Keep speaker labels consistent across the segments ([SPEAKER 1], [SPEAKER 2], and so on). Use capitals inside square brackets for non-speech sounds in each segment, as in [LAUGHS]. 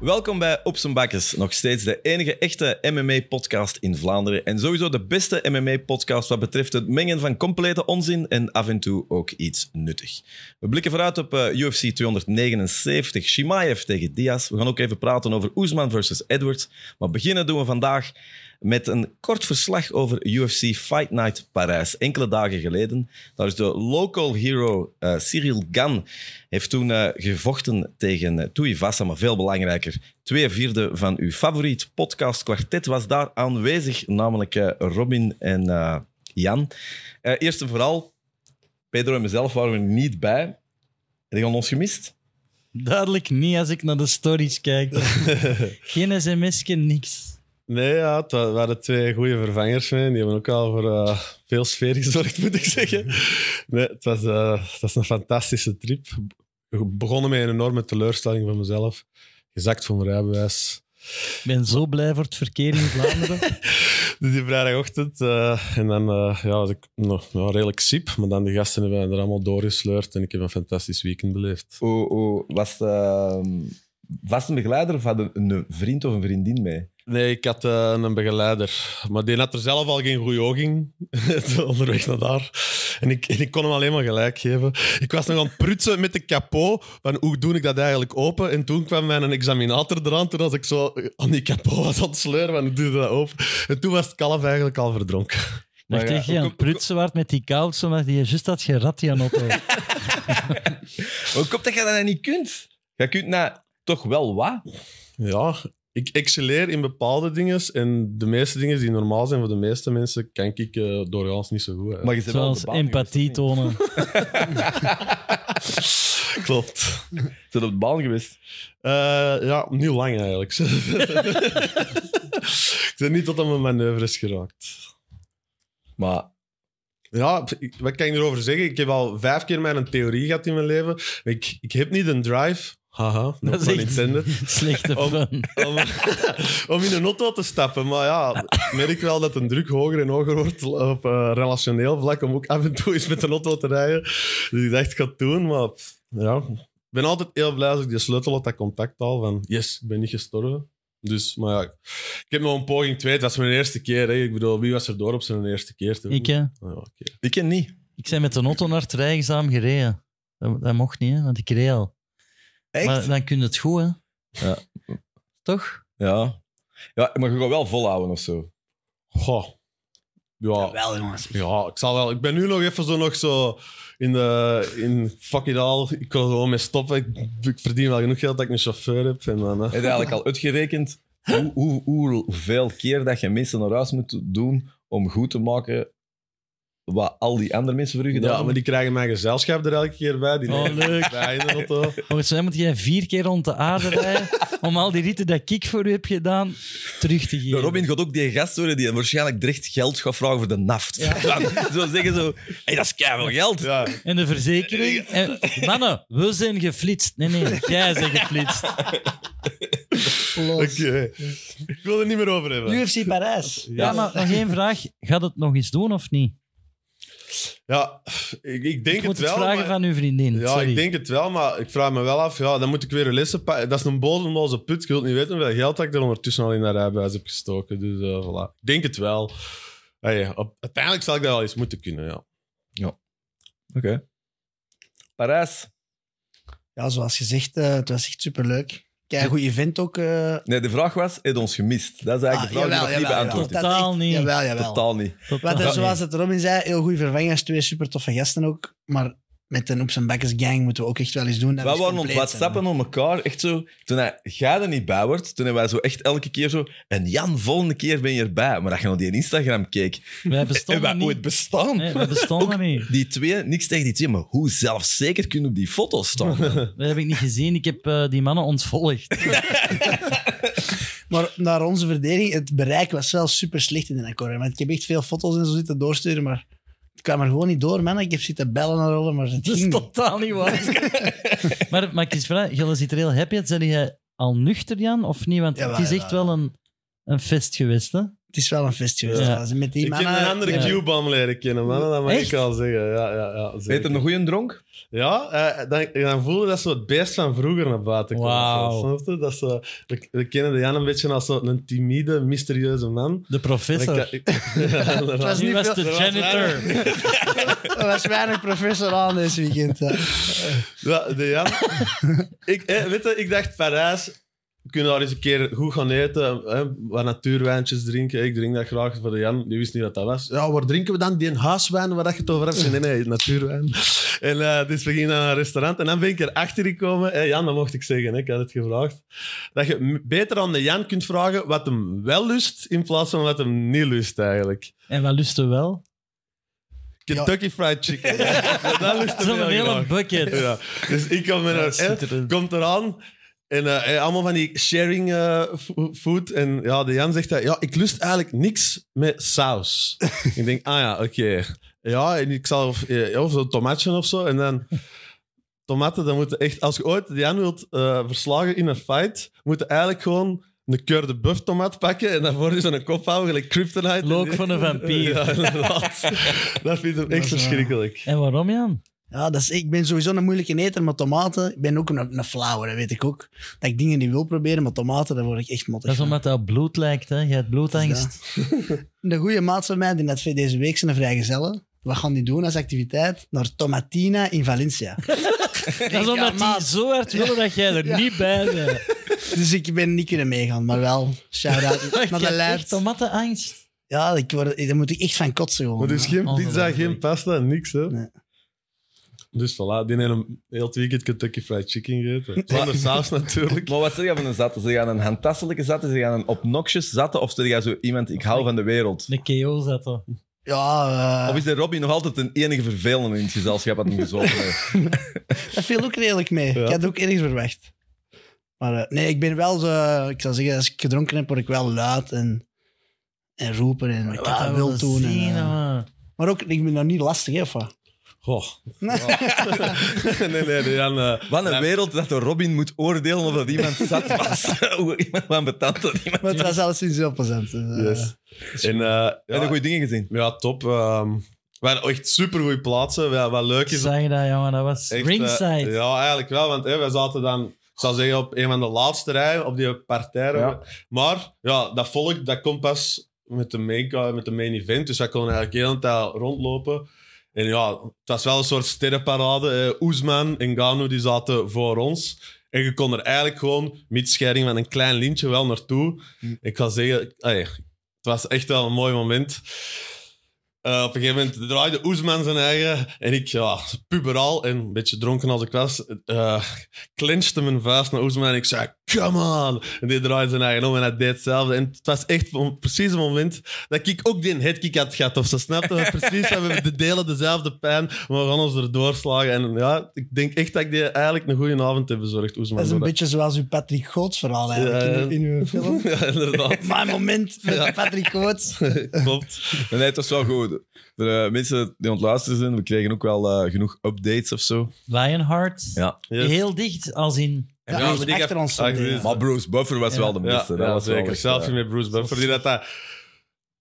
[SPEAKER 1] Welkom bij Op z'n Bakkes, nog steeds de enige echte MMA-podcast in Vlaanderen. En sowieso de beste MMA-podcast wat betreft het mengen van complete onzin en af en toe ook iets nuttig. We blikken vooruit op eh, UFC 279, Shimaev tegen Diaz. We gaan ook even praten over Oesman versus Edwards. Maar beginnen doen we vandaag met een kort verslag over UFC Fight Night Parijs. Enkele dagen geleden. Daar is de local hero eh, Cyril Gan. Heeft toen eh, gevochten tegen eh, Toei Vassa, maar veel belangrijker. Twee vierde van uw favoriet podcast kwartet was daar aanwezig. Namelijk eh, Robin en eh, Jan. Eh, eerst en vooral, Pedro en mezelf waren er niet bij. Heb je al ons gemist?
[SPEAKER 2] Duidelijk niet als ik naar de
[SPEAKER 1] [LAUGHS]
[SPEAKER 2] stories kijk. Geen sms'je, niks.
[SPEAKER 3] Nee, ja, het wa- waren twee goede vervangers mee. Die hebben ook al voor eh, veel sfeer gezorgd, [LAUGHS] moet ik zeggen. Nee, het was, eh, het was een fantastische trip. Be- Begonnen met een enorme teleurstelling van mezelf. Gezakt van mijn rijbewijs.
[SPEAKER 2] Ik ben zo blij voor het verkeer in
[SPEAKER 1] [LAUGHS]
[SPEAKER 2] Vlaanderen.
[SPEAKER 3] Dus die vrijdagochtend. eh, en dan eh, ja, was ik nog nou, redelijk siep. Maar dan die gasten hebben mij er allemaal doorgesleurd. En ik heb een fantastisch weekend beleefd.
[SPEAKER 1] Hoe, hoe- was het, ehm, was het een begeleider of had een, een vriend of een vriendin mee?
[SPEAKER 3] Nee, ik had eh, een begeleider. Maar die had er zelf al geen goede oog in. [LAUGHS] Onderweg naar daar. En ik, en ik kon hem alleen maar gelijk geven. Ik was nog aan het prutsen met de capot. Van hoe doe ik dat eigenlijk open? En toen kwam mijn examinator eraan. Toen als ik zo aan die [LAUGHS] capot was aan het sleuren. Van hoe doe je dat open? En toen was het kalf eigenlijk al verdronken.
[SPEAKER 1] Maar
[SPEAKER 2] Dacht
[SPEAKER 1] ja,
[SPEAKER 2] echt,
[SPEAKER 1] hoe
[SPEAKER 2] je aan
[SPEAKER 1] kom-
[SPEAKER 2] het prutsen waard met die kouds, omdat je juist had gerat die aan
[SPEAKER 1] [LAUGHS]
[SPEAKER 2] op.
[SPEAKER 1] Hoe komt dat je dat niet kunt? Je kunt na toch wel wat?
[SPEAKER 3] Ja, ik excelleer in bepaalde dingen. En de meeste dingen die normaal zijn voor de meeste mensen, kan ik eh, doorgaans niet zo goed. hè.
[SPEAKER 1] Maar je bent wel
[SPEAKER 2] Zoals
[SPEAKER 1] op de baan geweest,
[SPEAKER 2] empathie
[SPEAKER 1] of [LAUGHS]
[SPEAKER 2] tonen.
[SPEAKER 3] [LAUGHS] Klopt.
[SPEAKER 1] niet? Je bent op de baan geweest.
[SPEAKER 3] Eh, ja, niet lang eigenlijk.
[SPEAKER 2] [LAUGHS]
[SPEAKER 3] ik ben niet tot aan mijn manoeuvres geraakt.
[SPEAKER 1] Maar
[SPEAKER 3] Ja, ik- wat kan ik erover zeggen? Ik heb al vijf keer mijn theorie gehad in mijn leven. Ik, ik heb niet een drive. Haha,
[SPEAKER 2] Dat
[SPEAKER 3] dat
[SPEAKER 2] is
[SPEAKER 3] is
[SPEAKER 2] echt- Slechte
[SPEAKER 3] Om-
[SPEAKER 2] fun.
[SPEAKER 3] Om, [LAUGHS] om in een auto te stappen. Maar ja, ik merk wel dat een druk hoger en hoger wordt op eh, relationeel vlak. Om ook af en toe eens met een auto te rijden. Dus ik dacht, ik ga het doen. Maar pff, ja, ik ben altijd heel blij als ik die sleutel op dat contact haal. Van, yes, ik ben niet gestorven. Dus, maar ja, ik heb nog een poging twee. Het was mijn eerste keer. Hè. Ik bedoel, wie was er door op zijn eerste keer? Toen-
[SPEAKER 2] Ik, hè.
[SPEAKER 3] Ja, oké.
[SPEAKER 1] ik ken niet.
[SPEAKER 2] ik ben met een auto naar het rijexamen gereden. Dat, dat mocht niet, hè, want ik reed al.
[SPEAKER 1] Echt?
[SPEAKER 2] Maar dan kun je het goed, hè.
[SPEAKER 1] Ja.
[SPEAKER 2] Toch?
[SPEAKER 1] Ja. ja. Maar je gaat wel volhouden of zo.
[SPEAKER 3] Goh. Ja,
[SPEAKER 2] Wel, jongens.
[SPEAKER 3] Ja, ik zal wel. Ik ben nu nog even zo, nog zo in de. In fuck it all. Ik kan er gewoon mee stoppen. Ik, ik verdien wel genoeg geld dat ik een chauffeur heb. En dan,
[SPEAKER 1] Heb
[SPEAKER 3] eh,
[SPEAKER 1] je eigenlijk al uitgerekend hoe, hoe, hoe- hoeveel keer dat je mensen naar huis moet doen om goed te maken wat al die andere mensen voor u gedaan
[SPEAKER 3] ja, maar die krijgen mijn gezelschap er elke keer bij. Die
[SPEAKER 2] Oh,
[SPEAKER 3] nemen
[SPEAKER 2] leuk.
[SPEAKER 3] [LAUGHS]
[SPEAKER 2] [LAUGHS]
[SPEAKER 3] bij in de auto.
[SPEAKER 2] Volgens mij moet jij vier keer rond de aarde rijden om al die ritten dat ik voor u heb gedaan terug te
[SPEAKER 1] De
[SPEAKER 2] geven.
[SPEAKER 1] Robin gaat ook die gast worden die waarschijnlijk direct geld gaat vragen voor de naft. [LAUGHS] Dan Zo zeggen zo, hey, dat is keihard geld.
[SPEAKER 3] Ja.
[SPEAKER 2] En de verzekering. En, mannen, we zijn geflitst. Nee, nee, jij bent geflitst.
[SPEAKER 3] Oké. Ik wil er niet meer over hebben.
[SPEAKER 4] UFC Parijs.
[SPEAKER 2] Ja, maar nog één vraag. Gaat het nog eens doen of niet?
[SPEAKER 3] Ja, ik, ik denk
[SPEAKER 2] Ik moet
[SPEAKER 3] het
[SPEAKER 2] het
[SPEAKER 3] wel.
[SPEAKER 2] vragen
[SPEAKER 3] maar-
[SPEAKER 2] van uw vriendin.
[SPEAKER 3] Ja,
[SPEAKER 2] Sorry.
[SPEAKER 3] ik denk het wel, maar ik vraag me wel af. Ja, dan moet ik weer een lessen pakken. Dat is een bodemloze put. Ik wil niet weten hoeveel geld dat ik er ondertussen al in dat rijbewijs heb gestoken. Dus eh, voilà. Ik denk het wel. Hey, op- uiteindelijk zal ik dat wel eens moeten kunnen, ja.
[SPEAKER 1] Oké. Parijs.
[SPEAKER 4] Ja, zoals gezegd, eh, het was echt superleuk. Kijk, goed event ook. eh Ah,
[SPEAKER 1] Nee, de vraag was, heb je ons gemist? Dat is eigenlijk de vraag die nog niet beantwoord is.
[SPEAKER 2] jawel. Totaal
[SPEAKER 4] Dat
[SPEAKER 2] niet.
[SPEAKER 4] Jawel, jawel.
[SPEAKER 1] Totaal niet.
[SPEAKER 2] Totaal.
[SPEAKER 4] Wat er, zoals het Robin zei, heel goede vervangers, twee super toffe gasten ook. Maar met een op zijn bakkers gang moeten we ook echt wel eens doen. dat
[SPEAKER 1] Wij
[SPEAKER 4] eens
[SPEAKER 1] waren aan het
[SPEAKER 4] compleet
[SPEAKER 1] whatsappen
[SPEAKER 4] zijn.
[SPEAKER 1] om elkaar. Echt zo, toen hij, jij er niet bij wordt, toen hebben wij zo echt elke keer zo... En Jan, volgende keer ben je erbij. Maar dat je naar die Instagram keek,
[SPEAKER 2] Wij
[SPEAKER 1] hebben wij
[SPEAKER 2] bestonden
[SPEAKER 1] ooit
[SPEAKER 2] niet.
[SPEAKER 1] bestaan?
[SPEAKER 2] Nee, wij
[SPEAKER 3] [LAUGHS]
[SPEAKER 2] bestonden niet.
[SPEAKER 1] Die twee, niks tegen die twee, maar hoe zelfzeker kunnen op die foto's staan?
[SPEAKER 2] Dat heb ik niet gezien. Ik heb eh, die mannen
[SPEAKER 3] [LAUGHS]
[SPEAKER 2] ontvolgd.
[SPEAKER 4] Maar naar onze verdediging, het bereik was wel super slecht in de akkoord. Want ik heb echt veel foto's en zo zitten doorsturen, maar het kwam er gewoon niet door, man. Ik heb zitten bellen en rollen, maar
[SPEAKER 2] [LAUGHS]
[SPEAKER 4] het
[SPEAKER 2] Dat is
[SPEAKER 4] ging niet.
[SPEAKER 2] totaal niet
[SPEAKER 3] [LAUGHS]
[SPEAKER 2] waar. maar mag ik eens vragen? Jullie zitten er heel happy uit. Zijn jij al nuchter, Jan, of niet? Want
[SPEAKER 4] Jawel,
[SPEAKER 2] het is echt
[SPEAKER 4] jawel.
[SPEAKER 2] wel een, een fest geweest, hè?
[SPEAKER 4] Het het is wel een feest geweest.
[SPEAKER 2] Ja.
[SPEAKER 4] Dus Met die
[SPEAKER 3] Ik heb
[SPEAKER 4] mannen...
[SPEAKER 3] een andere
[SPEAKER 4] ja.
[SPEAKER 3] Q-bam leren kennen, mannen, dat mag
[SPEAKER 2] Echt?
[SPEAKER 3] ik al zeggen. Ja, ja, ja, zeker.
[SPEAKER 1] Peter, een goeie dronk?
[SPEAKER 3] Ja, eh, dan, dan voelde dat zo het beest van vroeger naar buiten kwam.
[SPEAKER 2] Wauw.
[SPEAKER 3] zo, Snap je? Dat is zo- we, we kennen de Jan een beetje als zo'n timide, mysterieuze man.
[SPEAKER 2] De professor.
[SPEAKER 3] Dat ik- [LAUGHS] Ja,
[SPEAKER 4] Het
[SPEAKER 3] inderdaad.
[SPEAKER 4] was
[SPEAKER 2] Nu
[SPEAKER 4] niet
[SPEAKER 2] was
[SPEAKER 4] veel...
[SPEAKER 2] de
[SPEAKER 3] was
[SPEAKER 4] [LAUGHS]
[SPEAKER 2] janitor.
[SPEAKER 4] [LAUGHS] Er was weinig professor aan deze weekend. ja.
[SPEAKER 3] Ja, de Jan. ik, eh, weet je, ik dacht Parijs. We kunnen daar eens een keer goed gaan eten, eh, wat natuurwijntjes drinken. Ik drink dat graag voor de Jan, die wist niet wat dat was. Ja, waar drinken we dan? Die een huiswijn, waar dat je het over hebt? Ik zei, Nee, nee, natuurwijn. En eh, dus we gingen naar een restaurant en dan ben ik erachter gekomen. Eh, Jan, dat mocht ik zeggen, hè, ik had het gevraagd. Dat je m- beter aan de Jan kunt vragen wat hem wel lust, in plaats van wat hem niet lust eigenlijk.
[SPEAKER 2] En wat lusten wel?
[SPEAKER 3] Kentucky Fried Chicken. dat lust hem
[SPEAKER 2] Zo'n
[SPEAKER 3] heel
[SPEAKER 2] hele [LAUGHS]
[SPEAKER 3] graag.
[SPEAKER 2] bucket.
[SPEAKER 3] Ja. Dus ik kom met
[SPEAKER 2] Ja,
[SPEAKER 3] een-
[SPEAKER 2] schitterend.
[SPEAKER 3] komt eraan. En eh, eh, allemaal van die sharing eh, fo- food. En ja, de Jan zegt dat. Ja, ik lust eigenlijk niks
[SPEAKER 2] [LAUGHS]
[SPEAKER 3] met saus. ik denk, ah ja, oké. Ja, en ik zal of, eh, of zo'n tomatje of zo. En dan. Tomaten, dan moeten echt. Als je ooit de Jan wilt eh, verslagen in een fight, moet je eigenlijk gewoon een keur de buff tomaat pakken. En daarvoor is een kop houden, gelijk kryptonite.
[SPEAKER 2] Look van een vampier.
[SPEAKER 3] Ja, inderdaad. [LAUGHS] dat vind ik
[SPEAKER 2] Dat
[SPEAKER 3] echt
[SPEAKER 2] is waar.
[SPEAKER 3] verschrikkelijk.
[SPEAKER 2] En waarom, Jan?
[SPEAKER 4] Ja, dat is, ik ben sowieso een moeilijke eter, maar tomaten... Ik ben ook een, een flauwe, dat weet ik ook. Dat ik dingen niet wil proberen, maar tomaten, daar word ik echt
[SPEAKER 2] Dat
[SPEAKER 4] mottig
[SPEAKER 2] is
[SPEAKER 4] van.
[SPEAKER 2] omdat dat bloed lijkt, hè? Je hebt bloedangst.
[SPEAKER 4] Een goede maat van mij, die net deze week zijn vrijgezellen. Wat gaan die doen als activiteit? Naar Tomatina in
[SPEAKER 2] [LAUGHS]
[SPEAKER 4] Valencia.
[SPEAKER 2] Dat is omdat die zo hard willen dat jij er niet bij
[SPEAKER 4] [LAUGHS]
[SPEAKER 2] bent.
[SPEAKER 4] Dus ik ben niet kunnen meegaan, maar wel.
[SPEAKER 2] [LAUGHS]
[SPEAKER 4] Shout-out naar
[SPEAKER 2] Je
[SPEAKER 4] de
[SPEAKER 2] hebt echt
[SPEAKER 4] lijst.
[SPEAKER 2] tomatenangst.
[SPEAKER 4] Ja, ik word, daar moet ik echt van kotsen gewoon.
[SPEAKER 3] Maar dus
[SPEAKER 4] ja.
[SPEAKER 3] geen pizza,
[SPEAKER 2] Ongelooflijk.
[SPEAKER 3] geen pasta, niks hè?
[SPEAKER 4] Nee.
[SPEAKER 3] Dus voilà, die heeft een heel het weekend Kentucky Fried Chicken gegeten.
[SPEAKER 1] [LAUGHS]
[SPEAKER 3] Zonder saus natuurlijk.
[SPEAKER 1] Maar wat zeg je van een zatte? Zeg je aan een handtastelijke zatte? Zeg je aan een obnoxious zatte? Of zeg je zo iemand, ik hou van de wereld?
[SPEAKER 2] De KO zat er.
[SPEAKER 4] Ja, eh,
[SPEAKER 1] Of is de Robbie nog altijd een enige vervelende in het gezelschap dat hem gezopen heeft?
[SPEAKER 4] dat viel ook redelijk mee.
[SPEAKER 3] Ja.
[SPEAKER 4] Ik had ook ergens verwacht. Maar eh, nee, ik ben wel zo... Ik zou zeggen, als ik gedronken heb, word ik wel luid en, en roepen en ik
[SPEAKER 2] had
[SPEAKER 4] wat
[SPEAKER 2] dat
[SPEAKER 4] ik
[SPEAKER 2] wel
[SPEAKER 4] wil doen. en,
[SPEAKER 2] gezien,
[SPEAKER 4] eh,
[SPEAKER 2] man.
[SPEAKER 4] maar ook, ik ben nou niet lastig, hè, of wat?
[SPEAKER 3] Goh. [LAUGHS]
[SPEAKER 4] [LAUGHS]
[SPEAKER 3] nee, nee, nee. Jan, eh,
[SPEAKER 1] Wat een
[SPEAKER 3] Ja.
[SPEAKER 1] wereld dat de Robin moet oordelen of dat iemand [LAUGHS] zat was. Hoe iemand aan betand dat iemand...
[SPEAKER 4] Maar het was alleszins heel plezant. dus, eh,
[SPEAKER 3] yes. En, eh, ja,
[SPEAKER 1] Heb je goede dingen gezien?
[SPEAKER 3] ja, top. ehm we hadden echt supergoeie plaatsen. Wat, wat leuk
[SPEAKER 2] Ik
[SPEAKER 3] is.
[SPEAKER 2] zag dat, jongen. Dat was
[SPEAKER 3] Echt, eh,
[SPEAKER 2] ringside.
[SPEAKER 3] ja, eigenlijk wel. Want hè, wij zaten dan, ik zou zeggen, op een van de laatste rijen op die partij.
[SPEAKER 1] Ja.
[SPEAKER 3] Maar ja, dat volk dat komt pas met de, main, card, met de main event. Dus wij konden eigenlijk heel de tijd rondlopen. En ja, het was wel een soort sterrenparade. Eh, Oesman en Gano die zaten voor ons. En je kon er eigenlijk gewoon, met scheiding van een klein lintje, wel naartoe. Ik ga zeggen, ey, het was echt wel een mooi moment. Eh, op een gegeven moment draaide Oesman zijn eigen. En ik, ja, puberaal en een beetje dronken als ik was, eh clenchte mijn vuist naar Oesman. En ik zei, come on! En die draaide zijn eigen om en hij deed hetzelfde. En het was echt om- precies het moment dat ik ook die headkick had gehad. Of ze snapten we precies, dat we de delen dezelfde pijn, maar we gaan ons erdoor slagen. En ja, ik denk echt dat ik die eigenlijk een goede avond heb bezorgd, Oesman.
[SPEAKER 4] Dat is een
[SPEAKER 3] Voor
[SPEAKER 4] beetje zoals uw Patrick Goots verhaal eigenlijk
[SPEAKER 3] Ja, ja.
[SPEAKER 4] in, in
[SPEAKER 3] [LAUGHS]
[SPEAKER 4] uw film.
[SPEAKER 3] dat-
[SPEAKER 1] [LAUGHS]
[SPEAKER 3] Ja, inderdaad.
[SPEAKER 4] Mijn moment met Patrick
[SPEAKER 3] [LAUGHS]
[SPEAKER 4] Goots.
[SPEAKER 3] Klopt.
[SPEAKER 1] Nee, nee, het was wel goed. Voor de mensen die aan het luisteren zijn, we kregen ook wel eh, genoeg updates of zo.
[SPEAKER 2] Lionheart.
[SPEAKER 1] Ja.
[SPEAKER 3] Yes.
[SPEAKER 2] Heel dicht, als in...
[SPEAKER 4] Ja,
[SPEAKER 3] maar
[SPEAKER 4] achter
[SPEAKER 3] die heb-
[SPEAKER 4] ons stond
[SPEAKER 3] Ah,
[SPEAKER 4] die, ja.
[SPEAKER 1] Maar Bruce Buffer was
[SPEAKER 2] Ja.
[SPEAKER 1] wel de
[SPEAKER 3] Dus, eh,
[SPEAKER 1] beste. dat was wel
[SPEAKER 3] zeker.
[SPEAKER 1] echt,
[SPEAKER 3] Selfie
[SPEAKER 1] eh,
[SPEAKER 3] met Bruce Buffer, die dat, dat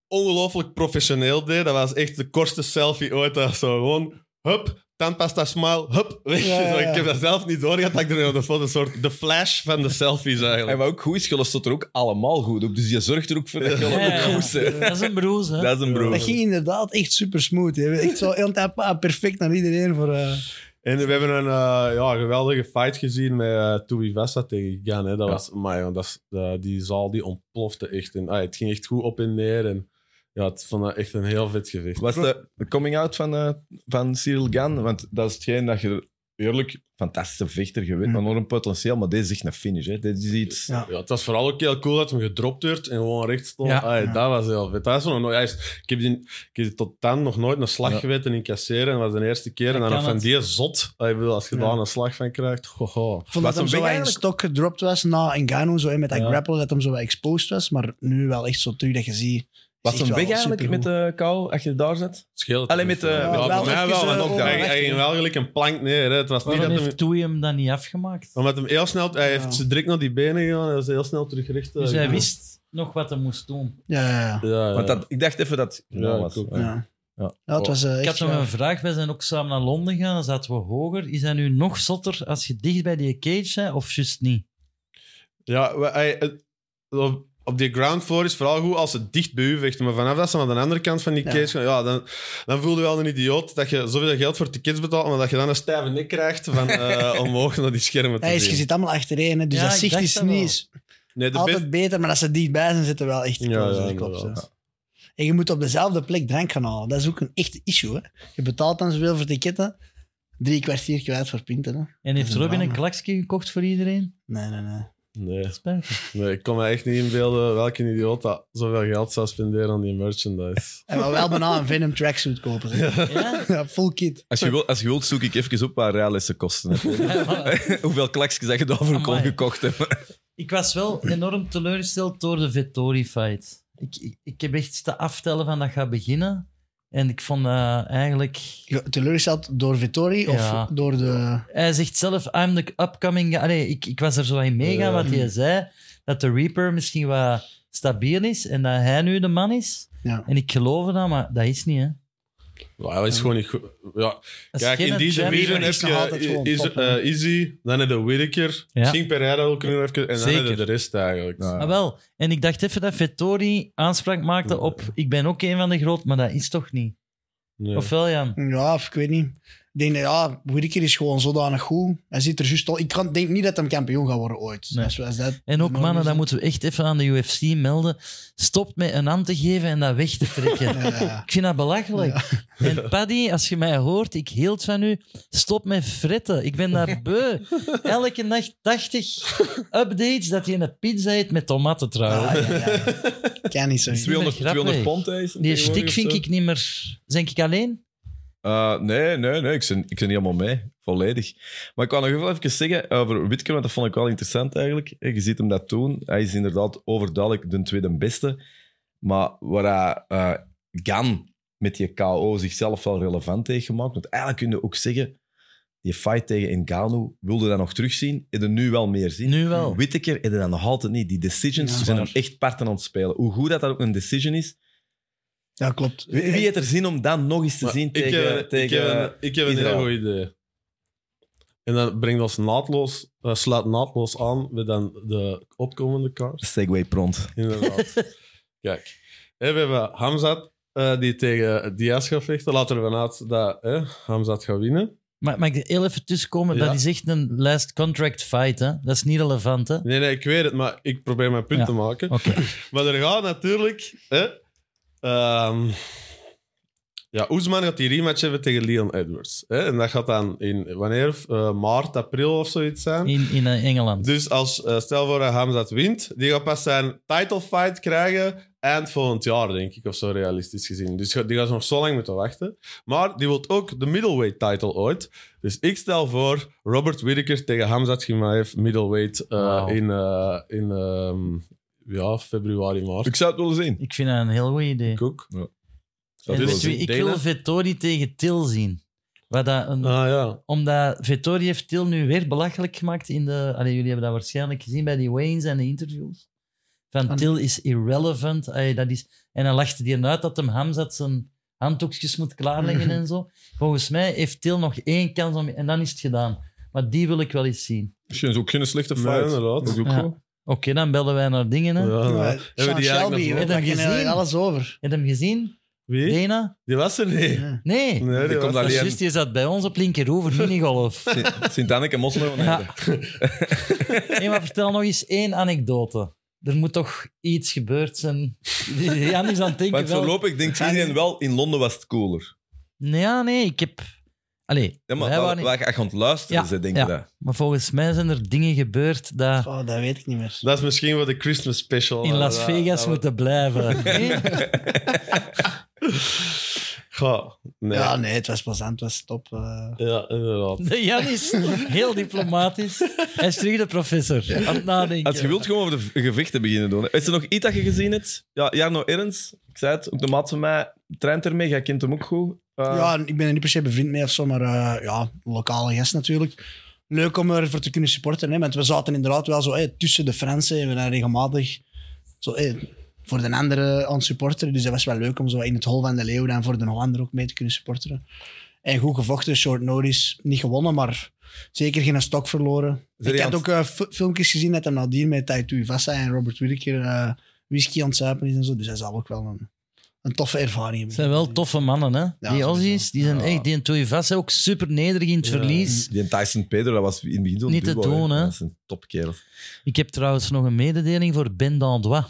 [SPEAKER 3] ongelooflijk professioneel deed. Dat was echt de kortste selfie ooit. Dat was zo gewoon, hup, tandpasta smile, hup, [LAUGHS] weg.
[SPEAKER 4] Ja, ja,
[SPEAKER 3] Zo,
[SPEAKER 4] ja.
[SPEAKER 3] Ik heb dat zelf niet doorgehad. dat Ik er nog een soort de flash van de selfies
[SPEAKER 1] En
[SPEAKER 3] eigenlijk.
[SPEAKER 1] wat ook goed is, Gullis stond er ook allemaal goed op. Dus je zorgt er ook voor [LAUGHS] dat Gullis
[SPEAKER 2] Ja, ja,
[SPEAKER 1] ook
[SPEAKER 2] ja.
[SPEAKER 1] goed is.
[SPEAKER 2] Dat is een broes, hè?
[SPEAKER 1] Dat is een
[SPEAKER 4] Dat
[SPEAKER 1] broer.
[SPEAKER 4] ging inderdaad echt super smooth. hè. Echt zo heel de tijd pa- perfect naar iedereen. Voor, eh,
[SPEAKER 3] [LAUGHS] En we hebben een eh, ja, geweldige fight gezien met eh Toei Vesta tegen Gan. Hè. Dat
[SPEAKER 1] Ja.
[SPEAKER 3] was, amai, want dat is, eh, die zaal die ontplofte echt. En, ah, het ging echt goed op en neer. En, ja, het vond dat echt een heel vet gevecht.
[SPEAKER 1] Was de de coming-out van, eh, van Cyril Gan? Want dat is hetgeen dat je... Eerlijk, fantastische vechter, je weet
[SPEAKER 4] Mm.
[SPEAKER 1] nog een potentieel, maar deze is echt een finish. Hè. Dit is iets...
[SPEAKER 4] ja.
[SPEAKER 3] Ja, het was vooral ook heel cool dat hem gedropt werd en gewoon recht stond.
[SPEAKER 2] Ja.
[SPEAKER 3] Ai,
[SPEAKER 4] Ja.
[SPEAKER 3] Dat was heel vet. Dat is nog nooit, hij is- ik, heb die, ik heb tot dan nog nooit een slag
[SPEAKER 1] Ja.
[SPEAKER 3] geweten incasseren. En dat was de eerste keer. En
[SPEAKER 2] Dat
[SPEAKER 3] dan nog
[SPEAKER 2] kan
[SPEAKER 3] van
[SPEAKER 2] het.
[SPEAKER 3] die zot. Ai, ik bedoel, als je
[SPEAKER 4] Ja.
[SPEAKER 3] daar een slag van krijgt. Hoho.
[SPEAKER 4] Ik vond
[SPEAKER 1] Was
[SPEAKER 4] dat hem
[SPEAKER 1] een
[SPEAKER 4] zo
[SPEAKER 1] big
[SPEAKER 4] wat in
[SPEAKER 1] eigenlijk?
[SPEAKER 4] stok gedropt was na Engano, zo hè, met dat
[SPEAKER 2] Ja.
[SPEAKER 4] grapple, dat hem zo wat exposed was. Maar nu wel echt zo terug dat je ziet.
[SPEAKER 1] Was een weg eigenlijk met
[SPEAKER 4] de
[SPEAKER 1] de kou, als je daar zat?
[SPEAKER 3] Scheelt.
[SPEAKER 1] Alleen met, eh,
[SPEAKER 3] ja,
[SPEAKER 4] wel
[SPEAKER 3] voor mij
[SPEAKER 4] even,
[SPEAKER 3] wel.
[SPEAKER 4] eh,
[SPEAKER 3] want
[SPEAKER 1] lockdown.
[SPEAKER 3] hij, hij ging wel gelijk een plank neer. Hè. Het was niet
[SPEAKER 2] Waarom
[SPEAKER 3] dat hem,
[SPEAKER 2] heeft Toei hem dan niet afgemaakt?
[SPEAKER 3] omdat hem heel snel... Hij
[SPEAKER 4] Ja.
[SPEAKER 3] heeft ze direct naar die benen gegaan. Hij was heel snel terug recht. eh,
[SPEAKER 2] Dus hij
[SPEAKER 3] gegaan.
[SPEAKER 2] wist nog wat hij moest doen.
[SPEAKER 4] Ja, ja, ja.
[SPEAKER 3] Ja,
[SPEAKER 1] Want dat, Eh, ik dacht even dat...
[SPEAKER 3] Ja,
[SPEAKER 1] gedaan was.
[SPEAKER 3] ik ook.
[SPEAKER 4] ja.
[SPEAKER 1] Ja.
[SPEAKER 4] Ja, het was eh,
[SPEAKER 2] Ik
[SPEAKER 4] echt...
[SPEAKER 2] had nog
[SPEAKER 4] ja.
[SPEAKER 2] een vraag. Wij zijn ook samen naar Londen gegaan. Dan zaten we hoger. Is dat nu nog zotter als je dicht bij die cage bent of juist niet?
[SPEAKER 3] Ja, we- hij- het- op- op die ground floor is vooral goed als ze dicht bij u vechten. Maar vanaf dat ze aan de andere kant van die
[SPEAKER 4] Ja.
[SPEAKER 3] cage gaan, ja, dan, dan voel je wel een idioot dat je zoveel geld voor tickets betaalt, maar dat je dan een stijve nek krijgt
[SPEAKER 4] [LAUGHS]
[SPEAKER 3] van, eh, omhoog naar die schermen te
[SPEAKER 4] Ja, is,
[SPEAKER 3] zien.
[SPEAKER 4] je zit allemaal achtereen, hè, dus
[SPEAKER 2] Ja,
[SPEAKER 4] dat
[SPEAKER 2] ik
[SPEAKER 4] zicht
[SPEAKER 2] dacht
[SPEAKER 4] is
[SPEAKER 2] dat
[SPEAKER 4] niet
[SPEAKER 2] wel.
[SPEAKER 4] eens
[SPEAKER 3] nee, de
[SPEAKER 4] altijd
[SPEAKER 3] best-
[SPEAKER 4] beter, maar als ze dichtbij zijn, zitten wel echt
[SPEAKER 3] Ja,
[SPEAKER 4] close,
[SPEAKER 3] ja,
[SPEAKER 4] dat klopt,
[SPEAKER 3] inderdaad.
[SPEAKER 4] ja. En je moet op dezelfde plek drank gaan halen. Dat is ook een echt issue. Hè. Je betaalt dan zoveel voor ticketten, drie kwartier kwijt voor pinten. Hè.
[SPEAKER 2] En heeft
[SPEAKER 4] Dat is
[SPEAKER 2] Robin
[SPEAKER 4] een
[SPEAKER 2] een klaksje gekocht voor iedereen?
[SPEAKER 4] Nee, nee, nee.
[SPEAKER 3] nee,
[SPEAKER 2] Spijtig.
[SPEAKER 3] nee, ik kon me echt niet inbeelden welke idioot dat zoveel geld zou spenderen aan die merchandise.
[SPEAKER 4] En maar wel bijna een Venom tracksuit kopen. zeg.
[SPEAKER 2] [LAUGHS] Ja?
[SPEAKER 4] Ja, full kit.
[SPEAKER 1] Als je, wilt, als je wilt, zoek ik even op waar rijlessen kosten. [LAUGHS] Hoeveel klaksjes dat je daarvoor kon
[SPEAKER 2] Amai.
[SPEAKER 1] gekocht hebt.
[SPEAKER 2] Ik was wel enorm teleurgesteld door de Vettori-fight. Ik, ik, ik heb echt te aftellen van dat gaat beginnen. En ik vond dat eigenlijk...
[SPEAKER 4] Ja, Teleurgesteld door Vittori of
[SPEAKER 2] Ja.
[SPEAKER 4] door de...
[SPEAKER 2] Hij zegt zelf, I'm the upcoming... guy. Allee, ik, ik was er zo in meegaan
[SPEAKER 3] Ja.
[SPEAKER 2] wat hij zei. Dat de Reaper misschien wat stabiel is en dat hij nu de man is.
[SPEAKER 4] Ja.
[SPEAKER 2] En ik geloof dat, maar dat is niet, hè.
[SPEAKER 3] Ja, dat is gewoon niet goed. Ja,
[SPEAKER 2] Dat is
[SPEAKER 3] Kijk,
[SPEAKER 2] geen
[SPEAKER 3] in deze
[SPEAKER 2] champion.
[SPEAKER 3] division heb
[SPEAKER 4] is nog altijd
[SPEAKER 3] je
[SPEAKER 4] gewoon
[SPEAKER 3] is,
[SPEAKER 4] top,
[SPEAKER 3] eh,
[SPEAKER 4] hè.
[SPEAKER 3] Izzy, dan heb je Whittaker,
[SPEAKER 2] Ja.
[SPEAKER 3] misschien Pereira ook nog even, en dan heb je
[SPEAKER 2] Zeker.
[SPEAKER 3] de rest eigenlijk.
[SPEAKER 2] Ah, wel. En ik dacht even dat Vettori aanspraak maakte op ik ben ook een van de groot, maar dat is toch niet.
[SPEAKER 3] Nee.
[SPEAKER 2] Ofwel, Jan?
[SPEAKER 4] Ja, of ik weet niet. Ik denk dat, ja, Whittaker is gewoon zodanig goed. Hij zit er juist al... Ik kan, denk niet dat hij kampioen gaat worden ooit.
[SPEAKER 2] Nee.
[SPEAKER 4] Als we- als dat,
[SPEAKER 2] En ook,
[SPEAKER 4] Maar
[SPEAKER 2] mannen,
[SPEAKER 4] we
[SPEAKER 2] dat
[SPEAKER 4] zijn-
[SPEAKER 2] moeten we echt even aan de UFC melden. Stop met een hand te geven en dat weg te
[SPEAKER 3] [LAUGHS]
[SPEAKER 2] trekken.
[SPEAKER 4] [LAUGHS] eh, ja.
[SPEAKER 2] Ik vind dat belachelijk. [LAUGHS] En Paddy, als je mij hoort, ik hield van u. Stop met fretten. Ik ben daar
[SPEAKER 4] [LAUGHS]
[SPEAKER 2] beu. Elke nacht 80 updates dat je een pizza eet met tomaten trouwens.
[SPEAKER 4] Ah, Ja, ja, ja. Kan niet zo.
[SPEAKER 2] Is wel-
[SPEAKER 1] 200,
[SPEAKER 2] grap,
[SPEAKER 1] 200
[SPEAKER 2] hè.
[SPEAKER 1] pond hè, is het
[SPEAKER 2] Die
[SPEAKER 1] tegenwoordig
[SPEAKER 2] stik
[SPEAKER 1] of
[SPEAKER 2] vind
[SPEAKER 1] zo?
[SPEAKER 2] ik niet meer... Zijn ik alleen?
[SPEAKER 1] Eh, nee, nee, nee. Ik ben, ik ben niet helemaal mee. Volledig. Maar ik wou nog wel even zeggen over Witker, want dat vond ik wel interessant eigenlijk. Eh, Je ziet hem dat doen. Hij is inderdaad overduidelijk de tweede beste. Maar waar hij eh Gan met die KO zichzelf wel relevant heeft gemaakt. Want eigenlijk kun je ook zeggen, die fight tegen Engano wilde dat nog terugzien. Heb je nu wel meer zien.
[SPEAKER 2] Nu wel.
[SPEAKER 1] Whittaker en dan nog altijd niet. Die decisions
[SPEAKER 4] Ja.
[SPEAKER 1] zijn hem echt parten aan het spelen. Hoe goed dat, dat ook een decision is.
[SPEAKER 4] Ja, klopt.
[SPEAKER 1] Wie, wie heeft er zin om dan nog eens te
[SPEAKER 3] Maar
[SPEAKER 1] zien
[SPEAKER 3] ik
[SPEAKER 1] tegen...
[SPEAKER 3] heb, ik eh,
[SPEAKER 1] tegen
[SPEAKER 3] heb een, ik heb een
[SPEAKER 1] Israël.
[SPEAKER 3] heel goed idee. En dat brengt ons naadloos, eh, sluit naadloos aan bij dan de opkomende kaart.
[SPEAKER 1] Segway pront. [LAUGHS]
[SPEAKER 3] Inderdaad. Kijk, hè, we hebben Hamzat eh, die tegen Diaz gaat vechten. Laten we ervan uit dat hè, Hamzat gaat winnen.
[SPEAKER 2] Maar mag ik heel even tussenkomen?
[SPEAKER 3] Ja.
[SPEAKER 2] Dat is echt een last contract fight, hè? Dat is niet relevant, hè?
[SPEAKER 3] Nee, nee, ik weet het, maar ik probeer mijn punt
[SPEAKER 2] Ja.
[SPEAKER 3] te maken.
[SPEAKER 2] Oké.
[SPEAKER 3] Maar er gaat natuurlijk. Hè, ehm, ja, Oesman gaat die rematch hebben tegen Leon Edwards. Hè, en dat gaat dan in wanneer? Eh, maart, april of zoiets zijn.
[SPEAKER 2] In, in eh, Engeland.
[SPEAKER 3] Dus als, eh, stel voor dat Hamzat wint, die gaat pas zijn title fight krijgen eind volgend jaar, denk ik, of zo realistisch gezien. Dus ga- die gaat nog zo lang moeten wachten. Maar die wil ook de middleweight title ooit. Dus ik stel voor Robert Whittaker tegen Hamzat Chimaev middleweight eh,
[SPEAKER 2] Wauw.
[SPEAKER 3] in, eh, in ehm, ja, februari, maart.
[SPEAKER 1] Ik zou het willen zien.
[SPEAKER 2] Ik vind dat een heel goed idee.
[SPEAKER 3] Ik ook.
[SPEAKER 1] Zou
[SPEAKER 2] En
[SPEAKER 1] het
[SPEAKER 3] Dus
[SPEAKER 2] weet
[SPEAKER 1] willen
[SPEAKER 2] je
[SPEAKER 1] zien.
[SPEAKER 2] wie, ik
[SPEAKER 3] Dana?
[SPEAKER 2] wil Vettori tegen Til zien. Wat dat een,
[SPEAKER 3] Ah ja.
[SPEAKER 2] Omdat Vettori heeft Til nu weer belachelijk gemaakt in de... Allee, jullie hebben dat waarschijnlijk gezien bij die Waynes en de interviews. Van
[SPEAKER 4] Ah.
[SPEAKER 2] Til is irrelevant. Allee, dat is, en dan lachte die uit dat hem Hamzat zijn handdoekjes moet klaarleggen en zo. Volgens mij heeft Til nog één kans om... En dan is het gedaan. Maar die wil ik wel eens zien.
[SPEAKER 1] Misschien is ook geen slechte
[SPEAKER 3] Nee,
[SPEAKER 1] fight.
[SPEAKER 3] inderdaad.
[SPEAKER 1] Dat is ook
[SPEAKER 2] Ja.
[SPEAKER 1] goed.
[SPEAKER 2] Oké, dan bellen wij naar dingen. Hè.
[SPEAKER 3] Ja, ja.
[SPEAKER 4] Ja,
[SPEAKER 3] Hebben die
[SPEAKER 4] Sean
[SPEAKER 3] eigenlijk
[SPEAKER 4] Shelby,
[SPEAKER 3] nog-
[SPEAKER 4] hè,
[SPEAKER 2] Heb je
[SPEAKER 4] daar
[SPEAKER 2] hem
[SPEAKER 4] ken je
[SPEAKER 2] gezien?
[SPEAKER 4] alles over.
[SPEAKER 2] Heb je hem gezien?
[SPEAKER 3] Wie?
[SPEAKER 2] Dena?
[SPEAKER 3] Die was er niet.
[SPEAKER 4] Ja.
[SPEAKER 2] Nee.
[SPEAKER 3] Nee,
[SPEAKER 1] Die
[SPEAKER 3] die
[SPEAKER 1] komt
[SPEAKER 3] was
[SPEAKER 2] Dat
[SPEAKER 3] er
[SPEAKER 2] is
[SPEAKER 1] alleen-
[SPEAKER 2] juist, die zat bij ons op linkeroever, minigolf.
[SPEAKER 1] Sint- Sint-Anneke Mosselen.
[SPEAKER 2] Ja.
[SPEAKER 1] [LAUGHS]
[SPEAKER 2] Nee, maar vertel nog eens één anekdote. Er moet toch iets gebeurd zijn. [LAUGHS] Jan is aan het denken
[SPEAKER 1] Want
[SPEAKER 2] wel...
[SPEAKER 1] voorlopig denkt iedereen wel, in Londen was het cooler.
[SPEAKER 2] Nee, ja, nee, ik heb... Allee,
[SPEAKER 1] Ja, maar
[SPEAKER 2] wij
[SPEAKER 1] waar,
[SPEAKER 2] waren...
[SPEAKER 1] waar je echt aan het luisteren
[SPEAKER 2] Ja,
[SPEAKER 1] bent, denk
[SPEAKER 2] ja.
[SPEAKER 1] je dat.
[SPEAKER 2] Maar volgens mij zijn er dingen gebeurd dat
[SPEAKER 4] Oh, dat weet ik niet meer.
[SPEAKER 3] Dat is misschien wat de Christmas special.
[SPEAKER 2] in Las
[SPEAKER 3] eh,
[SPEAKER 2] Vegas
[SPEAKER 3] dat-
[SPEAKER 2] moeten
[SPEAKER 1] [LAUGHS]
[SPEAKER 2] blijven. Nee?
[SPEAKER 3] Goh, nee.
[SPEAKER 4] Ja,
[SPEAKER 3] Ja,
[SPEAKER 4] nee, het was plezant, het was top. eh.
[SPEAKER 3] inderdaad.
[SPEAKER 2] De Jan is heel diplomatisch. Hij is terug de professor. Aan het nadenken.
[SPEAKER 1] Als je wilt, gewoon over de v- gevechten beginnen doen. Is er nog iets dat je gezien hebt? Ja, Jarno Erens, ik zei het, ook de maat van mij, traint ermee, jij kent hem ook goed. Eh,
[SPEAKER 4] ja, ik ben er niet per se bevriend mee of zo, maar eh, ja, lokale gast natuurlijk. Leuk om ervoor te kunnen supporten, hè, want we zaten inderdaad wel zo hè, tussen de Fransen en we zijn regelmatig zo, eh, voor de andere aan supporteren. Dus dat was wel leuk om zo in het hol van de leeuw dan voor de Hollander ook mee te kunnen supporteren. En goed gevochten, short notice. Niet gewonnen, maar zeker geen stok verloren.
[SPEAKER 1] Zijn die
[SPEAKER 4] ik had
[SPEAKER 1] aan-
[SPEAKER 4] ook eh, f- filmpjes gezien dat hem nadien met Taito Ivasa en Robert Whittaker eh whisky aan het zuipen is en zo. Dus dat zal ook wel een, een toffe ervaring hebben.
[SPEAKER 2] Het zijn wel toffe mannen, hè? die
[SPEAKER 4] sowieso.
[SPEAKER 2] Aussies, die zijn
[SPEAKER 1] Ja.
[SPEAKER 2] echt, die en Toei Vass zijn ook super nederig in het verlies.
[SPEAKER 1] Die Tyson Pedro, dat was in het begin zo'n
[SPEAKER 2] Niet te
[SPEAKER 1] duo, hè.
[SPEAKER 2] doen, hè.
[SPEAKER 1] Dat is een topkerel. [LAUGHS]
[SPEAKER 2] Ik heb trouwens nog een mededeling voor Ben Dandois.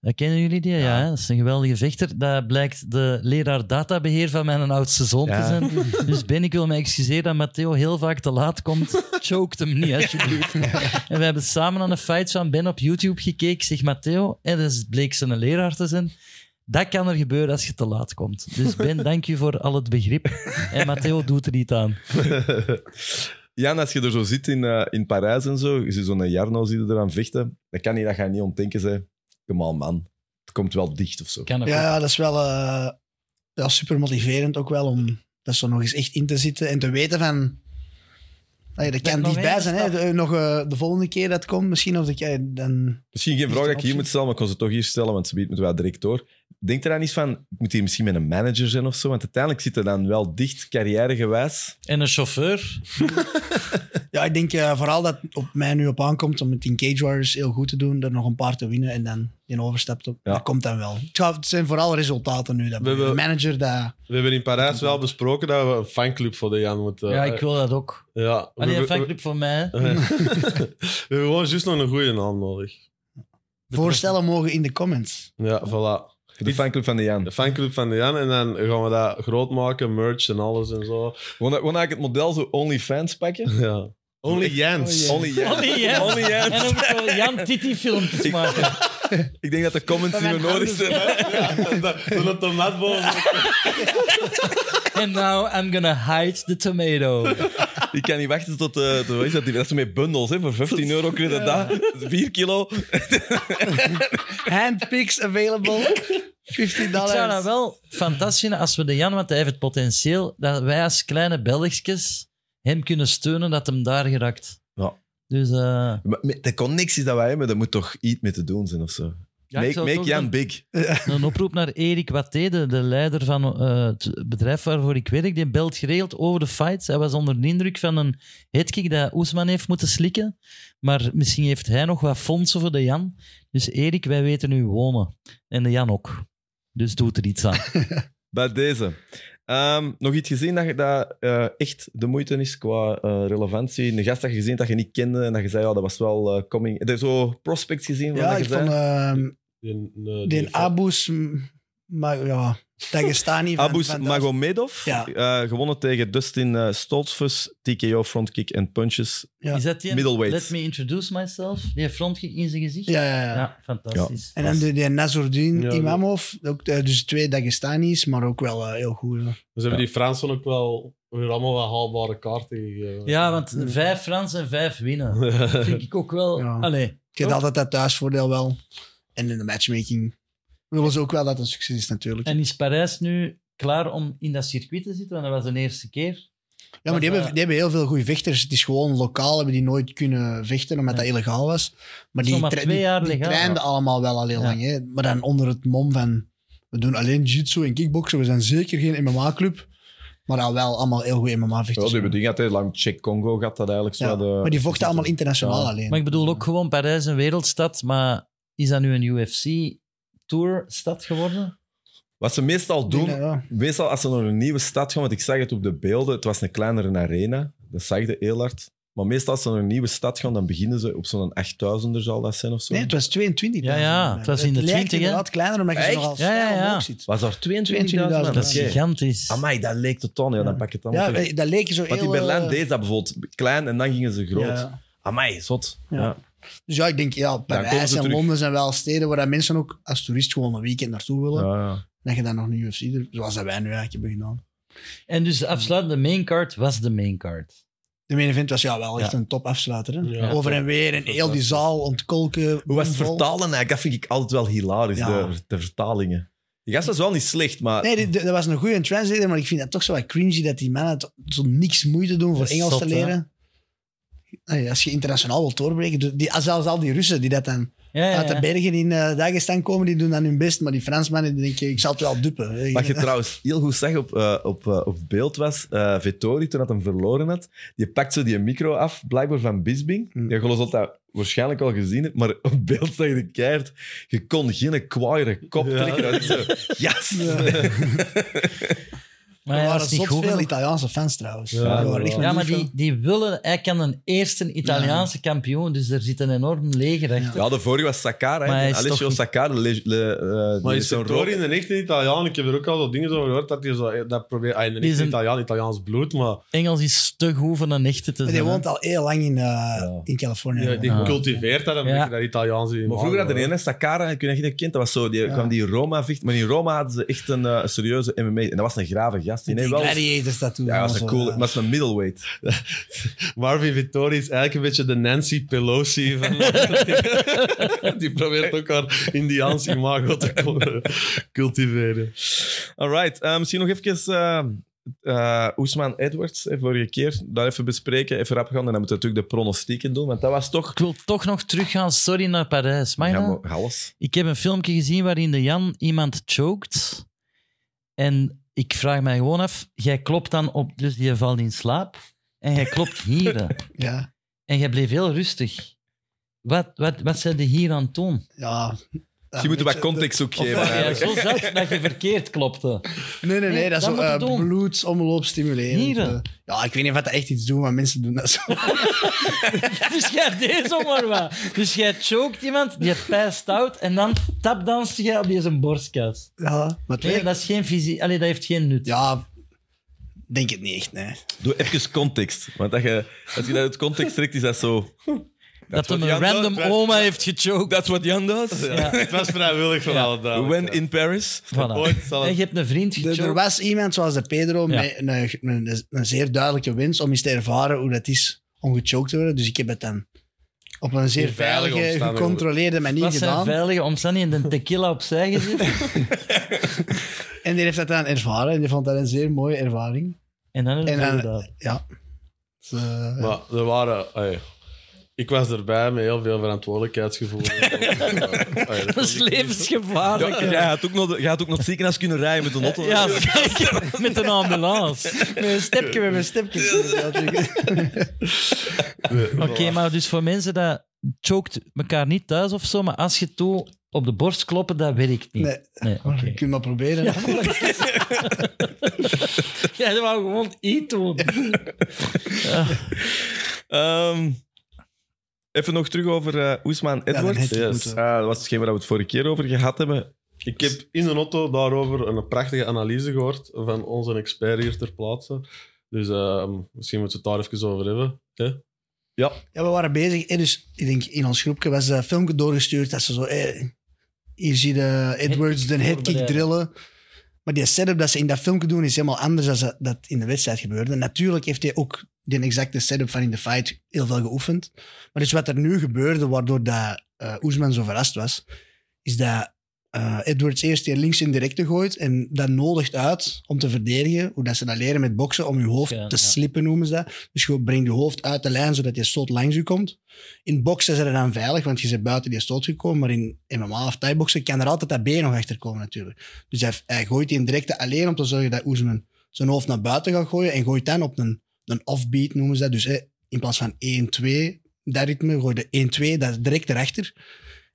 [SPEAKER 2] Dat kennen jullie die? Ja, hè? dat is een geweldige vechter. Dat blijkt de leraar databeheer van mijn oudste zoon te
[SPEAKER 3] Ja.
[SPEAKER 2] zijn. Dus Ben, ik wil me excuseren dat Matteo heel vaak te laat komt. Choked hem niet, alsjeblieft. En we hebben samen aan de fight van Ben op YouTube gekeken. Ik Zeg Matteo, en dat bleek zijn leraar te zijn. Dat kan er gebeuren als je te laat komt. Dus Ben, dank je voor al het begrip. En Matteo doet er niet aan.
[SPEAKER 1] Jan, als je er zo zit in, eh, in Parijs en zo, je ziet zo'n Jarno zit eraan vechten, dan kan hij dat gaan niet ontdenken. Zei, come on, man. Het komt wel dicht of zo.
[SPEAKER 2] Kan ook.
[SPEAKER 4] Ja, ja, dat is wel eh, ja, super motiverend ook wel om dat zo nog eens echt in te zitten en te weten van. Allee, dat kan
[SPEAKER 2] nog
[SPEAKER 4] dichtbij
[SPEAKER 2] één
[SPEAKER 4] zijn. Hè?
[SPEAKER 2] stap.
[SPEAKER 4] De- nog eh, de volgende keer dat het komt, misschien. Of dat jij dan...
[SPEAKER 1] Misschien geen
[SPEAKER 4] Is
[SPEAKER 1] vraag
[SPEAKER 4] er
[SPEAKER 1] dat ik hier
[SPEAKER 4] optie?
[SPEAKER 1] moet stellen, maar ik kon ze toch hier stellen, want ze biedt me wel direct door. Denkt er dan iets van, ik moet hier misschien met een manager zijn of zo? Want uiteindelijk zit er dan wel dicht, carrièregewijs.
[SPEAKER 2] En een chauffeur.
[SPEAKER 4] Ja, ik denk eh, vooral dat op mij nu op aankomt om het in Cage Warriors heel goed te doen. Er nog een paar te winnen en dan in overstapt. Op.
[SPEAKER 1] Ja.
[SPEAKER 4] Dat komt dan wel. Het, gaat- het zijn vooral resultaten nu. Dat
[SPEAKER 3] We hebben-
[SPEAKER 4] de manager dat...
[SPEAKER 3] We hebben in Parijs wel besproken dat we een fanclub voor de Jan moeten... eh,
[SPEAKER 2] Ja, ik wil dat ook.
[SPEAKER 3] Ja, we,
[SPEAKER 2] Alleen Eh, een
[SPEAKER 3] we-
[SPEAKER 2] fanclub voor mij.
[SPEAKER 3] [LAUGHS] we hebben gewoon juist nog een goede naam nodig.
[SPEAKER 4] Voorstellen mogen in de comments.
[SPEAKER 3] Ja, voilà.
[SPEAKER 1] De fanclub van de Jan.
[SPEAKER 3] De fanclub van de Jan en dan gaan we dat groot maken, merch en alles en zo. [LAUGHS]
[SPEAKER 1] Gewoon gewoon eigenlijk het model zo OnlyFans pakken.
[SPEAKER 3] Ja. Only
[SPEAKER 2] Oh,
[SPEAKER 3] Jans.
[SPEAKER 1] Only Jan.
[SPEAKER 2] Only Jan.
[SPEAKER 1] Only Jan.
[SPEAKER 2] En ook zo Jan Titi filmpjes maken.
[SPEAKER 1] Ik denk dat de comments die we nodig zijn...
[SPEAKER 3] Toen het tomaat boven.
[SPEAKER 2] And now nou, I'm gonna hide the tomato.
[SPEAKER 1] Ik kan niet wachten tot de... de wat is dat, die- dat is met bundels, hè. Voor 15 euro kun je dat. dat is 4 kilo.
[SPEAKER 4] Handpicks
[SPEAKER 2] [LAUGHS]
[SPEAKER 4] available. 15
[SPEAKER 2] Ik zou dat wel fantastisch vinden als we de Jan, want hij heeft het potentieel, dat wij als kleine Belgischjes hem kunnen steunen dat hem daar geraakt.
[SPEAKER 1] Ja.
[SPEAKER 2] Dus eh,
[SPEAKER 1] Maar met de connecties dat wij hebben, daar moet toch iets mee te doen zijn of zo.
[SPEAKER 2] ja, ik
[SPEAKER 1] make
[SPEAKER 2] zou
[SPEAKER 1] make
[SPEAKER 2] toch
[SPEAKER 1] Jan
[SPEAKER 2] een-
[SPEAKER 1] big.
[SPEAKER 2] Een oproep naar Erik Watté, de, de leider van eh, het bedrijf waarvoor ik werk. Die belt geregeld over de fights. Hij was onder de indruk van een headkick dat Oesman heeft moeten slikken. Maar misschien heeft hij nog wat fondsen voor de Jan. Dus Erik, wij weten nu wonen. En de Jan ook. Dus doet er iets aan.
[SPEAKER 1] Bij deze. Ehm, nog iets gezien dat, je- dat eh, echt de moeite is qua eh, relevantie? Een gast dat je gezien hebt dat je niet kende en dat je zei, ja, dat was wel eh, coming... Heb je zo prospects gezien? van
[SPEAKER 4] Ja,
[SPEAKER 1] dat je
[SPEAKER 4] ik vond...
[SPEAKER 1] zei?
[SPEAKER 4] ehm,
[SPEAKER 3] eh, Die,
[SPEAKER 4] Den Abus, maar ja, Dagestani. van-
[SPEAKER 1] Abus
[SPEAKER 4] van-
[SPEAKER 1] Magomedov,
[SPEAKER 4] Ja.
[SPEAKER 1] eh, gewonnen tegen Dustin eh, Stoltzfus, TKO, frontkick en punches.
[SPEAKER 4] Ja.
[SPEAKER 2] Is dat die?
[SPEAKER 1] Middleweight.
[SPEAKER 2] Let me introduce myself. Die heeft frontkick in zijn gezicht.
[SPEAKER 4] Ja, ja, ja.
[SPEAKER 2] Ja, fantastisch.
[SPEAKER 4] En dan de, de Nazordin
[SPEAKER 3] Ja,
[SPEAKER 4] Imamov, ook, eh, dus twee Dagestanis, maar ook wel eh, heel goed. hoor.
[SPEAKER 3] Dus hebben die Fransen ook wel weer allemaal wat haalbare kaarten gegeven.
[SPEAKER 2] Ja, want vijf Frans en vijf winnen. Dat vind ik ook wel...
[SPEAKER 4] Ja.
[SPEAKER 2] Allee.
[SPEAKER 4] Ik heb altijd dat thuisvoordeel wel. En in de matchmaking willen ze ook wel dat het een succes is natuurlijk.
[SPEAKER 2] En is Parijs nu klaar om in dat circuit te zitten? Want dat was de eerste keer.
[SPEAKER 4] ja, maar die hebben,
[SPEAKER 2] eh,
[SPEAKER 4] die hebben heel veel goede vechters. Het is gewoon lokaal, hebben die nooit kunnen vechten omdat dat illegaal was. Maar die,
[SPEAKER 2] Zomaar
[SPEAKER 4] tra-
[SPEAKER 2] twee
[SPEAKER 4] die-
[SPEAKER 2] jaar
[SPEAKER 4] die
[SPEAKER 2] legaal.
[SPEAKER 4] trainden allemaal wel al heel
[SPEAKER 2] Ja.
[SPEAKER 4] lang. Hè? Maar dan onder het mom van, we doen alleen jiu-jitsu en kickboksen. We zijn zeker geen MMA-club, maar al wel allemaal heel goede
[SPEAKER 1] Ja,
[SPEAKER 4] MMA-vechters.
[SPEAKER 1] die hebben dingen gehad, lang Check Congo gaat dat eigenlijk. Zo
[SPEAKER 4] Ja,
[SPEAKER 1] de-
[SPEAKER 4] maar die vochten allemaal internationaal
[SPEAKER 1] Ja.
[SPEAKER 4] alleen.
[SPEAKER 2] Maar ik bedoel ook gewoon Parijs is een wereldstad, maar is dat nu een UFC Tour stad geworden?
[SPEAKER 1] Wat ze meestal
[SPEAKER 4] Ik denk
[SPEAKER 1] doen,
[SPEAKER 4] dat, ja.
[SPEAKER 1] Meestal als ze naar een nieuwe stad gaan, want ik zag het op de beelden, het was een kleinere arena, dat zag de heel hard. Maar meestal als ze naar een nieuwe stad gaan, dan beginnen ze op zo'n 8000er zal dat zijn of zo.
[SPEAKER 4] Nee, het was 22.
[SPEAKER 2] Ja, ja, het was in de
[SPEAKER 4] lijkt
[SPEAKER 2] 20, hè?
[SPEAKER 4] inderdaad kleiner, omdat je
[SPEAKER 1] Echt?
[SPEAKER 4] zo nogal
[SPEAKER 2] Ja, ja,
[SPEAKER 4] snel
[SPEAKER 2] ja.
[SPEAKER 4] omhoog ziet.
[SPEAKER 1] Was daar 22.000?
[SPEAKER 4] 22.000,
[SPEAKER 2] Dat is
[SPEAKER 1] Oké.
[SPEAKER 2] gigantisch.
[SPEAKER 1] Amai, dat leek de ton, ja, dan
[SPEAKER 4] Ja.
[SPEAKER 1] pak ik het allemaal
[SPEAKER 4] Ja,
[SPEAKER 1] terug.
[SPEAKER 4] eh, dat leek zo
[SPEAKER 1] Want in
[SPEAKER 4] heel...
[SPEAKER 1] Berlijn
[SPEAKER 4] eh,
[SPEAKER 1] deed dat bijvoorbeeld klein en dan gingen ze groot.
[SPEAKER 4] ja.
[SPEAKER 1] Amai, zot. Ja.
[SPEAKER 4] Ja. Dus ja, ik denk, ja,
[SPEAKER 1] komen
[SPEAKER 4] Parijs
[SPEAKER 1] ze
[SPEAKER 4] en
[SPEAKER 1] terug.
[SPEAKER 4] Londen zijn wel steden waar dat mensen ook als toerist gewoon een weekend naartoe willen.
[SPEAKER 1] Ja, ja.
[SPEAKER 4] Dat je dan nog een UFC doet, zoals dat wij nu eigenlijk hebben gedaan.
[SPEAKER 2] En dus de afsluitende maincard was de maincard.
[SPEAKER 4] De main event was ja, wel echt
[SPEAKER 2] Ja.
[SPEAKER 4] een top afsluiter. Hè?
[SPEAKER 3] Ja.
[SPEAKER 4] Over en weer en heel die
[SPEAKER 2] dus-
[SPEAKER 4] zaal ontkolken.
[SPEAKER 1] Hoe was het
[SPEAKER 4] bomvol.
[SPEAKER 1] vertalen eigenlijk? Dat vind ik altijd wel hilarisch,
[SPEAKER 4] Ja.
[SPEAKER 1] de, de vertalingen. Die gast was wel niet slecht, maar...
[SPEAKER 4] Nee, dit- dit- dat was een goede translator, maar ik vind dat toch zo wat cringy dat die mannen to- zo niks moeite doen voor
[SPEAKER 2] Dat is
[SPEAKER 4] Engels
[SPEAKER 2] zot,
[SPEAKER 4] te
[SPEAKER 2] hè?
[SPEAKER 4] leren. Nee, als je internationaal wilt doorbreken, doe- die, zelfs al die Russen die dat dan
[SPEAKER 2] Ja, ja,
[SPEAKER 4] uit de
[SPEAKER 2] ja.
[SPEAKER 4] bergen in eh, Dagestan komen, die doen dan hun best. Maar die Fransmannen, die denken, ik zal het wel duppen.
[SPEAKER 1] Wat je trouwens heel goed zag op, eh, op, eh, op het beeld was, eh Vettori, toen dat hem verloren had, die pakt zo die micro af, blijkbaar van Bisbing.
[SPEAKER 4] Hmm.
[SPEAKER 1] Ja, geloof dat dat waarschijnlijk al gezien hebt, maar op beeld zag je de keihard. Je kon geen kwaaiere kop
[SPEAKER 3] Ja.
[SPEAKER 1] trekken. Dat is zo, yes!
[SPEAKER 4] Er
[SPEAKER 2] Maar ja, dat
[SPEAKER 4] waren
[SPEAKER 2] is niet
[SPEAKER 4] zot
[SPEAKER 2] goed
[SPEAKER 4] veel
[SPEAKER 2] genoeg.
[SPEAKER 4] Italiaanse fans trouwens.
[SPEAKER 3] Ja,
[SPEAKER 4] Er waren
[SPEAKER 3] dat wel.
[SPEAKER 4] echt nog
[SPEAKER 2] Ja,
[SPEAKER 4] niet
[SPEAKER 2] maar
[SPEAKER 4] veel.
[SPEAKER 2] die, die willen... Hij kan een eerste Italiaanse kampioen, dus er zit een enorm leger
[SPEAKER 1] [LAUGHS]
[SPEAKER 2] achter.
[SPEAKER 1] Ja, de vorige was Sakar,
[SPEAKER 2] Maar hij is
[SPEAKER 1] Alessio
[SPEAKER 2] toch niet-
[SPEAKER 1] Sakar. de le- le- eh, die
[SPEAKER 3] Maar
[SPEAKER 1] is
[SPEAKER 3] is
[SPEAKER 1] zo'n
[SPEAKER 3] Tori
[SPEAKER 1] rook-
[SPEAKER 3] in de echte Italiaan? Ik heb er ook al zo dingen over gehoord dat hij zo dat probeert. Ah, in de
[SPEAKER 2] Die is
[SPEAKER 3] echte
[SPEAKER 2] een-
[SPEAKER 3] Italiaan, Italiaans bloed, maar
[SPEAKER 2] Engels is te goed van een echte te
[SPEAKER 4] Maar
[SPEAKER 2] zijn.
[SPEAKER 4] die
[SPEAKER 2] hè.
[SPEAKER 4] woont al heel lang in, eh, in Californië.
[SPEAKER 3] die, die
[SPEAKER 2] Ja.
[SPEAKER 3] cultiveert dat een
[SPEAKER 2] Ja.
[SPEAKER 3] beetje dat Italiaans in.
[SPEAKER 1] Maar vroeger had er een Sakara, ik weet niet of je dat kent, dat was zo, die kwam die Roma vechten. Maar in Roma hadden ze echt een eh, serieuze MMA. En dat was een grave gast. Die
[SPEAKER 4] die
[SPEAKER 1] nee, wel... Ja,
[SPEAKER 4] gladiators dat doen.
[SPEAKER 1] dat was een
[SPEAKER 4] allemaal
[SPEAKER 1] cool,
[SPEAKER 4] zo, eh,
[SPEAKER 1] maar dat is een middleweight.
[SPEAKER 3] Marvin Vittori is eigenlijk een beetje de Nancy Pelosi
[SPEAKER 1] [LAUGHS]
[SPEAKER 3] van. [LAUGHS] die probeert ook haar Indiaans imago te co- cultiveren.
[SPEAKER 1] Alright, eh, misschien nog even eh eh, Oesman Edwards, eh, vorige keer. Daar even bespreken, even rap gaan. En dan moeten we natuurlijk de pronostieken doen, want dat was toch...
[SPEAKER 2] Ik wil toch nog teruggaan, sorry, naar Parijs. Mag
[SPEAKER 1] Ja,
[SPEAKER 2] dat?
[SPEAKER 1] maar alles.
[SPEAKER 2] Ik heb een filmpje gezien waarin de Jan iemand choked. En ik vraag mij gewoon af, jij klopt dan op, dus die valt in slaap. En jij klopt hier. hè.
[SPEAKER 4] Ja,
[SPEAKER 2] en jij bleef heel rustig. Wat, wat, wat zijn die hier aan het doen?
[SPEAKER 4] ja.
[SPEAKER 1] Je moet wat context ook geven.
[SPEAKER 4] eh,
[SPEAKER 2] Ja,
[SPEAKER 1] eigenlijk.
[SPEAKER 2] zo zat dat je verkeerd klopte.
[SPEAKER 4] Nee, nee, nee,
[SPEAKER 2] Nee,
[SPEAKER 4] dat is
[SPEAKER 2] dat moet je
[SPEAKER 4] uh,
[SPEAKER 2] doen.
[SPEAKER 4] bloedsomloop stimuleren.
[SPEAKER 2] Nieren.
[SPEAKER 4] eh. Ja, ik weet niet of dat echt iets doet, maar mensen doen
[SPEAKER 2] [LAUGHS]
[SPEAKER 4] dat zo.
[SPEAKER 2] Dus jij deed zomaar wat. Dus jij choked iemand, die pijst out en dan tapdanste jij op deze borstkas.
[SPEAKER 4] Ja, maar het
[SPEAKER 2] Nee,
[SPEAKER 4] werkt.
[SPEAKER 2] dat, is geen fysie- Allee, dat heeft geen nut.
[SPEAKER 4] Ja, denk het niet echt, nee.
[SPEAKER 1] Doe even context. Want dat je, als je dat uit context trekt, is dat zo...
[SPEAKER 2] dat
[SPEAKER 1] wat
[SPEAKER 2] hem een
[SPEAKER 1] Jan doet,
[SPEAKER 2] random
[SPEAKER 1] dat-
[SPEAKER 2] oma heeft gechoked.
[SPEAKER 1] That's what Jan does.
[SPEAKER 2] Ja,
[SPEAKER 1] [LAUGHS]
[SPEAKER 3] Het was vrijwillig van alle dames.
[SPEAKER 1] When in Paris.
[SPEAKER 2] voilà.
[SPEAKER 3] Ooit zal
[SPEAKER 2] En
[SPEAKER 3] het
[SPEAKER 2] je hebt een vriend
[SPEAKER 4] Er- Er
[SPEAKER 2] gechoked.
[SPEAKER 4] was iemand zoals de Pedro
[SPEAKER 2] Ja.
[SPEAKER 4] met een, een, een zeer duidelijke wens om eens te ervaren hoe dat is om gechoked te worden. Dus ik heb het dan op een zeer
[SPEAKER 3] In veilige
[SPEAKER 4] veilige,
[SPEAKER 3] omstandigheden.
[SPEAKER 4] gecontroleerde manier
[SPEAKER 2] Wat zijn
[SPEAKER 4] gedaan.
[SPEAKER 2] veilige omstandigheden? En de tequila opzij
[SPEAKER 4] [LAUGHS]
[SPEAKER 2] gezet.
[SPEAKER 4] En die heeft dat dan ervaren en die vond dat een zeer mooie ervaring.
[SPEAKER 2] En dan
[SPEAKER 4] En
[SPEAKER 2] een
[SPEAKER 4] dan-
[SPEAKER 2] inderdaad.
[SPEAKER 4] Ja. Dus, eh,
[SPEAKER 3] Maar er waren... ey, ik was erbij met heel veel verantwoordelijkheidsgevoel.
[SPEAKER 1] [LAUGHS]
[SPEAKER 3] Ey, dat
[SPEAKER 2] Dat is
[SPEAKER 3] kon ik niet.
[SPEAKER 2] levensgevaarlijk.
[SPEAKER 1] Ja, jij had ook nog, de- jij had ook nog het ziekenhuis kunnen rijden met een auto.
[SPEAKER 2] Ja, [LAUGHS] zeker. Met een ambulance.
[SPEAKER 4] met een stepje, met een [LAUGHS] stepje.
[SPEAKER 3] Nee,
[SPEAKER 2] Oké, maar dus voor mensen dat choked elkaar niet thuis of zo, maar als je toe op de borst kloppen, dat werkt niet.
[SPEAKER 4] Nee,
[SPEAKER 2] Nee, oké.
[SPEAKER 4] maar je kunt maar proberen.
[SPEAKER 2] [LAUGHS]
[SPEAKER 4] Ja,
[SPEAKER 2] Jij wou gewoon iets doen.
[SPEAKER 1] Ehm, even nog terug over eh, Oesman
[SPEAKER 4] dan
[SPEAKER 1] Edwards.
[SPEAKER 4] heb je het
[SPEAKER 1] Yes.
[SPEAKER 4] goed,
[SPEAKER 1] Ah, dat was hetgeen waar we het vorige keer over gehad hebben.
[SPEAKER 3] Ik heb in de auto daarover een prachtige analyse gehoord van onze expert hier ter plaatse. Dus ehm, misschien moeten we het daar even over hebben. hè?
[SPEAKER 4] we waren bezig. En dus, ik denk, in ons groepje was een filmpje doorgestuurd dat ze zo... eh, hier zie je Edwards de headkick
[SPEAKER 2] voorbereiden.
[SPEAKER 4] drillen. Maar die setup dat ze in dat filmpje doen is helemaal anders dan ze- dat in de wedstrijd gebeurde. Natuurlijk heeft hij ook die exacte setup van in de fight heel veel geoefend. Maar dus wat er nu gebeurde, waardoor dat, eh Oesman zo verrast was, is dat eh, Edwards eerst hier links in directe gooit en dat nodigt uit om te verdedigen. Hoe dat ze dat leren met boksen, om je hoofd
[SPEAKER 2] Ja,
[SPEAKER 4] te
[SPEAKER 2] ja.
[SPEAKER 4] slippen noemen ze dat. Dus je brengt je hoofd uit de lijn, zodat je stoot langs je komt. In boksen zijn er dan veilig, want je bent buiten die stoot gekomen. Maar in MMA of Thai-boksen kan er altijd dat been nog achter komen natuurlijk. Dus hij, hij gooit die in directe alleen om te zorgen dat Oesman zijn hoofd naar buiten gaat gooien en gooit dan op een, een offbeat, noemen ze dat. Dus hè, in plaats van 1-2, dat ritme, gooi je 1-2, dat is direct erachter.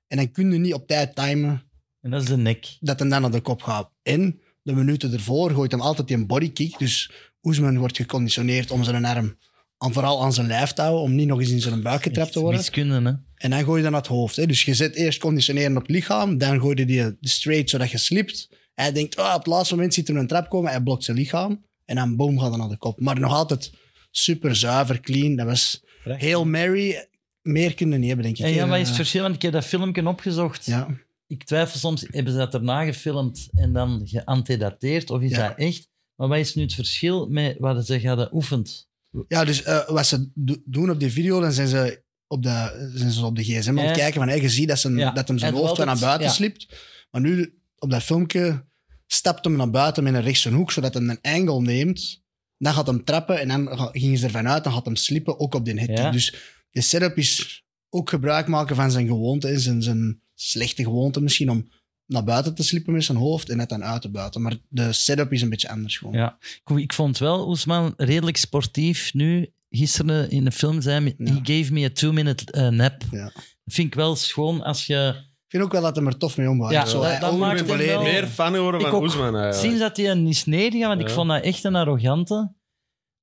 [SPEAKER 4] En dan kun je niet op tijd timen
[SPEAKER 2] En dat is de nek.
[SPEAKER 4] dat hem dan naar de kop gaat. En de minuten ervoor gooit hem altijd die een bodykick. Dus Oesman wordt geconditioneerd om zijn arm aan, vooral aan zijn lijf te houden, om niet nog eens in zijn buik getrapt te
[SPEAKER 2] Echt
[SPEAKER 4] worden.
[SPEAKER 2] Wiskunde, hè.
[SPEAKER 4] En dan gooi je dan naar het hoofd. Hè. Dus je zet eerst conditioneren op het lichaam, dan gooi je die straight zodat je slipt. Hij denkt, ah, op het laatste moment ziet er een trap komen, hij blokt zijn lichaam. En dan boom, gaat hij naar de kop. Maar nog altijd super zuiver, clean. Dat was
[SPEAKER 2] Prachtig.
[SPEAKER 4] heel Mary. Meer kunnen niet hebben, denk ik.
[SPEAKER 2] En ja,
[SPEAKER 4] Eh,
[SPEAKER 2] wat is het verschil? Want ik heb dat filmpje opgezocht.
[SPEAKER 4] Ja.
[SPEAKER 2] Ik twijfel soms, hebben ze dat erna gefilmd en dan geantedateerd? Of is
[SPEAKER 4] Ja.
[SPEAKER 2] dat echt? Maar wat is nu het verschil met wat ze hadden oefend?
[SPEAKER 4] Ja, dus eh, wat ze do- doen op die video, dan zijn ze op de, zijn ze op de gsm aan het
[SPEAKER 2] Ja.
[SPEAKER 4] kijken. Van, hey, je ziet dat, ze,
[SPEAKER 2] Ja.
[SPEAKER 4] dat hem zijn
[SPEAKER 2] En
[SPEAKER 4] hoofd wel
[SPEAKER 2] altijd-
[SPEAKER 4] naar buiten
[SPEAKER 2] ja.
[SPEAKER 4] slipt. Maar nu, op dat filmpje, stapt hem naar buiten met een rechtse hoek, zodat hij een angle neemt. Dan gaat hem trappen en dan ga- gingen ze ervan uit, dan gaat hem slippen, ook op die headkick.
[SPEAKER 2] Ja.
[SPEAKER 4] Dus de setup is ook gebruik maken van zijn gewoonte en zijn, zijn slechte gewoonte misschien om naar buiten te slippen met zijn hoofd en het dan uit te buiten. Maar de setup is een beetje anders gewoon.
[SPEAKER 2] Ja. Ik, ik vond wel Oesman redelijk sportief nu. Gisteren in de film zei hij,
[SPEAKER 4] Ja.
[SPEAKER 2] he gave me a two-minute eh, nap.
[SPEAKER 4] Ja.
[SPEAKER 2] Vind ik wel schoon als je...
[SPEAKER 4] Ik vind ook wel dat hij er tof mee omgaat.
[SPEAKER 2] Ja,
[SPEAKER 4] Zo,
[SPEAKER 2] dat-
[SPEAKER 4] hij
[SPEAKER 2] dat
[SPEAKER 4] ook
[SPEAKER 2] maakt
[SPEAKER 4] weer
[SPEAKER 2] hem wel-
[SPEAKER 4] volledig-
[SPEAKER 3] Meer fan horen
[SPEAKER 2] Ik
[SPEAKER 3] van
[SPEAKER 2] ook.
[SPEAKER 3] Oesman eh. eigenlijk.
[SPEAKER 2] Sinds dat hij een is neergegaan, want ik
[SPEAKER 3] Ja.
[SPEAKER 2] vond dat echt een arrogante.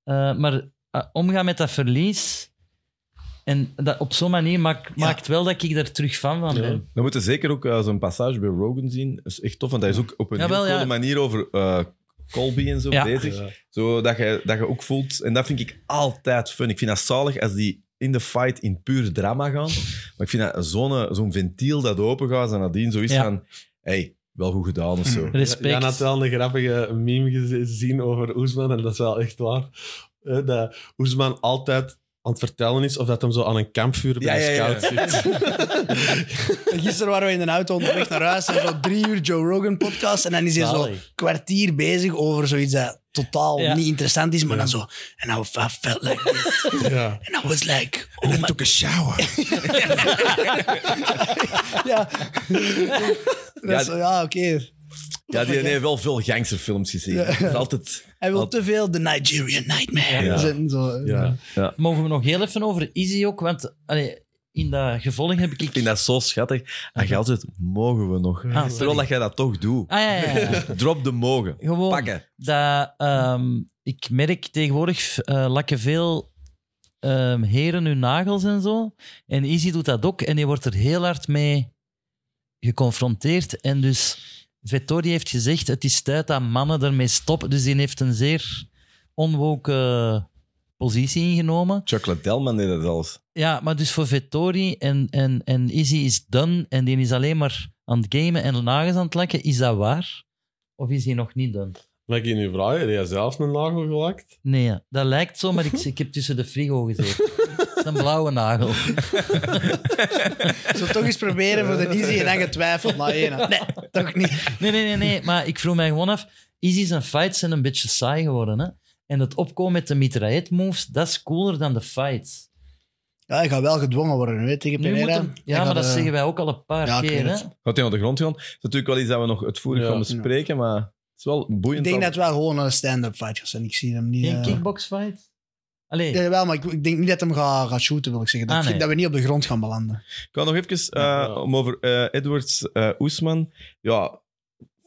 [SPEAKER 2] Eh, maar eh, omgaan met dat verlies... En dat, op zo'n manier maak- maakt wel dat ik er terug fan van
[SPEAKER 3] Ja.
[SPEAKER 2] ben.
[SPEAKER 1] We moeten zeker ook eh, zo'n passage bij Rogan zien. Dat is echt tof, want hij is ook op een
[SPEAKER 2] Jawel,
[SPEAKER 1] hele
[SPEAKER 2] ja.
[SPEAKER 1] coole manier over eh, Colby en zo
[SPEAKER 2] Ja.
[SPEAKER 1] bezig.
[SPEAKER 3] Ja.
[SPEAKER 1] Zo dat, je, dat je ook voelt, en dat vind ik altijd fun. Ik vind dat zalig als die in de fight in puur drama gaan. Maar ik vind dat zo'n eh, zo'n ventiel dat open gaat en nadien zo is
[SPEAKER 2] Ja.
[SPEAKER 1] van... hey, wel goed gedaan of
[SPEAKER 2] [LAUGHS]
[SPEAKER 1] zo.
[SPEAKER 2] Respect.
[SPEAKER 3] Jan had wel een grappige meme gezien over Oesman, en dat is wel echt waar. Eh, Dat Oesman altijd aan het vertellen is of dat hem zo aan een kampvuur bij
[SPEAKER 1] Ja,
[SPEAKER 3] een
[SPEAKER 1] ja, ja.
[SPEAKER 2] [LAUGHS]
[SPEAKER 3] scout zit.
[SPEAKER 4] Gisteren waren we in een auto onderweg naar huis en zo drie uur Joe Rogan podcast. En dan is hij zo
[SPEAKER 2] Zalig.
[SPEAKER 4] kwartier bezig over zoiets dat totaal
[SPEAKER 2] Ja.
[SPEAKER 4] niet interessant is. Maar dan zo, and I I felt like this.
[SPEAKER 3] Ja.
[SPEAKER 4] And I was like, oh my...
[SPEAKER 1] took a shower.
[SPEAKER 4] [LAUGHS] Ja, Dat is zo, ja oké.
[SPEAKER 1] Ja, die heeft wel veel gangsterfilms gezien. Dat is altijd...
[SPEAKER 4] Hij wil
[SPEAKER 1] Al-
[SPEAKER 4] te veel de Nigerian Nightmare
[SPEAKER 1] Ja.
[SPEAKER 4] zetten. Zo.
[SPEAKER 3] Ja.
[SPEAKER 2] Mogen we nog heel even over Izzy ook? Want allee, in dat gevolg heb ik...
[SPEAKER 1] Ik vind dat zo schattig. En je altijd, mogen we nog?
[SPEAKER 2] Ah, sorry.
[SPEAKER 1] Terwijl dat jij dat toch doet.
[SPEAKER 2] Ah, ja, ja,
[SPEAKER 1] [LAUGHS]
[SPEAKER 2] ja, ja.
[SPEAKER 1] Drop de mogen.
[SPEAKER 2] Gewoon
[SPEAKER 1] Pakken.
[SPEAKER 2] dat... ehm, ik merk tegenwoordig eh, lakken veel ehm, heren hun nagels en zo. En Izzy doet dat ook. En die wordt er heel hard mee geconfronteerd. En dus Vettori heeft gezegd, het is tijd dat mannen ermee stoppen. Dus die heeft een zeer onwoke positie ingenomen.
[SPEAKER 1] Chocolate Delman deed dat zelfs.
[SPEAKER 2] Ja, maar dus voor Vettori en, en, en Izzy is done en die is alleen maar aan het gamen en nagels aan het lakken. Is dat waar? Of is hij nog niet done?
[SPEAKER 3] Mag ik je nu vragen, heb jij zelf een nagel gelakt?
[SPEAKER 2] Nee, ja, dat lijkt zo, maar ik, ik heb tussen de frigo gezeten. Het is een blauwe nagel.
[SPEAKER 4] Zo toch eens proberen voor de easy en dan getwijfeld naar één. Nee, toch niet.
[SPEAKER 2] Nee, nee, nee, nee, maar ik vroeg mij gewoon af. Izzy zijn fights zijn een beetje saai geworden. Hè? En het opkomen met de mitraillet moves, dat is cooler dan de fights.
[SPEAKER 4] Ja, hij gaat wel gedwongen worden, weet je, tegen
[SPEAKER 2] Nu moet
[SPEAKER 4] Pereira.
[SPEAKER 2] hem-
[SPEAKER 4] Hij
[SPEAKER 2] ja, maar
[SPEAKER 4] gaat,
[SPEAKER 2] dat
[SPEAKER 4] eh,
[SPEAKER 2] zeggen wij ook al een paar
[SPEAKER 4] Ja, ik
[SPEAKER 2] keer.
[SPEAKER 4] weet
[SPEAKER 2] Hè?
[SPEAKER 4] het.
[SPEAKER 1] Gaat hij naar de grond gaan? Dat is natuurlijk wel iets dat we nog uitvoerig
[SPEAKER 3] Ja.
[SPEAKER 1] gaan bespreken, maar het is wel boeiend.
[SPEAKER 4] Ik denk dat
[SPEAKER 1] dat-
[SPEAKER 4] het wel gewoon een stand-up fight gaat zijn. Ik zie hem niet...
[SPEAKER 2] Geen
[SPEAKER 4] eh,
[SPEAKER 2] kickbox fight? Allee,
[SPEAKER 4] Ja, wel, maar ik, ik denk niet dat hem gaat, gaat shooten, wil ik zeggen. Dat,
[SPEAKER 2] Ah, nee.
[SPEAKER 4] dat we niet op de grond gaan belanden.
[SPEAKER 1] Ik kan nog even eh,
[SPEAKER 3] Ja.
[SPEAKER 1] om over eh, Edwards eh Oesman. Ja,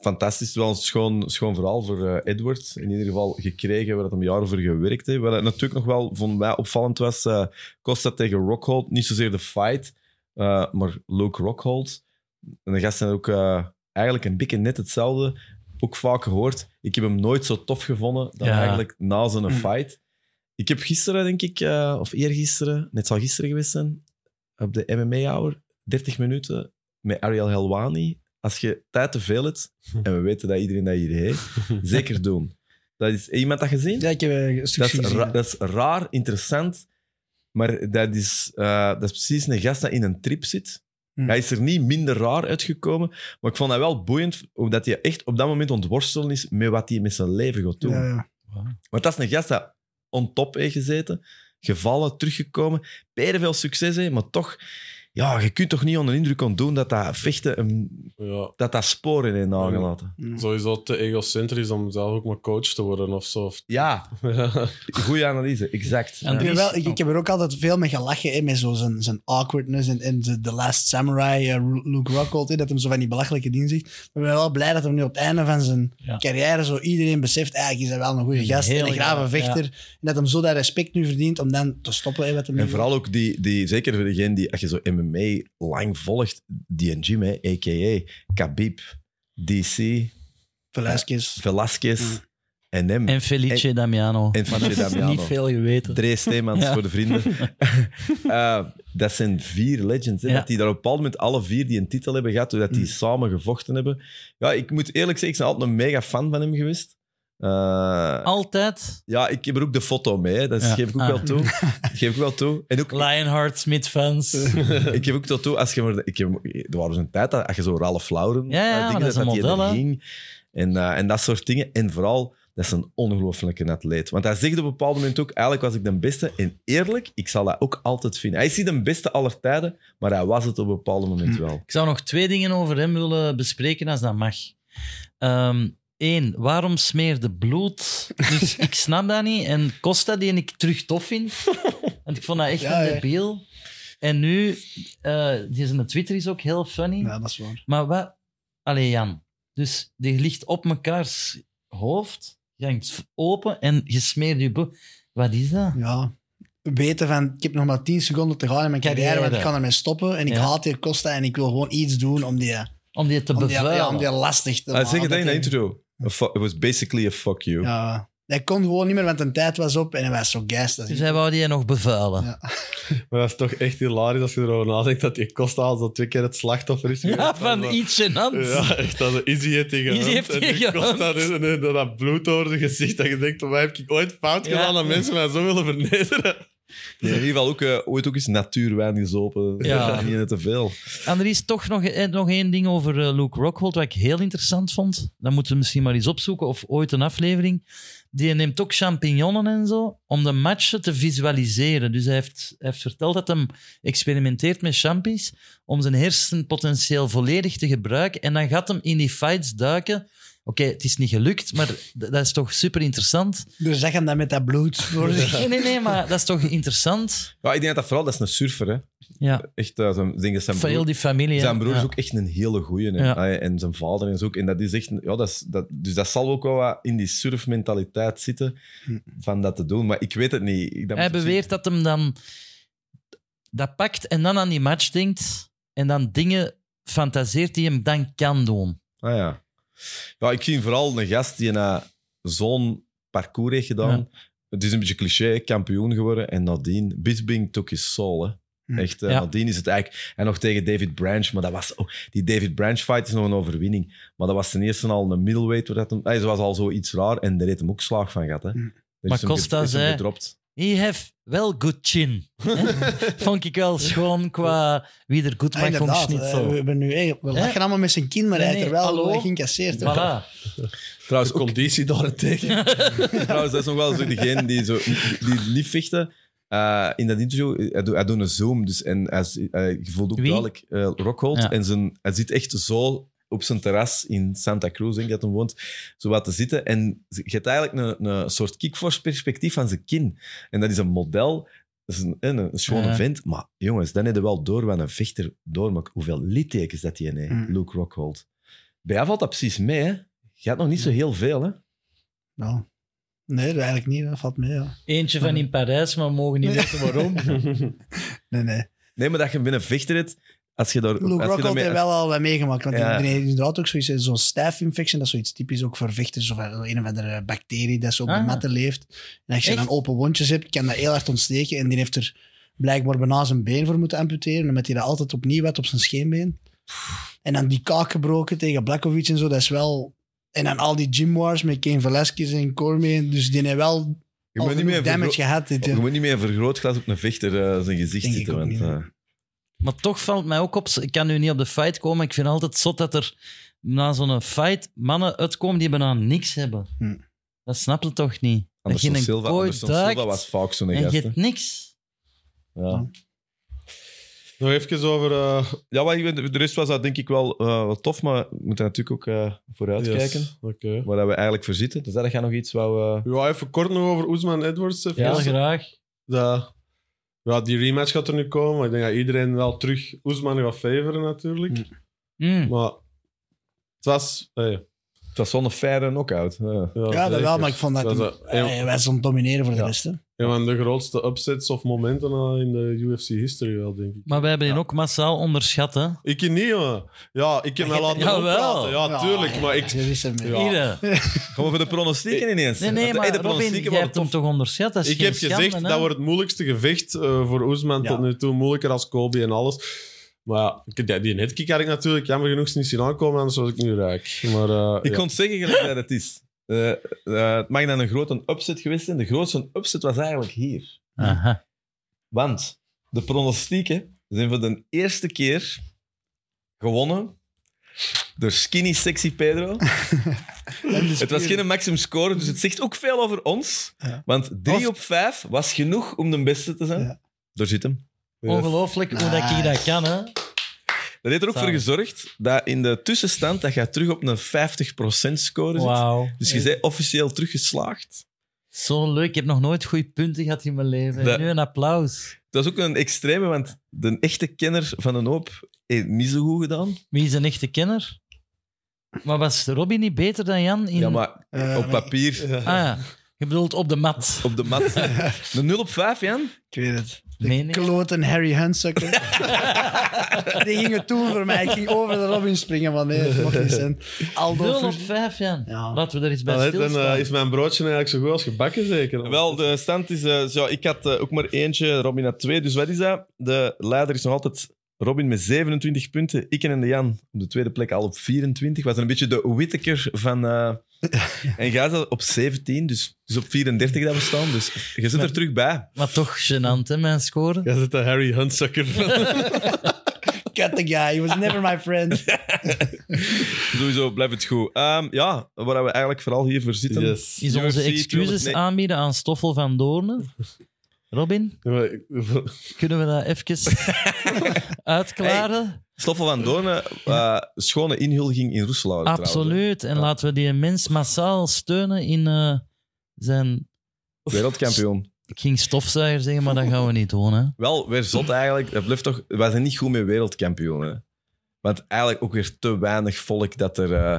[SPEAKER 1] fantastisch. Wel een schoon, schoon verhaal voor eh, Edwards. In ieder geval gekregen waar het een jaar voor gewerkt heeft. Wat het natuurlijk nog wel, vonden mij, opvallend was. eh Costa tegen Rockhold. Niet zozeer de fight, eh, maar Luke Rockhold. En de gasten ook eh, eigenlijk een beetje net hetzelfde. Ook vaak gehoord. Ik heb hem nooit zo tof gevonden dan
[SPEAKER 2] Ja.
[SPEAKER 1] eigenlijk na zo'n
[SPEAKER 4] Mm.
[SPEAKER 1] fight. Ik heb gisteren, denk ik, eh, of eergisteren, net zal gisteren geweest zijn, op de MMA Hour, 30 minuten met Ariel Helwani. Als je tijd te veel hebt, en we weten dat iedereen dat hier heeft, zeker doen. Dat is, heeft iemand dat gezien?
[SPEAKER 4] Ja, ik heb eh, een
[SPEAKER 1] dat,
[SPEAKER 4] stukje
[SPEAKER 1] is
[SPEAKER 4] gezien.
[SPEAKER 1] ra- dat is raar, interessant, maar dat is, eh, dat is precies een gast dat in een trip zit.
[SPEAKER 4] Hm.
[SPEAKER 1] Hij is er niet minder raar uitgekomen, maar ik vond dat wel boeiend, omdat hij echt op dat moment ontworstelen is met wat hij met zijn leven gaat doen.
[SPEAKER 4] Ja, ja.
[SPEAKER 1] Want dat is een gast dat on top heeft gezeten, gevallen, teruggekomen, per veel succes heeft, maar toch, ja, je kunt toch niet onder de indruk ontdoen dat dat vechten, hem-
[SPEAKER 3] Ja.
[SPEAKER 1] dat dat sporen heeft nagelaten.
[SPEAKER 3] Sowieso te egocentrisch om zelf ook maar coach te worden of zo. Of-
[SPEAKER 1] Ja, goede analyse, exact.
[SPEAKER 2] En
[SPEAKER 1] Ja.
[SPEAKER 4] Ik, ben wel, ik, ik heb er ook altijd veel mee gelachen, hè, met zo zijn, zijn awkwardness en, en de, de Last Samurai, eh, Ru- Luke Rockhold, hè, dat hem zo van die belachelijke dingen zegt. Maar ik ben wel blij dat hem nu op het einde van zijn
[SPEAKER 2] Ja.
[SPEAKER 4] carrière zo iedereen beseft, eigenlijk is hij wel een goede
[SPEAKER 2] Een
[SPEAKER 4] gast en
[SPEAKER 2] hele
[SPEAKER 4] een grave
[SPEAKER 2] grave,
[SPEAKER 4] vechter. En dat hem zo dat respect nu verdient om dan te stoppen hè, met hem
[SPEAKER 1] En vooral ook die, die zeker voor degene die, als je zo MMA lang volgt, die en Jim, hè, a.k.a. Khabib, DC,
[SPEAKER 4] Velasquez.
[SPEAKER 1] Velasquez
[SPEAKER 4] Mm.
[SPEAKER 1] en hem.
[SPEAKER 2] En Felice Damiano.
[SPEAKER 1] en
[SPEAKER 2] Maar dat
[SPEAKER 1] Felice
[SPEAKER 2] is
[SPEAKER 1] Damiano.
[SPEAKER 2] niet veel geweten.
[SPEAKER 1] Dre Steemans
[SPEAKER 2] Ja.
[SPEAKER 1] voor de
[SPEAKER 2] [LAUGHS]
[SPEAKER 1] vrienden. [LAUGHS] Eh, dat zijn vier legends. Hè,
[SPEAKER 2] Ja. Mm.
[SPEAKER 1] Dat die daar op een bepaald moment alle vier die een titel hebben gehad, doordat die samen gevochten hebben. Ja, ik moet eerlijk zeggen, ik ben altijd een mega fan van hem geweest. Eh,
[SPEAKER 2] Altijd
[SPEAKER 1] ja, ik heb er ook de foto mee, hè. dat
[SPEAKER 2] Ja.
[SPEAKER 1] geef ik ook
[SPEAKER 2] Ah.
[SPEAKER 1] wel
[SPEAKER 2] [LAUGHS]
[SPEAKER 1] toe. Dat geef ik wel toe. En ook,
[SPEAKER 2] Lionheart
[SPEAKER 4] [LAUGHS]
[SPEAKER 2] Smith-fans.
[SPEAKER 1] [LAUGHS] ik heb ook tot toe, als je maar, ik heb, er was dus een tijd dat als je zo Ralph Lauren
[SPEAKER 2] Ja, ja,
[SPEAKER 1] eh, dingen
[SPEAKER 2] dat is
[SPEAKER 1] had,
[SPEAKER 2] een
[SPEAKER 1] die
[SPEAKER 2] model,
[SPEAKER 1] er
[SPEAKER 2] hè.
[SPEAKER 1] ging en, eh, en dat soort dingen. En vooral, Dat is een ongelooflijke atleet. Want hij zegt op een bepaald moment ook, eigenlijk was ik de beste. En eerlijk, ik zal dat ook altijd vinden. Hij is niet de beste aller tijden, maar hij was het op een bepaald moment wel.
[SPEAKER 2] Ik zou nog twee dingen over hem willen bespreken, als dat mag. Eén, waarom smeerde bloed?
[SPEAKER 4] [LAUGHS]
[SPEAKER 2] Dus ik snap dat niet. En Costa, die ik terug tof vind. Want ik vond dat echt
[SPEAKER 4] Ja,
[SPEAKER 2] een
[SPEAKER 4] ja.
[SPEAKER 2] debiel. En nu, eh die zijn Twitter is ook heel funny.
[SPEAKER 4] Ja, dat is waar.
[SPEAKER 2] Maar wat... Allee, Jan. Dus die ligt op mekaars hoofd, je hangt open en je smeert je bloed. Wat is dat?
[SPEAKER 4] Ja. Weten van, ik heb nog maar 10 seconden te gaan in mijn carrière, want ik
[SPEAKER 2] Carrière.
[SPEAKER 4] kan ermee stoppen. En ik
[SPEAKER 2] Ja.
[SPEAKER 4] haat hier Costa en ik wil gewoon iets doen om die,
[SPEAKER 2] Om die te
[SPEAKER 4] om die,
[SPEAKER 2] bevuilen.
[SPEAKER 4] ja, om die lastig te
[SPEAKER 1] Hij
[SPEAKER 4] maken.
[SPEAKER 1] zegt Ah, het in de
[SPEAKER 4] hij-
[SPEAKER 1] intro. A fu- It was basically a fuck you.
[SPEAKER 4] Ja. Hij kon gewoon niet meer, want de tijd was op en hij was zo geist. Dat
[SPEAKER 2] Dus hij wou die nog bevuilen.
[SPEAKER 4] Ja.
[SPEAKER 3] Maar dat is toch echt hilarisch als je erover nadenkt dat die Costa al zo twee keer het slachtoffer is.
[SPEAKER 2] Ja,
[SPEAKER 3] geweest.
[SPEAKER 2] van
[SPEAKER 3] Maar-
[SPEAKER 2] iets gênants.
[SPEAKER 3] Ja, echt. Dat is Izzy heeft tegen
[SPEAKER 2] Izzy heeft
[SPEAKER 3] en die
[SPEAKER 2] tegen
[SPEAKER 3] Costa
[SPEAKER 2] Hunt.
[SPEAKER 3] is en en dat, dat bloed over zijn gezicht. Dat je denkt, waar heb ik ooit fout
[SPEAKER 2] Ja.
[SPEAKER 3] gedaan dat mensen mij zo willen vernederen?
[SPEAKER 1] Die in ieder geval ook, eh, ooit ook eens natuurwijn gezopen. [LAUGHS]
[SPEAKER 2] Ja.
[SPEAKER 1] Niet te veel.
[SPEAKER 2] En er is toch nog, eh, nog één ding over eh, Luke Rockhold, wat ik heel interessant vond. Dat moeten we misschien maar eens opzoeken, of ooit een aflevering. Die neemt ook champignonnen en zo, om de matchen te visualiseren. Dus hij heeft, hij heeft verteld dat hij experimenteert met champies, om zijn hersenpotentieel volledig te gebruiken. En dan gaat hem in die fights duiken. Oké, het is niet gelukt, maar d- dat is toch super interessant.
[SPEAKER 4] Dus zeg hem dat met dat
[SPEAKER 2] [LAUGHS]
[SPEAKER 4] bloed voor zich.
[SPEAKER 2] Nee, nee, nee, maar dat is toch interessant?
[SPEAKER 1] Ja, ik denk dat dat vooral dat is een surfer. Hè.
[SPEAKER 2] Ja,
[SPEAKER 1] Echt, eh, zijn, ik denk dat zijn
[SPEAKER 2] van
[SPEAKER 1] broer-
[SPEAKER 2] heel die familie. hè.
[SPEAKER 1] Zijn broer
[SPEAKER 2] Ja.
[SPEAKER 1] is ook echt een hele goeie. hè.
[SPEAKER 2] Ja.
[SPEAKER 1] Allee, En zijn vader is ook. En dat is echt... een- Ja, dat is, dat, dus dat zal ook wel wat in die surfmentaliteit zitten, van dat te doen. Maar ik weet het niet. Ik- dat
[SPEAKER 2] Hij
[SPEAKER 1] moet ik
[SPEAKER 2] beweert dat hem dan dat pakt en dan aan die match denkt en dan dingen fantaseert die hem dan kan doen.
[SPEAKER 1] zien. Ah ja. Ja, ik zie vooral een gast die na zo'n parcours heeft gedaan. Het is een beetje cliché, kampioen geworden. En nadien, Bisbing took his soul, hè.
[SPEAKER 4] Hm.
[SPEAKER 1] Echt, eh,
[SPEAKER 2] Ja.
[SPEAKER 1] nadien is het eigenlijk... En nog tegen David Branch, maar dat was... oh, die David Branch fight is nog een overwinning. Maar dat was ten eerste al een middleweight. Waar dat hem, hij was al zoiets raar en daar heeft hem ook slaag van gehad. Hè.
[SPEAKER 4] Hm.
[SPEAKER 1] Daar
[SPEAKER 2] Maar
[SPEAKER 1] is hem ge-
[SPEAKER 2] Costa
[SPEAKER 1] is hem
[SPEAKER 2] zei-
[SPEAKER 1] gedropt.
[SPEAKER 2] He have wel good chin. [LAUGHS] Hè? Vond ik wel schoon qua wie er goed
[SPEAKER 4] Ja,
[SPEAKER 2] mag kon
[SPEAKER 4] inderdaad. eh, We
[SPEAKER 2] schnitzel.
[SPEAKER 4] hebben nu echt, we
[SPEAKER 2] Ja.
[SPEAKER 4] lachen allemaal met zijn kind, maar
[SPEAKER 2] Nee,
[SPEAKER 4] hij heeft er
[SPEAKER 2] nee,
[SPEAKER 4] wel
[SPEAKER 2] hallo.
[SPEAKER 4] geïncasseerd. hè.
[SPEAKER 2] Voilà.
[SPEAKER 1] Trouwens, ook-
[SPEAKER 3] conditie
[SPEAKER 2] [LAUGHS]
[SPEAKER 3] daarentegen.
[SPEAKER 1] trouwens, dat is nog wel zo degene die, zo, die niet vechten. Eh, in dat interview, eh, hij doet, hij doet een zoom, dus en hij, is- eh, je voelt ook
[SPEAKER 2] Wie?
[SPEAKER 1] duidelijk eh, Rockhold.
[SPEAKER 2] Ja.
[SPEAKER 1] En zijn, hij zit echt zo op zijn terras in Santa Cruz, denk ik dat hij woont, zo wat te zitten. En je hebt eigenlijk een, een soort kickforce perspectief van zijn kin. En dat is een model, dat is een, een, een schone
[SPEAKER 2] Ja.
[SPEAKER 1] vent. Maar jongens, dan heb je wel door wat een vechter doormaakt. Hoeveel littekens dat hij heeft,
[SPEAKER 4] Mm.
[SPEAKER 1] Luke Rockhold. Bij jou valt dat precies mee, hè? Je had nog niet zo heel veel, hè?
[SPEAKER 4] Nou, nee, eigenlijk niet. Dat valt mee. Ja.
[SPEAKER 2] Eentje van in Parijs, maar we mogen niet
[SPEAKER 4] Nee.
[SPEAKER 2] weten
[SPEAKER 4] [LAUGHS]
[SPEAKER 2] waarom.
[SPEAKER 4] Nee, nee.
[SPEAKER 1] [LAUGHS] Nee, maar dat je binnen vechter hebt, als je daar...
[SPEAKER 4] Luke
[SPEAKER 1] als je
[SPEAKER 4] Rockhold
[SPEAKER 1] daarmee-
[SPEAKER 4] heeft wel al wat meegemaakt. Want
[SPEAKER 1] Ja.
[SPEAKER 4] die die heeft inderdaad ook zoiets, zo'n staph infection, dat is zoiets typisch ook voor vechters of een of andere bacterie dat zo op
[SPEAKER 2] Ah.
[SPEAKER 4] de matten leeft. En als je
[SPEAKER 2] Echt?
[SPEAKER 4] dan open wondjes hebt, kan dat heel hard ontsteken. En die heeft er blijkbaar bijna zijn been voor moeten amputeren, omdat hij dat altijd opnieuw had op zijn scheenbeen. En dan die kaak gebroken tegen Blakovic en zo, dat is wel... En dan al die gym wars met Cain Velasquez en Cormier. Dus die heeft wel
[SPEAKER 1] je
[SPEAKER 4] al
[SPEAKER 1] moet niet meer
[SPEAKER 4] genoeg damage
[SPEAKER 1] vergro-
[SPEAKER 4] gehad. Dit,
[SPEAKER 1] je
[SPEAKER 4] ja.
[SPEAKER 1] moet niet meer een vergrootglas op een vechter eh, zijn gezicht
[SPEAKER 4] Denk ik
[SPEAKER 1] zitten.
[SPEAKER 4] ook
[SPEAKER 1] Want,
[SPEAKER 4] niet,
[SPEAKER 1] eh,
[SPEAKER 2] Maar toch valt mij ook op, ik kan nu niet op de fight komen. Ik vind altijd zot dat er na zo'n fight mannen uitkomen die bijna niks hebben.
[SPEAKER 4] Hm.
[SPEAKER 2] Dat snapt het toch niet? Dat je
[SPEAKER 1] Anderson
[SPEAKER 2] in een
[SPEAKER 1] Silva,
[SPEAKER 2] kooi
[SPEAKER 1] Anderson
[SPEAKER 2] duikt
[SPEAKER 1] Silva was vaak zo'n
[SPEAKER 2] en je
[SPEAKER 1] gast. hè.
[SPEAKER 2] hebt niks.
[SPEAKER 1] Ja.
[SPEAKER 3] Nog even over... eh,
[SPEAKER 1] ja, maar ik ben- de rest was dat denk ik wel, eh, wel tof, maar we moeten natuurlijk ook eh, vooruitkijken.
[SPEAKER 3] yes, Oké.
[SPEAKER 1] Waar dat we eigenlijk voor zitten. Dus dat gaat nog iets wou... eh,
[SPEAKER 3] Ja, even kort nog over Oesman Edwards. even.
[SPEAKER 2] Heel graag.
[SPEAKER 3] Dat- ja, die rematch gaat er nu komen. maar Ik denk dat iedereen wel terug Oesman gaat favoren natuurlijk.
[SPEAKER 2] Mm.
[SPEAKER 3] Maar het was... hey,
[SPEAKER 1] het was zo'n fijne knockout. eh. Ja.
[SPEAKER 4] Ja, dat
[SPEAKER 3] zeker.
[SPEAKER 4] wel, maar ik vond dat...
[SPEAKER 3] was
[SPEAKER 4] dat
[SPEAKER 3] een-
[SPEAKER 4] hij was aan het domineren voor de
[SPEAKER 3] Ja.
[SPEAKER 4] rest. hè.
[SPEAKER 3] Een van de grootste upsets of momenten eh, in de UFC history wel, denk ik.
[SPEAKER 2] Maar wij hebben die ook massaal onderschat, hè?
[SPEAKER 3] Ik niet, jongen. Ja, ik
[SPEAKER 2] [LAUGHS]
[SPEAKER 3] heb
[SPEAKER 4] Maar
[SPEAKER 3] mij
[SPEAKER 4] je-
[SPEAKER 3] laten
[SPEAKER 2] Jawel.
[SPEAKER 3] praten. Ja, tuurlijk.
[SPEAKER 4] ja,
[SPEAKER 3] maar ik...
[SPEAKER 4] dat is hem, hè.
[SPEAKER 3] Ja.
[SPEAKER 2] Hier, hè.
[SPEAKER 1] Gaan we voor de pronostieken ineens?
[SPEAKER 2] Nee, nee,
[SPEAKER 1] Want,
[SPEAKER 2] maar
[SPEAKER 1] hey, de
[SPEAKER 2] Robin,
[SPEAKER 1] pronostieken
[SPEAKER 2] jij
[SPEAKER 1] waren
[SPEAKER 2] hebt hem
[SPEAKER 1] tof.
[SPEAKER 2] toch onderschat? Dat is
[SPEAKER 3] Ik
[SPEAKER 2] geen
[SPEAKER 3] heb
[SPEAKER 2] schande,
[SPEAKER 3] gezegd,
[SPEAKER 2] hè?
[SPEAKER 3] dat wordt het moeilijkste gevecht eh, voor Oesman
[SPEAKER 4] Ja.
[SPEAKER 3] tot nu toe. Moeilijker als Colby en alles. Maar ja, ik- die, die netkick had ik natuurlijk jammer genoeg niet zien aankomen, anders was ik nu rijk. Maar eh,
[SPEAKER 1] Ik
[SPEAKER 3] ja.
[SPEAKER 1] kon het zeggen gelijk dat het is. Eh, eh, het mag dan een grote upset geweest zijn. De grootste upset was eigenlijk hier.
[SPEAKER 2] Aha.
[SPEAKER 1] Want de pronostieken zijn voor de eerste keer gewonnen door skinny sexy
[SPEAKER 2] [LAUGHS]
[SPEAKER 1] Pedro. Het was geen maximum score, dus het zegt ook veel over ons.
[SPEAKER 4] Ja.
[SPEAKER 1] Want 3
[SPEAKER 4] Of-
[SPEAKER 1] op 5 was genoeg om de beste te zijn.
[SPEAKER 4] Ja.
[SPEAKER 1] Daar zit hem.
[SPEAKER 2] Ongelooflijk hoe dat ik dat
[SPEAKER 4] Nice.
[SPEAKER 2] kan, hè.
[SPEAKER 1] Dat heeft er ook
[SPEAKER 2] Zalig.
[SPEAKER 1] voor gezorgd dat in de tussenstand dat je terug op een 50% score zit.
[SPEAKER 2] Wauw.
[SPEAKER 1] Dus je bent officieel teruggeslaagd.
[SPEAKER 2] Zo leuk. Ik heb nog nooit goede punten gehad in mijn leven.
[SPEAKER 1] Dat-
[SPEAKER 2] Nu een applaus.
[SPEAKER 1] Dat is ook een extreme, want de echte kenner van een hoop heeft niet zo goed gedaan.
[SPEAKER 2] Wie is een echte kenner? Maar was Robbie niet beter dan Jan? In...
[SPEAKER 1] Ja, maar op papier,
[SPEAKER 2] Ah, ja. Je bedoelt op de mat.
[SPEAKER 1] op de [LAUGHS] mat. De 0 op 5, Jan.
[SPEAKER 4] Ik weet het. De
[SPEAKER 2] Meen je?
[SPEAKER 4] kloten Harry Hunsucker. [LAUGHS] die gingen toen voor mij. Ik ging over de Robin springen, maar nee, dat mocht niet zijn. Aldo
[SPEAKER 2] 0 op
[SPEAKER 4] Fus-
[SPEAKER 2] 5, Jan.
[SPEAKER 4] Ja.
[SPEAKER 2] Laten we er eens bij
[SPEAKER 3] Dan,
[SPEAKER 2] stilstaan.
[SPEAKER 3] eh, is mijn broodje eigenlijk zo goed als gebakken, zeker.
[SPEAKER 1] Wel, de stand is... eh, zo, ik had eh, ook maar eentje, Robin had twee. Dus wat is dat? De leider is nog altijd Robin met 27 punten. Ik en de Jan op de tweede plek al op 24. Was een beetje de Whittaker van... [LAUGHS] eh, en jij zat op 17, dus, het is op 34 dat we staan. Dus je zit er terug bij.
[SPEAKER 2] Maar toch gênant, hè, mijn score.
[SPEAKER 3] Jij zit de Harry Huntsucker van.
[SPEAKER 4] Cut the guy. He was never my
[SPEAKER 2] [LAUGHS]
[SPEAKER 4] friend.
[SPEAKER 1] Sowieso, blijft het goed. Ehm, ja, waar we eigenlijk vooral hier voor zitten...
[SPEAKER 3] Yes.
[SPEAKER 2] Is onze
[SPEAKER 1] UFC
[SPEAKER 2] excuses
[SPEAKER 1] 209.
[SPEAKER 2] aanbieden aan Stoffel van Doornen? Robin,
[SPEAKER 3] Ja, maar ik- [LAUGHS]
[SPEAKER 2] kunnen we dat [LAUGHS] even uitklaren?
[SPEAKER 1] Stoffel van Doornen, eh, schone inhuldiging in Roeselaar.
[SPEAKER 2] Absoluut. En laten we die mens massaal steunen in eh, zijn...
[SPEAKER 1] Wereldkampioen.
[SPEAKER 2] Ik ging stofzuiger zeggen, maar dat gaan we niet doen. Hè.
[SPEAKER 1] Wel, weer zot eigenlijk. Dat blijft toch, wij zijn niet goed met wereldkampioenen. Want eigenlijk ook weer te weinig volk dat er... eh,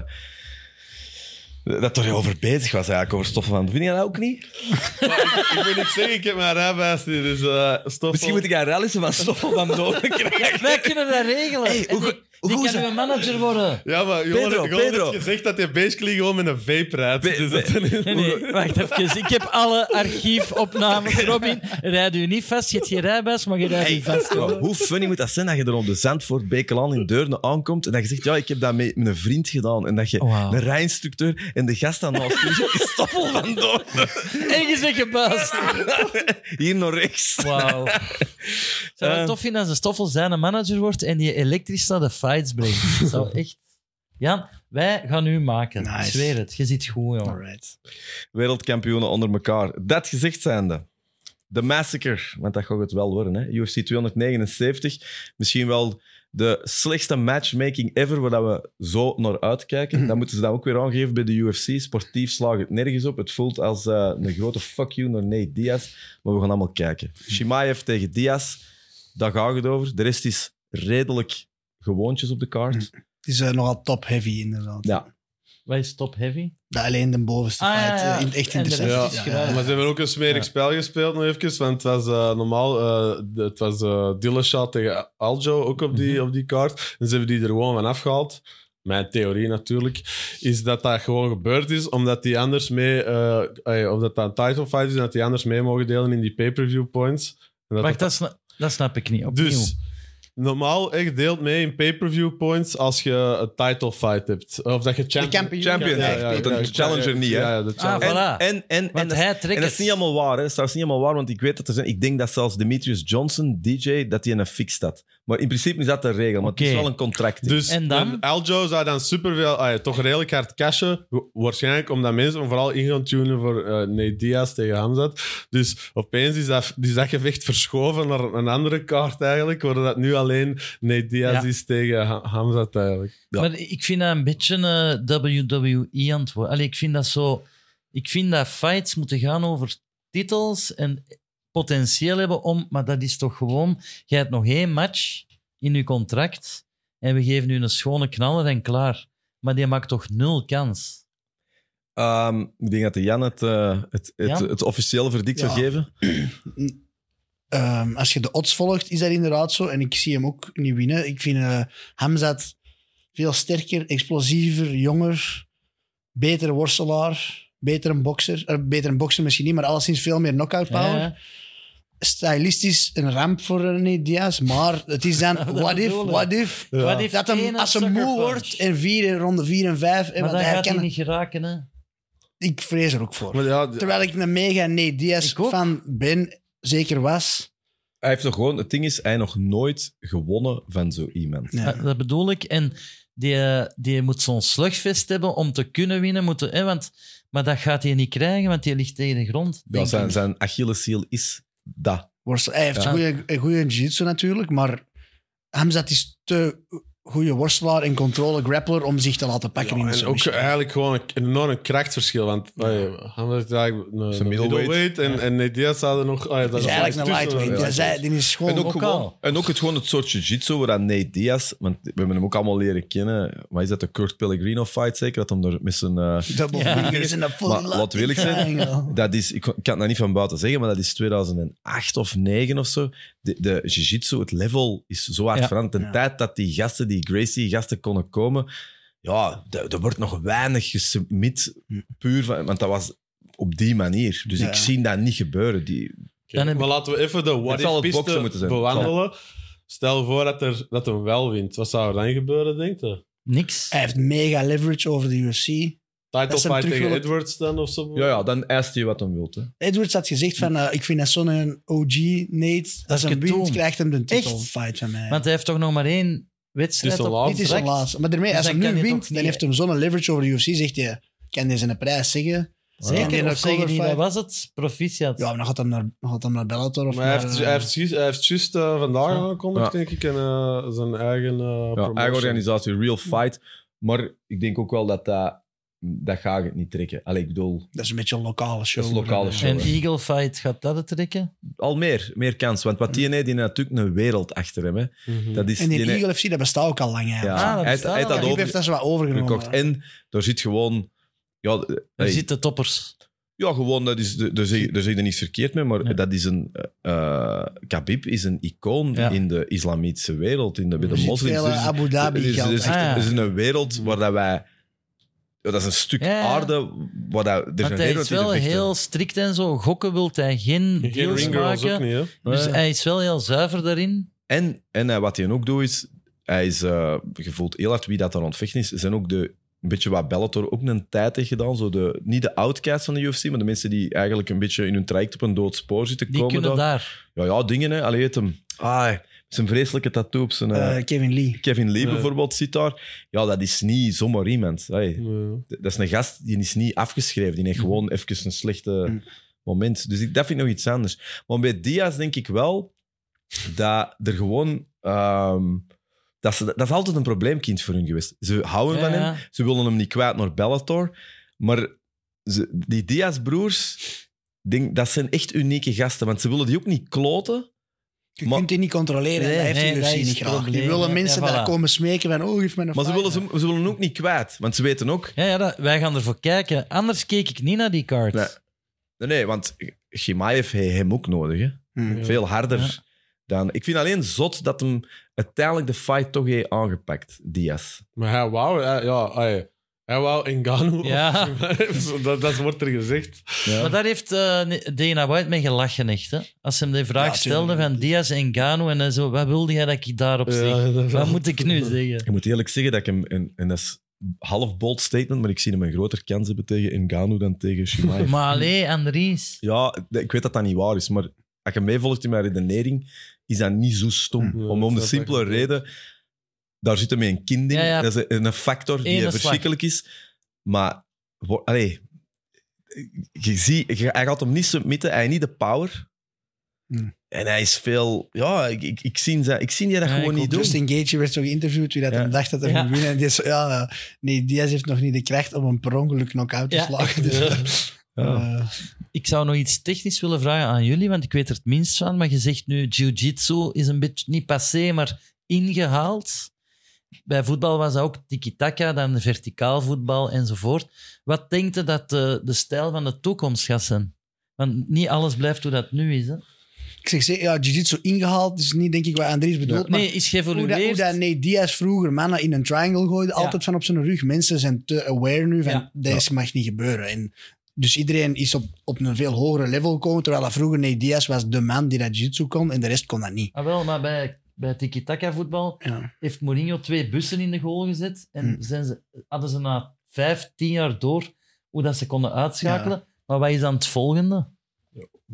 [SPEAKER 1] dat er over bezig was eigenlijk, over Stoffel van Vind je dat ook niet?
[SPEAKER 3] ik moet niks zeggen, ik heb mijn rijbewijs niet, dus eh stop.
[SPEAKER 1] Misschien moet ik een rallyse van Stoffel van
[SPEAKER 2] [LAUGHS]
[SPEAKER 1] Doornen krijgen.
[SPEAKER 2] Wij kunnen dat regelen.
[SPEAKER 1] Hey,
[SPEAKER 2] En
[SPEAKER 1] hoe
[SPEAKER 2] die-
[SPEAKER 1] ge-
[SPEAKER 2] die
[SPEAKER 1] hoe
[SPEAKER 2] kan
[SPEAKER 1] ze-
[SPEAKER 2] uw manager worden.
[SPEAKER 3] Ja, maar Johan
[SPEAKER 1] Pedro,
[SPEAKER 3] heeft gewoon
[SPEAKER 1] Pedro.
[SPEAKER 3] net gezegd dat hij basically gewoon met een vape rijdt.
[SPEAKER 1] Pe-
[SPEAKER 3] Dus
[SPEAKER 1] pe-
[SPEAKER 3] dat is-
[SPEAKER 2] Nee, nee, wacht even. Ik heb alle archiefopnames, Robin. Rijd u niet vast. Je hebt geen rijbewijs, maar je rijdt
[SPEAKER 1] Hey,
[SPEAKER 2] niet vast.
[SPEAKER 1] maar hoe funny moet dat zijn dat je er op de Zandvoort Bekelaan in Deurne aankomt en dat je zegt, ja, ik heb dat met met een vriend gedaan. En dat je
[SPEAKER 2] Wauw.
[SPEAKER 1] een rijinstructeur en de gast aan naast je zegt, Stoffel van Doornen.
[SPEAKER 2] En je zegt gebaasd.
[SPEAKER 1] Hier naar rechts. [LAUGHS]
[SPEAKER 2] Wauw. Zou het
[SPEAKER 1] Eh.
[SPEAKER 2] tof vinden als een stoffel zijn een manager wordt en die elektrisch naar de fights brengt?
[SPEAKER 1] [LAUGHS]
[SPEAKER 2] Dat Zou echt... Jan, wij gaan u maken. Ik
[SPEAKER 4] Nice.
[SPEAKER 2] zweer het. Je ziet goed, jongen.
[SPEAKER 4] Alright.
[SPEAKER 1] wereldkampioenen onder elkaar. Dat gezegd zijnde, de massacre, want dat gaat het wel worden, hè? UFC 279, misschien wel de slechtste matchmaking ever, waar dat we zo naar uitkijken. Dat moeten ze dan ook weer aangeven bij de UFC. Sportief slagen het nergens op. Het voelt als eh, een grote fuck you naar Nate Diaz, maar we gaan allemaal kijken. Shimaev tegen Diaz, daar gaat het over. De rest is redelijk gewoontjes op de kaart.
[SPEAKER 4] Het is eh, nogal top heavy, inderdaad.
[SPEAKER 1] Ja.
[SPEAKER 2] Wij is top heavy.
[SPEAKER 4] Dat alleen de bovenste
[SPEAKER 2] Ah, ja,
[SPEAKER 4] fight. eh,
[SPEAKER 2] ja.
[SPEAKER 4] in het echt
[SPEAKER 2] En de
[SPEAKER 4] interessant.
[SPEAKER 3] Ja,
[SPEAKER 2] rest is
[SPEAKER 4] Ja,
[SPEAKER 2] gelijk.
[SPEAKER 4] ja.
[SPEAKER 3] maar ze hebben ook een smerig spel gespeeld nog even, want het was eh, normaal, eh, de- het was eh Dillashaw tegen Aljo ook op die, op die kaart. En ze hebben die er gewoon van afgehaald. Mijn theorie natuurlijk, is dat dat gewoon gebeurd is omdat die anders mee, eh ey, of dat dat een title fight is en dat die anders mee mogen delen in die pay-per-view points. En dat
[SPEAKER 2] Wacht, dat, sna- dat snap ik niet. Opnieuw.
[SPEAKER 3] dus normaal echt deelt mee in pay-per-view points als je een title fight hebt. Of dat je champion...
[SPEAKER 4] kampioen.
[SPEAKER 1] Champion, dat een challenger niet, hè?
[SPEAKER 3] Ja, ja, de
[SPEAKER 2] ah,
[SPEAKER 3] challenger.
[SPEAKER 2] voilà.
[SPEAKER 1] En, en, en, en
[SPEAKER 2] Want
[SPEAKER 1] dat-
[SPEAKER 2] hij trekt
[SPEAKER 1] En dat is niet allemaal waar. Hè. Dat is trouwens niet allemaal waar, want ik weet dat er zijn... Ik denk dat zelfs Demetrius Johnson, DJ, dat hij in een fix staat. Maar in principe is dat de regel, maar het
[SPEAKER 2] Oké.
[SPEAKER 1] is wel een contract.
[SPEAKER 3] Dus
[SPEAKER 2] En dan?
[SPEAKER 3] een Aljo zou dan super veel, ah ja, toch redelijk hard cashen. Wa- Waarschijnlijk omdat mensen hem vooral in gaan tunen voor eh Nate Diaz tegen Hamzat. Dus opeens is dat, is dat gevecht verschoven naar een andere kaart eigenlijk. Waardoor dat nu alleen Nate Diaz
[SPEAKER 2] Ja.
[SPEAKER 3] is tegen Ha- Hamzat eigenlijk.
[SPEAKER 1] Ja.
[SPEAKER 2] Maar ik vind dat een beetje eh WWE aan het worden. Allee, ik vind dat zo... Ik vind dat fights moeten gaan over titels en potentieel hebben om... Maar dat is toch gewoon... Jij hebt nog één match in je contract en we geven u een schone knaller en klaar. Maar die maakt toch nul kans?
[SPEAKER 1] Ehm, ik denk dat de Jan het, eh, het, het,
[SPEAKER 2] Jan?
[SPEAKER 1] het officieel verdict
[SPEAKER 4] Ja.
[SPEAKER 1] zou geven.
[SPEAKER 4] Ehm, als je de odds volgt, is dat inderdaad zo. En ik zie hem ook niet winnen. Ik vind eh Hamzat veel sterker, explosiever, jonger, betere worstelaar, beter een bokser. Eh, beter een bokser misschien niet, maar alleszins veel meer knockout power.
[SPEAKER 2] Ja.
[SPEAKER 4] Stylistisch een ramp voor René Diaz, maar het is
[SPEAKER 2] [LAUGHS]
[SPEAKER 4] dan what if,
[SPEAKER 2] bedoel ik.
[SPEAKER 4] what if.
[SPEAKER 3] Ja.
[SPEAKER 2] Wat heeft
[SPEAKER 4] Dat
[SPEAKER 2] één
[SPEAKER 4] hem, als hij
[SPEAKER 2] sucker
[SPEAKER 4] moe
[SPEAKER 2] punch?
[SPEAKER 4] wordt en vier, in ronde vier en vijf, eh,
[SPEAKER 2] Maar
[SPEAKER 4] want
[SPEAKER 2] dan
[SPEAKER 4] hij
[SPEAKER 2] gaat hij
[SPEAKER 4] kan,
[SPEAKER 2] niet geraken, hè?
[SPEAKER 4] ik vrees er ook voor.
[SPEAKER 3] Maar ja, d-
[SPEAKER 4] Terwijl ik een mega Nate Diaz
[SPEAKER 2] Ik ook.
[SPEAKER 4] fan ben, zeker was.
[SPEAKER 1] Hij heeft toch gewoon... Het ding is, hij heeft nog nooit gewonnen van zo iemand.
[SPEAKER 4] Ja.
[SPEAKER 2] Ah, Dat bedoel ik. En Die, die moet zo'n slugfest hebben om te kunnen winnen. Moet, hè, want, maar dat gaat hij niet krijgen, want hij ligt tegen de grond.
[SPEAKER 1] Ja,
[SPEAKER 2] denk
[SPEAKER 1] zijn,
[SPEAKER 2] ik.
[SPEAKER 1] zijn Achillesziel is dat.
[SPEAKER 4] Worstel- Hij heeft
[SPEAKER 1] Ja.
[SPEAKER 4] goede, een goede jiu-jitsu natuurlijk, maar Hamzat is te goede worstelaar en controle grappler om zich te laten pakken in de
[SPEAKER 3] en ook
[SPEAKER 4] submission.
[SPEAKER 3] eigenlijk gewoon een enorm een krachtverschil. Want hij had eigenlijk een,
[SPEAKER 1] is
[SPEAKER 3] een
[SPEAKER 1] een middleweight.
[SPEAKER 3] middleweight en, en nee, die hadden nog... ah ja, dat
[SPEAKER 4] Dat is
[SPEAKER 3] nog
[SPEAKER 4] eigenlijk een
[SPEAKER 3] tussen-
[SPEAKER 4] lightweight.
[SPEAKER 3] ja.
[SPEAKER 4] Ja, zij- die is
[SPEAKER 1] En
[SPEAKER 4] gewoon...
[SPEAKER 1] ook,
[SPEAKER 2] bokaal.
[SPEAKER 1] gewoon, en ook het, gewoon het soort jiu-jitsu waar dat Nate Diaz... Want we hebben hem ook allemaal leren kennen. Maar is dat de Kurt Pellegrino fight zeker? Dat hem er met zijn... eh,
[SPEAKER 4] Double
[SPEAKER 2] Ja.
[SPEAKER 4] fingers in de full
[SPEAKER 1] Maar laat wil ik zeggen,
[SPEAKER 4] triangle.
[SPEAKER 1] dat is, ik, kon- ik kan het nou niet van buiten zeggen, maar dat is 2008 of 9 of zo. De, de jiu-jitsu, het level is zo hard
[SPEAKER 2] Ja.
[SPEAKER 1] veranderd. De
[SPEAKER 4] Ja.
[SPEAKER 1] tijd dat die gasten, die Gracie-gasten konden komen, ja, d- er wordt nog weinig gesubmit puur van... Want dat was op die manier. Dus
[SPEAKER 4] Ja.
[SPEAKER 1] ik zie dat niet gebeuren. Die,
[SPEAKER 3] Oké,
[SPEAKER 2] Dan heb
[SPEAKER 3] maar
[SPEAKER 2] ik-
[SPEAKER 3] laten we even
[SPEAKER 1] Het
[SPEAKER 3] de
[SPEAKER 1] zal
[SPEAKER 3] what
[SPEAKER 1] het
[SPEAKER 3] if
[SPEAKER 1] boksen moeten zijn.
[SPEAKER 3] bewandelen. Stel voor dat, er, dat hem wel wint. Wat zou er dan gebeuren, denk je?
[SPEAKER 2] Niks.
[SPEAKER 4] Hij heeft mega leverage over de UFC.
[SPEAKER 3] Title
[SPEAKER 4] Dat ze hem
[SPEAKER 3] fight
[SPEAKER 4] terug
[SPEAKER 3] tegen
[SPEAKER 4] willen-
[SPEAKER 3] Edwards dan of zo?
[SPEAKER 1] ja, ja, dan eist hij wat hij wil. Hè.
[SPEAKER 4] Edwards had gezegd van, eh, ik vind dat zo'n OG, Nate, als
[SPEAKER 2] ik
[SPEAKER 4] een
[SPEAKER 2] het
[SPEAKER 4] wint,
[SPEAKER 2] toon.
[SPEAKER 4] krijgt hem de
[SPEAKER 2] Echt?
[SPEAKER 4] titelfight van mij.
[SPEAKER 2] Want hij heeft toch nog maar één wedstrijd
[SPEAKER 3] Het is
[SPEAKER 2] op
[SPEAKER 3] al laat.
[SPEAKER 4] Dit is zijn
[SPEAKER 2] contract.
[SPEAKER 4] laatste. Maar daarmee,
[SPEAKER 2] Dus
[SPEAKER 4] als hij
[SPEAKER 2] dan kan
[SPEAKER 4] nu
[SPEAKER 2] hij het
[SPEAKER 4] wint,
[SPEAKER 2] ook
[SPEAKER 4] dan
[SPEAKER 2] niet-
[SPEAKER 4] heeft hem zo'n leverage over de UFC, zegt hij, kan hij zijn prijs zeggen? Kan hij
[SPEAKER 2] Zeker,
[SPEAKER 4] een
[SPEAKER 2] of zeggen die, dat
[SPEAKER 4] coverfight?
[SPEAKER 2] was het, proficiat.
[SPEAKER 4] Ja, maar dan gaat hem naar, dan gaat hem naar Bellator of
[SPEAKER 3] Maar hij
[SPEAKER 4] naar,
[SPEAKER 3] heeft,
[SPEAKER 4] eh,
[SPEAKER 3] hij heeft, juist- hij heeft juist eh, vandaag
[SPEAKER 2] Ja.
[SPEAKER 3] aangekondigd,
[SPEAKER 1] Ja.
[SPEAKER 3] denk ik, en eh, zijn eigen eh
[SPEAKER 1] Ja,
[SPEAKER 3] promotion.
[SPEAKER 1] eigen organisatie, real fight. Maar ik denk ook wel dat dat... Dat ga ik niet trekken. Allee, ik bedoel,
[SPEAKER 4] Dat is een beetje een lokale show.
[SPEAKER 1] Dat is een lokale show.
[SPEAKER 2] en Eagle Fight gaat dat het trekken?
[SPEAKER 1] al meer, meer kans. Want wat die ene, die heeft natuurlijk een wereld achter hem. Hè.
[SPEAKER 3] Mhm.
[SPEAKER 1] Dat is
[SPEAKER 4] En die
[SPEAKER 1] ene-
[SPEAKER 4] Eagle FC, dat bestaat ook al lang eigenlijk.
[SPEAKER 1] Ja,
[SPEAKER 2] Ah, dat
[SPEAKER 1] hij,
[SPEAKER 2] bestaat
[SPEAKER 1] hij had dat
[SPEAKER 2] al.
[SPEAKER 4] Khabib
[SPEAKER 1] over,
[SPEAKER 4] heeft dat zo wat overgenomen.
[SPEAKER 1] gekocht. En daar zit gewoon... Ja, eh,
[SPEAKER 2] Daar
[SPEAKER 1] hey,
[SPEAKER 2] zitten toppers.
[SPEAKER 1] ja, gewoon, dat is, daar, zeg, daar zeg je niks verkeerd mee, maar
[SPEAKER 2] Nee.
[SPEAKER 1] dat is een... eh Khabib is een icoon
[SPEAKER 2] Ja.
[SPEAKER 1] in de islamitische wereld, in de, bij
[SPEAKER 4] Er
[SPEAKER 1] de
[SPEAKER 4] zit
[SPEAKER 1] moslims.
[SPEAKER 4] veel,
[SPEAKER 1] Er
[SPEAKER 4] eh,
[SPEAKER 1] is-
[SPEAKER 4] Abu
[SPEAKER 1] er
[SPEAKER 4] Dhabi
[SPEAKER 1] is, er
[SPEAKER 4] geld.
[SPEAKER 1] is echt-
[SPEAKER 2] Ah, ja.
[SPEAKER 1] er is een wereld waar dat wij... ja, dat is een stuk
[SPEAKER 2] Ja, ja.
[SPEAKER 1] aarde, waar dat, er
[SPEAKER 2] Want
[SPEAKER 1] zijn
[SPEAKER 2] hij
[SPEAKER 1] wereld
[SPEAKER 2] is
[SPEAKER 1] die er
[SPEAKER 2] wel
[SPEAKER 1] vechten.
[SPEAKER 2] heel strikt en zo. Gokken wil hij geen
[SPEAKER 3] Geen
[SPEAKER 2] deals
[SPEAKER 3] ringgirls ook
[SPEAKER 2] maken.
[SPEAKER 3] niet, hè?
[SPEAKER 2] Dus
[SPEAKER 1] Ja.
[SPEAKER 2] hij is wel heel zuiver daarin.
[SPEAKER 1] En, en eh, wat hij ook doet, is... Hij is eh, je voelt heel hard wie dat aan het vechten is. Er zijn ook de... Een beetje wat Bellator ook een tijd heeft gedaan. Zo de, niet de outcasts van de UFC, maar de mensen die eigenlijk een beetje in hun traject op een dood spoor zitten
[SPEAKER 2] Die
[SPEAKER 1] komen.
[SPEAKER 2] kunnen
[SPEAKER 1] daar.
[SPEAKER 2] daar.
[SPEAKER 1] Ja, ja, dingen, hè. Allee, heet hem. Ah, zijn vreselijke tattoo op zijn... eh,
[SPEAKER 4] Eh, Kevin Lee.
[SPEAKER 1] Kevin Lee
[SPEAKER 3] Ja.
[SPEAKER 1] bijvoorbeeld zit daar. Ja, dat is niet zomaar iemand. Hey,
[SPEAKER 3] Ja.
[SPEAKER 1] dat is een gast die is niet afgeschreven. Die
[SPEAKER 4] Mhm.
[SPEAKER 1] heeft gewoon even een slechte
[SPEAKER 4] Mm.
[SPEAKER 1] moment. Dus ik, dat vind ik nog iets anders. Maar bij Diaz denk ik wel dat er gewoon. ehm, dat, ze, dat is altijd een probleemkind voor hun geweest. Ze houden van
[SPEAKER 2] Ja,
[SPEAKER 1] hem,
[SPEAKER 2] ja.
[SPEAKER 1] ze willen hem niet kwijt naar Bellator. Maar ze- die Diaz-broers, denk, dat zijn echt unieke gasten. Want ze willen die ook niet kloten.
[SPEAKER 4] Je
[SPEAKER 1] Maar-
[SPEAKER 4] kunt die niet controleren.
[SPEAKER 2] Nee,
[SPEAKER 4] dat heeft
[SPEAKER 2] nee,
[SPEAKER 4] de
[SPEAKER 2] dat
[SPEAKER 4] UFC
[SPEAKER 2] is
[SPEAKER 4] niet
[SPEAKER 2] het
[SPEAKER 4] graag. Die
[SPEAKER 2] probleem,
[SPEAKER 4] willen
[SPEAKER 2] hè.
[SPEAKER 4] mensen
[SPEAKER 2] Ja,
[SPEAKER 4] daar
[SPEAKER 2] voilà.
[SPEAKER 4] komen smeken van, oh, geef mij een
[SPEAKER 1] Maar ze
[SPEAKER 4] fight.
[SPEAKER 1] willen, ze, ze willen hem ook niet kwijt. Want ze weten ook,
[SPEAKER 2] Ja, ja dat- wij gaan ervoor kijken. Anders keek ik niet naar die cards.
[SPEAKER 1] Nee. Nee, nee, want Chimaev heeft hem ook nodig. Hè?
[SPEAKER 4] Hmm.
[SPEAKER 3] Ja.
[SPEAKER 1] Veel harder dan... Ik vind alleen zot dat hem uiteindelijk de fight toch heeft aangepakt, Diaz.
[SPEAKER 3] Maar hij wou, hij- ja, hij, hij wou Ngannou.
[SPEAKER 2] Ja.
[SPEAKER 3] Zo, [LAUGHS] dat, dat wordt er gezegd.
[SPEAKER 2] Maar daar heeft eh, Dana White mee gelachen, echt. Hè? Als ze hem de vraag
[SPEAKER 4] Ja,
[SPEAKER 2] stelde
[SPEAKER 4] tuurlijk.
[SPEAKER 2] van Diaz en Gano en dan zo, wat wilde jij dat ik daarop zeg?
[SPEAKER 3] Ja, dat-
[SPEAKER 2] Wat moet ik nu zeggen?
[SPEAKER 1] Ik moet eerlijk zeggen dat ik hem... En, en dat is half bold statement, maar ik zie hem een groter kans hebben tegen Ngannou dan tegen Chimaev.
[SPEAKER 2] Maar allee, Andries.
[SPEAKER 1] ja, d- ik weet dat dat niet waar is, maar als je meevolgt in mijn redenering, is dat niet zo stom.
[SPEAKER 3] Hm. Ja,
[SPEAKER 1] om, om de
[SPEAKER 3] dat snap
[SPEAKER 1] simpele
[SPEAKER 3] ik wel.
[SPEAKER 1] reden... Daar zit hem een kind in.
[SPEAKER 2] Ja, ja.
[SPEAKER 1] Dat is een, een factor die
[SPEAKER 2] Ene slag.
[SPEAKER 1] verschrikkelijk is. Maar... wo- Allee, je ziet, je- hij gaat hem niet submitten, hij heeft niet de power.
[SPEAKER 3] Hm.
[SPEAKER 4] Hmm.
[SPEAKER 1] En hij is veel... Ja, ik, ik, ik zie ze- ik zie die dat
[SPEAKER 2] Ja,
[SPEAKER 1] gewoon
[SPEAKER 2] ik
[SPEAKER 1] niet
[SPEAKER 2] ook. Dus
[SPEAKER 1] doen.
[SPEAKER 4] Justin Gaethje werd zo geïnterviewd wie dat
[SPEAKER 1] Ja.
[SPEAKER 4] hem dacht dat hij
[SPEAKER 2] Ja.
[SPEAKER 4] ging winnen. En die is zo, ja, eh, nee, Diaz heeft nog niet de kracht om een per ongeluk knock-out te
[SPEAKER 2] Ja.
[SPEAKER 4] slagen. Dus,
[SPEAKER 3] Ja.
[SPEAKER 1] Ja.
[SPEAKER 4] eh,
[SPEAKER 2] Ik zou nog iets technisch willen vragen aan jullie, want ik weet er het minst van. Maar je zegt nu, jiu-jitsu is een beetje, niet passé, maar ingehaald. Bij voetbal was dat ook tiki-taka, dan verticaal voetbal enzovoort. Wat denkt u dat de, de stijl van de toekomst gaat zijn? Want niet alles blijft hoe dat nu is. Hè?
[SPEAKER 4] ik zeg, ze- ja, jiu-jitsu ingehaald is niet, denk ik, wat Andries bedoelt. maar
[SPEAKER 2] Nee, is
[SPEAKER 4] hoe dat, hoe
[SPEAKER 2] geëvolueerd.
[SPEAKER 4] dat Nate Diaz vroeger mannen in een triangle gooide,
[SPEAKER 2] Ja.
[SPEAKER 4] altijd van op zijn rug. Mensen zijn te aware nu van,
[SPEAKER 2] Ja.
[SPEAKER 4] deze mag niet gebeuren. En dus iedereen is op, op een veel hogere level gekomen, terwijl dat vroeger Nate Diaz was de man die dat jiu-jitsu kon en de rest kon dat niet.
[SPEAKER 2] Ah, wel, maar bij, bij tiki-taka voetbal
[SPEAKER 4] Ja.
[SPEAKER 2] heeft Mourinho twee bussen in de goal gezet. En
[SPEAKER 4] Hmm.
[SPEAKER 2] zijn ze, hadden ze na vijf, tien jaar door hoe dat ze konden uitschakelen. Maar wat is dan het volgende?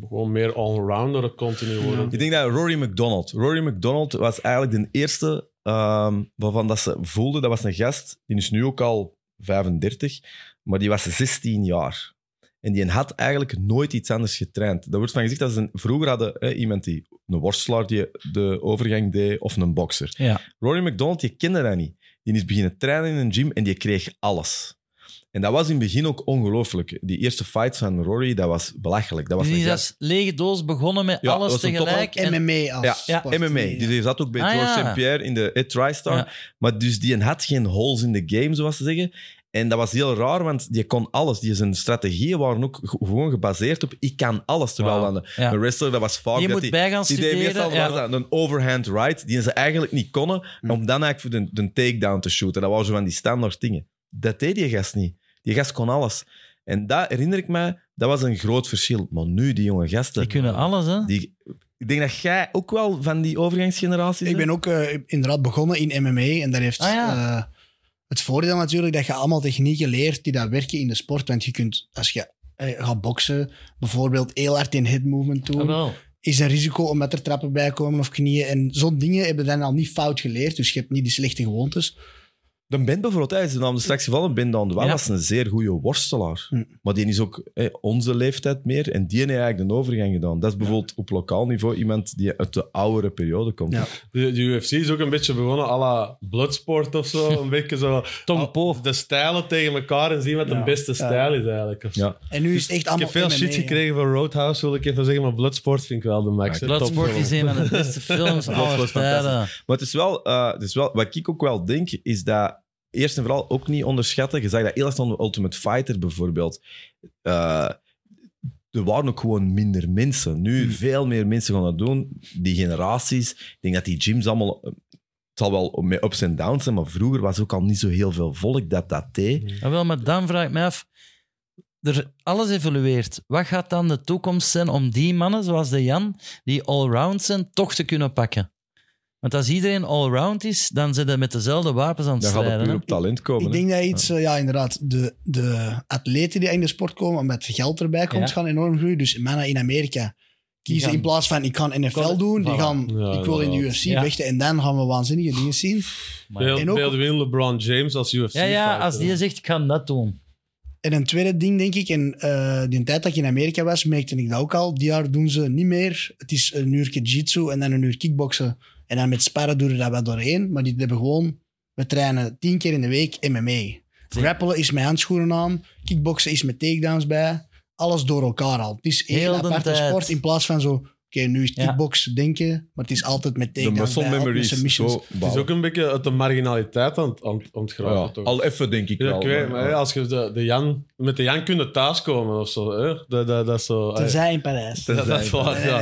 [SPEAKER 3] Gewoon meer allrounder continu worden.
[SPEAKER 2] Mm-hmm.
[SPEAKER 1] Ik denk dat Rory McDonald... Rory McDonald was eigenlijk de eerste ehm, waarvan dat ze voelden, dat was een gast, die is nu ook al 35, maar die was 16 jaar. En die had eigenlijk nooit iets anders getraind. Daar wordt van gezegd dat ze een- vroeger hadden hè, iemand die een worstelaar die de overgang deed of een bokser.
[SPEAKER 2] Ja.
[SPEAKER 1] Rory McDonald, je kende dat niet. Die is beginnen trainen in een gym en die kreeg alles. En dat was in het begin ook ongelooflijk. Die eerste fight van Rory, dat was belachelijk. Dat was
[SPEAKER 2] Dus die
[SPEAKER 1] een
[SPEAKER 2] is
[SPEAKER 1] gast-
[SPEAKER 2] als lege doos begonnen met
[SPEAKER 1] Ja, dat
[SPEAKER 2] alles
[SPEAKER 1] was een
[SPEAKER 2] tegelijk. En,
[SPEAKER 4] MMA als
[SPEAKER 1] Ja,
[SPEAKER 4] sport.
[SPEAKER 1] MMA. Die die Dus zat ook bij
[SPEAKER 2] Ah,
[SPEAKER 1] George
[SPEAKER 2] ja.
[SPEAKER 1] St. Pierre in de eh, TriStar.
[SPEAKER 2] Ja.
[SPEAKER 1] Maar dus die had geen holes in de game, zoals ze zeggen. En dat was heel raar, want die kon alles. Die zijn strategieën waren ook ge- gewoon gebaseerd op ik kan alles. Terwijl
[SPEAKER 2] Wauw.
[SPEAKER 1] dan de,
[SPEAKER 2] Ja.
[SPEAKER 1] een wrestler, dat was vaak
[SPEAKER 2] je
[SPEAKER 1] dat
[SPEAKER 2] moet
[SPEAKER 1] die,
[SPEAKER 2] bij gaan
[SPEAKER 1] die deed
[SPEAKER 2] studeren.
[SPEAKER 1] meestal
[SPEAKER 2] ja.
[SPEAKER 1] was dat een overhand right, die ze eigenlijk niet konnen,
[SPEAKER 4] Hm.
[SPEAKER 1] om dan eigenlijk voor de, de takedown te shooten. Dat waren zo van die standaard dingen. Dat deed die gast niet. Die gast kon alles. En dat herinner ik mij, dat was een groot verschil. Maar nu, die jonge gasten...
[SPEAKER 2] Die kunnen alles, hè?
[SPEAKER 1] Die, ik denk dat jij ook wel van die overgangsgeneratie bent.
[SPEAKER 4] Ik ben ook eh, inderdaad begonnen in MMA. En dat heeft
[SPEAKER 2] Ah, ja.
[SPEAKER 4] eh, het voordeel natuurlijk dat je allemaal technieken leert die dat werken in de sport. Want je kunt, als je eh, gaat boksen, bijvoorbeeld heel hard in hit movement doen.
[SPEAKER 2] Jawel.
[SPEAKER 4] is een risico omdat er trappen bij komen of knieën. En zo'n dingen hebben we dan al niet fout geleerd. Dus je hebt niet die slechte gewoontes.
[SPEAKER 1] De Ben bijvoorbeeld, hij is de naam straks gevallen. Ben Dan Wel
[SPEAKER 2] Ja.
[SPEAKER 1] was een zeer goede worstelaar.
[SPEAKER 4] Hm.
[SPEAKER 1] Maar die is ook hè, onze leeftijd meer. En die heeft eigenlijk de overgang gedaan. Dat is bijvoorbeeld op lokaal niveau iemand die uit de oudere periode komt.
[SPEAKER 4] Ja.
[SPEAKER 3] De, de UFC is ook een beetje begonnen à la Bloodsport of zo. Een beetje zo.
[SPEAKER 2] Tom Poof.
[SPEAKER 3] De stijlen tegen elkaar en zien wat de
[SPEAKER 4] Ja.
[SPEAKER 3] beste stijl is eigenlijk. of zo.
[SPEAKER 1] Ja.
[SPEAKER 4] En nu is het echt
[SPEAKER 3] Ik
[SPEAKER 4] allemaal
[SPEAKER 3] heb Dus veel
[SPEAKER 4] MMA,
[SPEAKER 3] shit
[SPEAKER 4] hè.
[SPEAKER 3] gekregen van Roadhouse, wil ik even zeggen, maar Bloodsport vind ik wel de max. hè.
[SPEAKER 2] Bloodsport
[SPEAKER 3] Topfilm.
[SPEAKER 2] is een van de
[SPEAKER 1] [LAUGHS]
[SPEAKER 2] beste films
[SPEAKER 1] Bloodsport
[SPEAKER 2] aller
[SPEAKER 1] is fantastisch.
[SPEAKER 2] tijden.
[SPEAKER 1] Maar het is wel, eh, het is wel, wat ik ook wel denk, is dat eerst en vooral ook niet onderschatten. Je zag dat heel erg aan de Ultimate Fighter bijvoorbeeld. Eh, er waren ook gewoon minder mensen. Nu veel meer mensen gaan dat doen. Die generaties. Ik denk dat die gyms allemaal... eh, Het zal wel met ups en downs zijn, maar vroeger was ook al niet zo heel veel volk dat dat deed.
[SPEAKER 2] Ah, wel, maar dan vraag ik me af. Er, alles evolueert. Wat gaat dan de toekomst zijn om die mannen, zoals de Jan, die allround zijn, toch te kunnen pakken? Want als iedereen allround is, dan zitten we met dezelfde wapens aan het
[SPEAKER 1] Dan gaat het
[SPEAKER 2] strijden.
[SPEAKER 1] puur
[SPEAKER 2] hè?
[SPEAKER 1] op talent komen.
[SPEAKER 4] Ik denk dat iets, eh, ja inderdaad, de, de atleten die in de sport komen, met geld erbij komt,
[SPEAKER 2] Ja.
[SPEAKER 4] gaan enorm groeien. Dus mannen in Amerika kiezen
[SPEAKER 2] gaan-
[SPEAKER 4] in plaats van ik kan NFL
[SPEAKER 2] Kan-
[SPEAKER 4] doen, die
[SPEAKER 2] voilà.
[SPEAKER 4] gaan
[SPEAKER 3] Ja,
[SPEAKER 4] ik wil in de
[SPEAKER 3] inderdaad.
[SPEAKER 4] UFC
[SPEAKER 2] Ja.
[SPEAKER 4] vechten en dan gaan we waanzinnige dingen zien.
[SPEAKER 2] Maar-
[SPEAKER 3] Beeld,
[SPEAKER 4] En ook-
[SPEAKER 3] beeld win LeBron James als UFC.
[SPEAKER 2] Ja, ja, als die
[SPEAKER 3] fighter.
[SPEAKER 2] zegt, ik ga dat doen.
[SPEAKER 4] En een tweede ding, denk ik, en eh, die tijd dat ik in Amerika was, merkte ik dat ook al. Die jaar doen ze niet meer. Het is een uur jiu-jitsu en dan een uur kickboksen. En dan met sparren doen we dat wel doorheen. Maar die hebben gewoon, we trainen tien keer in de week MMA. Grappelen is met handschoenen aan. Kickboksen is met takedowns bij. Alles door elkaar al. Het is
[SPEAKER 2] Heel
[SPEAKER 4] één
[SPEAKER 2] de
[SPEAKER 4] aparte
[SPEAKER 2] tijd.
[SPEAKER 4] sport in plaats van zo... Oké, nu is
[SPEAKER 2] Ja.
[SPEAKER 4] kickbox denken, maar het is altijd met
[SPEAKER 1] de
[SPEAKER 4] takedowns
[SPEAKER 1] muscle
[SPEAKER 4] bij, dus altijd met
[SPEAKER 1] memories.
[SPEAKER 4] submissions.
[SPEAKER 1] Zo
[SPEAKER 3] Het is
[SPEAKER 1] bouwen.
[SPEAKER 3] ook een beetje uit de marginaliteit aan, het- aan, het- aan het geraken,
[SPEAKER 1] Ja,
[SPEAKER 3] toch?
[SPEAKER 1] Al even, denk ik
[SPEAKER 3] Ja,
[SPEAKER 1] wel.
[SPEAKER 3] ik weet, maar, hè, als je de, de Jan, met de Jan kunnen thuiskomen of zo. Hè? Dat, dat, dat is zo. hè. [LAUGHS]
[SPEAKER 4] Tenzij in Parijs.
[SPEAKER 3] Dat, dat is waar, ja.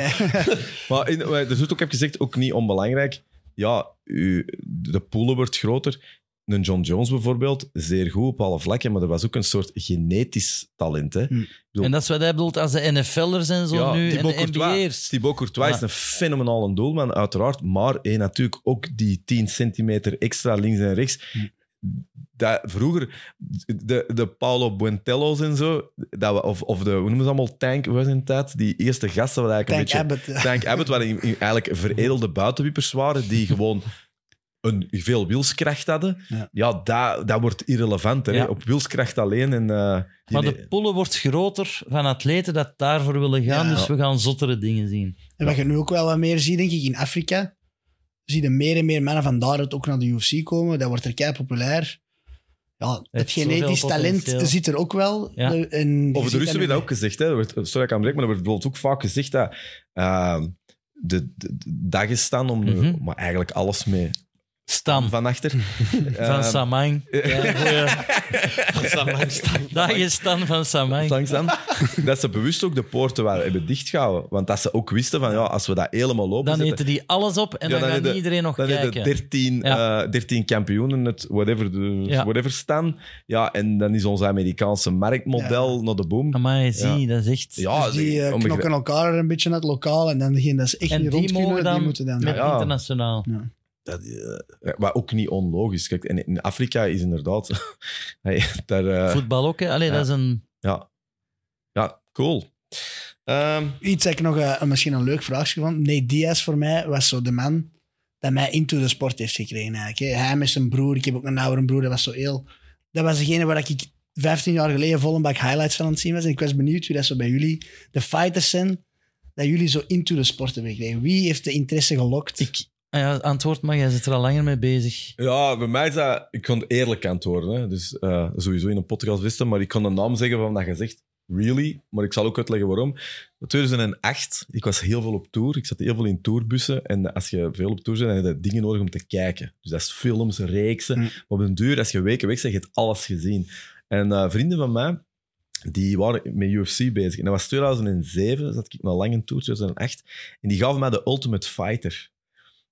[SPEAKER 1] Maar in, maar er wordt ook heb gezegd, ook niet onbelangrijk. Ja, u, de poelen wordt groter. Een John Jones bijvoorbeeld, zeer goed op alle vlakken, maar er was ook een soort genetisch talent. Hè?
[SPEAKER 4] Hm.
[SPEAKER 1] Zo.
[SPEAKER 2] En dat is wat hij bedoelt als de NFL'ers en zo
[SPEAKER 1] Ja,
[SPEAKER 2] nu en
[SPEAKER 1] Thibaut
[SPEAKER 2] de
[SPEAKER 1] Courtois.
[SPEAKER 2] NBA'ers.
[SPEAKER 1] Thibaut Courtois
[SPEAKER 2] Ja.
[SPEAKER 1] is een fenomenale doelman, uiteraard. Maar eh, natuurlijk ook die 10 centimeter extra links en rechts.
[SPEAKER 2] Hm.
[SPEAKER 1] Dat, vroeger, de, de Paolo Buentello's en zo, dat we, of, of de, hoe noemen ze allemaal, Tank, was in tijd? Die eerste gasten waren eigenlijk
[SPEAKER 4] Tank
[SPEAKER 1] een beetje...
[SPEAKER 4] Abbott.
[SPEAKER 1] Tank Abbott, waar in- in eigenlijk veredelde buitenwiepers waren, die gewoon een, veel wilskracht hadden. Ja,
[SPEAKER 4] Ja.
[SPEAKER 1] dat, dat wordt irrelevant. Hè?
[SPEAKER 2] Ja.
[SPEAKER 1] Op wilskracht alleen. En, eh, die-
[SPEAKER 2] Maar de poelen wordt groter van atleten dat daarvoor willen gaan,
[SPEAKER 4] Ja.
[SPEAKER 2] dus we gaan zottere dingen zien.
[SPEAKER 4] En wat je nu ook wel wat meer ziet, denk ik, in Afrika, zie je meer en meer mannen van daaruit ook naar de UFC komen. Dat wordt er kei populair. Ja, het,
[SPEAKER 2] heeft
[SPEAKER 4] genetisch
[SPEAKER 2] zoveel
[SPEAKER 4] talent
[SPEAKER 2] potentieel.
[SPEAKER 4] zit er ook wel.
[SPEAKER 2] Ja.
[SPEAKER 4] De- en je
[SPEAKER 1] Over de
[SPEAKER 4] ziet
[SPEAKER 1] Russen
[SPEAKER 4] dan-
[SPEAKER 1] werd dat ook gezegd. Hè? Er werd- Sorry, dat ik aanbreek, maar er wordt bijvoorbeeld ook vaak gezegd dat eh, de, de, de Dagestan, om nu-
[SPEAKER 2] Mhm.
[SPEAKER 1] maar eigenlijk alles mee
[SPEAKER 2] Stan
[SPEAKER 1] van
[SPEAKER 2] [LAUGHS]
[SPEAKER 1] achter. Ehm,
[SPEAKER 2] van
[SPEAKER 1] [LAUGHS]
[SPEAKER 2] Samang. Ja, goeie.
[SPEAKER 3] Dat is aan mijn stand.
[SPEAKER 2] Dag is Stan van Samang.
[SPEAKER 1] Langzaam. dat ze bewust ook de poorten wel hebben dichtgehouden. Want dat ze ook wisten van, ja, als we dat helemaal open
[SPEAKER 2] Dan
[SPEAKER 1] zetten-
[SPEAKER 2] eten die alles op en
[SPEAKER 1] Ja,
[SPEAKER 2] dan,
[SPEAKER 1] dan
[SPEAKER 2] gaat
[SPEAKER 1] eten-
[SPEAKER 2] iedereen nog
[SPEAKER 1] Dan
[SPEAKER 2] kijken.
[SPEAKER 1] hebben 13,
[SPEAKER 2] Ja.
[SPEAKER 1] eh, 13 kampioenen, het whatever, de,
[SPEAKER 2] Ja.
[SPEAKER 1] whatever staan. Ja, en dan is ons Amerikaanse marktmodel naar de boom.
[SPEAKER 2] Amai, zie,
[SPEAKER 1] Ja.
[SPEAKER 2] dat is echt...
[SPEAKER 1] Ja,
[SPEAKER 4] dus die eh,
[SPEAKER 1] onbegrijp-
[SPEAKER 4] knokken elkaar een beetje naar het lokaal en dan degene dat ze echt
[SPEAKER 2] En
[SPEAKER 4] niet
[SPEAKER 2] die
[SPEAKER 4] rond
[SPEAKER 2] mogen
[SPEAKER 4] kunnen,
[SPEAKER 2] dan
[SPEAKER 4] die moeten dan...
[SPEAKER 2] Met
[SPEAKER 1] Ja, ja.
[SPEAKER 2] internationaal.
[SPEAKER 1] dat, eh, maar ook niet onlogisch. Kijk, en in Afrika is inderdaad... [LAUGHS] Hey, daar, eh,
[SPEAKER 2] Voetbal ook, hè. Allee,
[SPEAKER 1] ja.
[SPEAKER 2] dat is een...
[SPEAKER 1] ja. ja, cool. Ehm,
[SPEAKER 4] Iets dat ik nog eh, misschien een leuk vraagje vond. Nee, Diaz voor mij was zo de man dat mij into de sport heeft gekregen eigenlijk. hè. Hij met zijn broer, ik heb ook een oudere broer, dat was zo heel... Dat was degene waar ik 15 jaar geleden vol een bak highlights van aan het zien was. En ik was benieuwd hoe dat zo bij jullie, de fighters zijn, dat jullie zo into de sport hebben gekregen. Wie heeft de interesse gelokt?
[SPEAKER 2] Ik, ah ja, antwoord, maar jij zit er al langer mee bezig.
[SPEAKER 1] Ja, bij mij is dat... Ik kon eerlijk antwoorden. Hè. Dus eh, sowieso in een podcast wisten, maar ik kon de naam zeggen van dat je zegt. Really? Maar ik zal ook uitleggen waarom. 2008, ik was heel veel op tour. Ik zat heel veel in tourbussen. En als je veel op tour bent, dan heb je dingen nodig om te kijken. Dus dat is films, reeksen.
[SPEAKER 4] Mm.
[SPEAKER 1] Maar op den duur, als je weken weg bent, heb je hebt alles gezien. En eh, vrienden van mij, die waren met UFC bezig. En dat was 2007, zat ik nog lang in tour, 2008. En die gaven mij de Ultimate Fighter.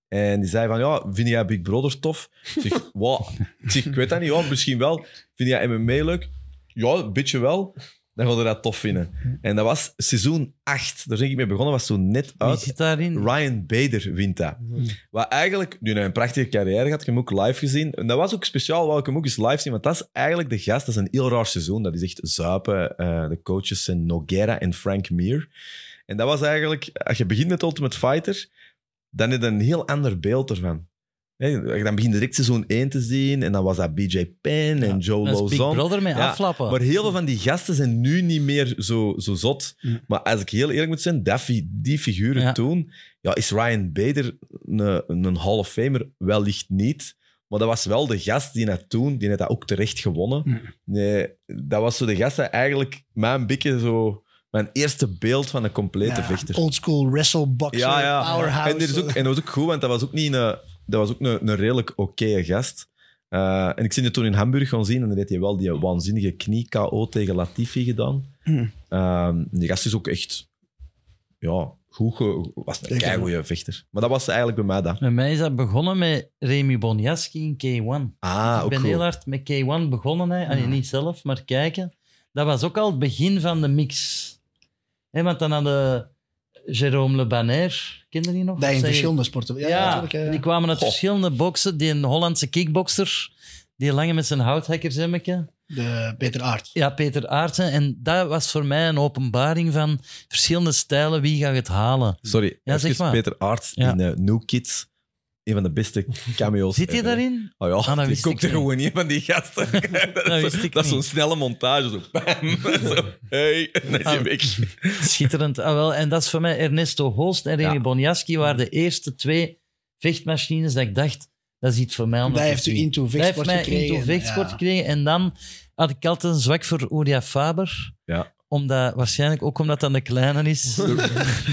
[SPEAKER 1] En die zei van, ja, vind jij Big Brother tof? Ik zeg, [LAUGHS] wow. ik, zeg, ik weet dat niet, ja, misschien wel. Vind jij MMA leuk? Ja, een beetje wel. Dan gaan we dat tof vinden. En dat was seizoen 8. Daar ben ik mee begonnen, was toen net
[SPEAKER 2] Wie
[SPEAKER 1] uit.
[SPEAKER 2] zit daarin?
[SPEAKER 1] Ryan Bader wint dat.
[SPEAKER 2] Mhm.
[SPEAKER 1] Wat eigenlijk, nu een prachtige carrière gehad, ik heb hem ook live gezien. En dat was ook speciaal, wou ik hem ook eens live zien, want dat is eigenlijk de gast, dat is een heel raar seizoen. Dat is echt zuipen. Eh, de coaches zijn Noguera en Frank Mir. En dat was eigenlijk, als je begint met Ultimate Fighter, dan heb je een heel ander beeld ervan. Nee, als je dan begint direct seizoen 1 te zien, en dan was dat BJ Penn en Joe
[SPEAKER 2] Dat is Big
[SPEAKER 1] Lozon.
[SPEAKER 2] Brother met
[SPEAKER 1] Ja,
[SPEAKER 2] aflappen.
[SPEAKER 1] Maar heel veel van die gasten zijn nu niet meer zo, zo zot.
[SPEAKER 4] Ja.
[SPEAKER 1] Maar als ik heel eerlijk moet zijn, dat fi- die figuren
[SPEAKER 2] Ja.
[SPEAKER 1] toen... Ja, is Ryan Bader een, een Hall of Famer? Wellicht niet. Maar dat was wel de gast die net toen... Die net dat ook terecht gewonnen.
[SPEAKER 4] Ja.
[SPEAKER 1] Nee, dat was zo de gast die eigenlijk mijn bikke zo... Mijn eerste beeld van een complete
[SPEAKER 4] Ja,
[SPEAKER 1] vechter.
[SPEAKER 4] Oldschool wrestleboxer,
[SPEAKER 1] Ja, ja.
[SPEAKER 4] powerhouse. eh,
[SPEAKER 1] En, dit is ook, en dat was ook goed, want dat was ook, niet een, dat was ook een, een redelijk oké gast. Eh, en ik zie het toen in Hamburg gaan zien en dan had hij wel die waanzinnige knie-KO tegen Latifi gedaan.
[SPEAKER 4] Hm.
[SPEAKER 2] Hmm.
[SPEAKER 1] Ehm, die gast is ook echt... Ja, goed ge- was een
[SPEAKER 4] Zeker.
[SPEAKER 1] keigoeie vechter. Maar dat was eigenlijk bij mij dat.
[SPEAKER 2] Bij mij is dat begonnen met Remy Bonjaski in K1.
[SPEAKER 1] Ah,
[SPEAKER 2] ik
[SPEAKER 1] ook
[SPEAKER 2] ben
[SPEAKER 1] goed.
[SPEAKER 2] heel hard met K1 begonnen. Hè.
[SPEAKER 4] Ah.
[SPEAKER 2] Allee, niet zelf, maar kijken. Dat was ook al het begin van de mix. Hè, want dan hadden Jérôme Le Banner, ken je die nog?
[SPEAKER 4] Dat in
[SPEAKER 2] Zeg-
[SPEAKER 4] verschillende sporten.
[SPEAKER 2] Ja,
[SPEAKER 4] Ja, ja, natuurlijk, eh, ja, ja.
[SPEAKER 2] die kwamen uit
[SPEAKER 1] Goh.
[SPEAKER 2] verschillende boksen. Die een Hollandse kickboxer, die lange met zijn houthakkershemmetje.
[SPEAKER 4] De Peter Aert.
[SPEAKER 2] Ja, Peter Aartsen. En dat was voor mij een openbaring van verschillende stijlen. Wie gaat het halen?
[SPEAKER 1] Sorry,
[SPEAKER 2] Ja, zeg
[SPEAKER 1] even
[SPEAKER 2] maar.
[SPEAKER 1] Peter Arts
[SPEAKER 2] Ja.
[SPEAKER 1] in eh, New Kids. Een van de
[SPEAKER 2] [LAUGHS]
[SPEAKER 1] beste cameo's.
[SPEAKER 2] Zit
[SPEAKER 4] eh,
[SPEAKER 2] je
[SPEAKER 1] ever.
[SPEAKER 2] daarin?
[SPEAKER 1] Oh ja,
[SPEAKER 2] Ah, dat
[SPEAKER 1] die
[SPEAKER 2] wist
[SPEAKER 1] kookt
[SPEAKER 2] ik
[SPEAKER 1] er
[SPEAKER 2] niet.
[SPEAKER 1] gewoon niet van die gasten.
[SPEAKER 2] [LAUGHS]
[SPEAKER 1] dat is,
[SPEAKER 2] wist
[SPEAKER 1] zo-
[SPEAKER 2] ik
[SPEAKER 1] dat is zo'n
[SPEAKER 2] niet.
[SPEAKER 1] snelle montage. Zo, [LAUGHS] bam, zo, hey,
[SPEAKER 2] [LAUGHS]
[SPEAKER 1] en dan is je
[SPEAKER 2] Ah.
[SPEAKER 1] weg.
[SPEAKER 2] Schitterend. Ah, wel. En dat is voor mij Ernesto Holst en Remy
[SPEAKER 1] Ja.
[SPEAKER 2] Bonjaski waren de eerste twee vechtmachines dat ik dacht, dat is iets voor mij. om
[SPEAKER 4] Dat
[SPEAKER 2] te
[SPEAKER 4] heeft u
[SPEAKER 2] zien.
[SPEAKER 4] into vechtsport
[SPEAKER 2] Dat heeft mij
[SPEAKER 4] gekregen.
[SPEAKER 2] into vechtsport
[SPEAKER 4] Ja.
[SPEAKER 2] gekregen. En dan had ik altijd een zwak voor Uria Faber.
[SPEAKER 1] Ja.
[SPEAKER 2] Omdat, waarschijnlijk ook omdat dat een
[SPEAKER 1] [LAUGHS]
[SPEAKER 2] kleine is.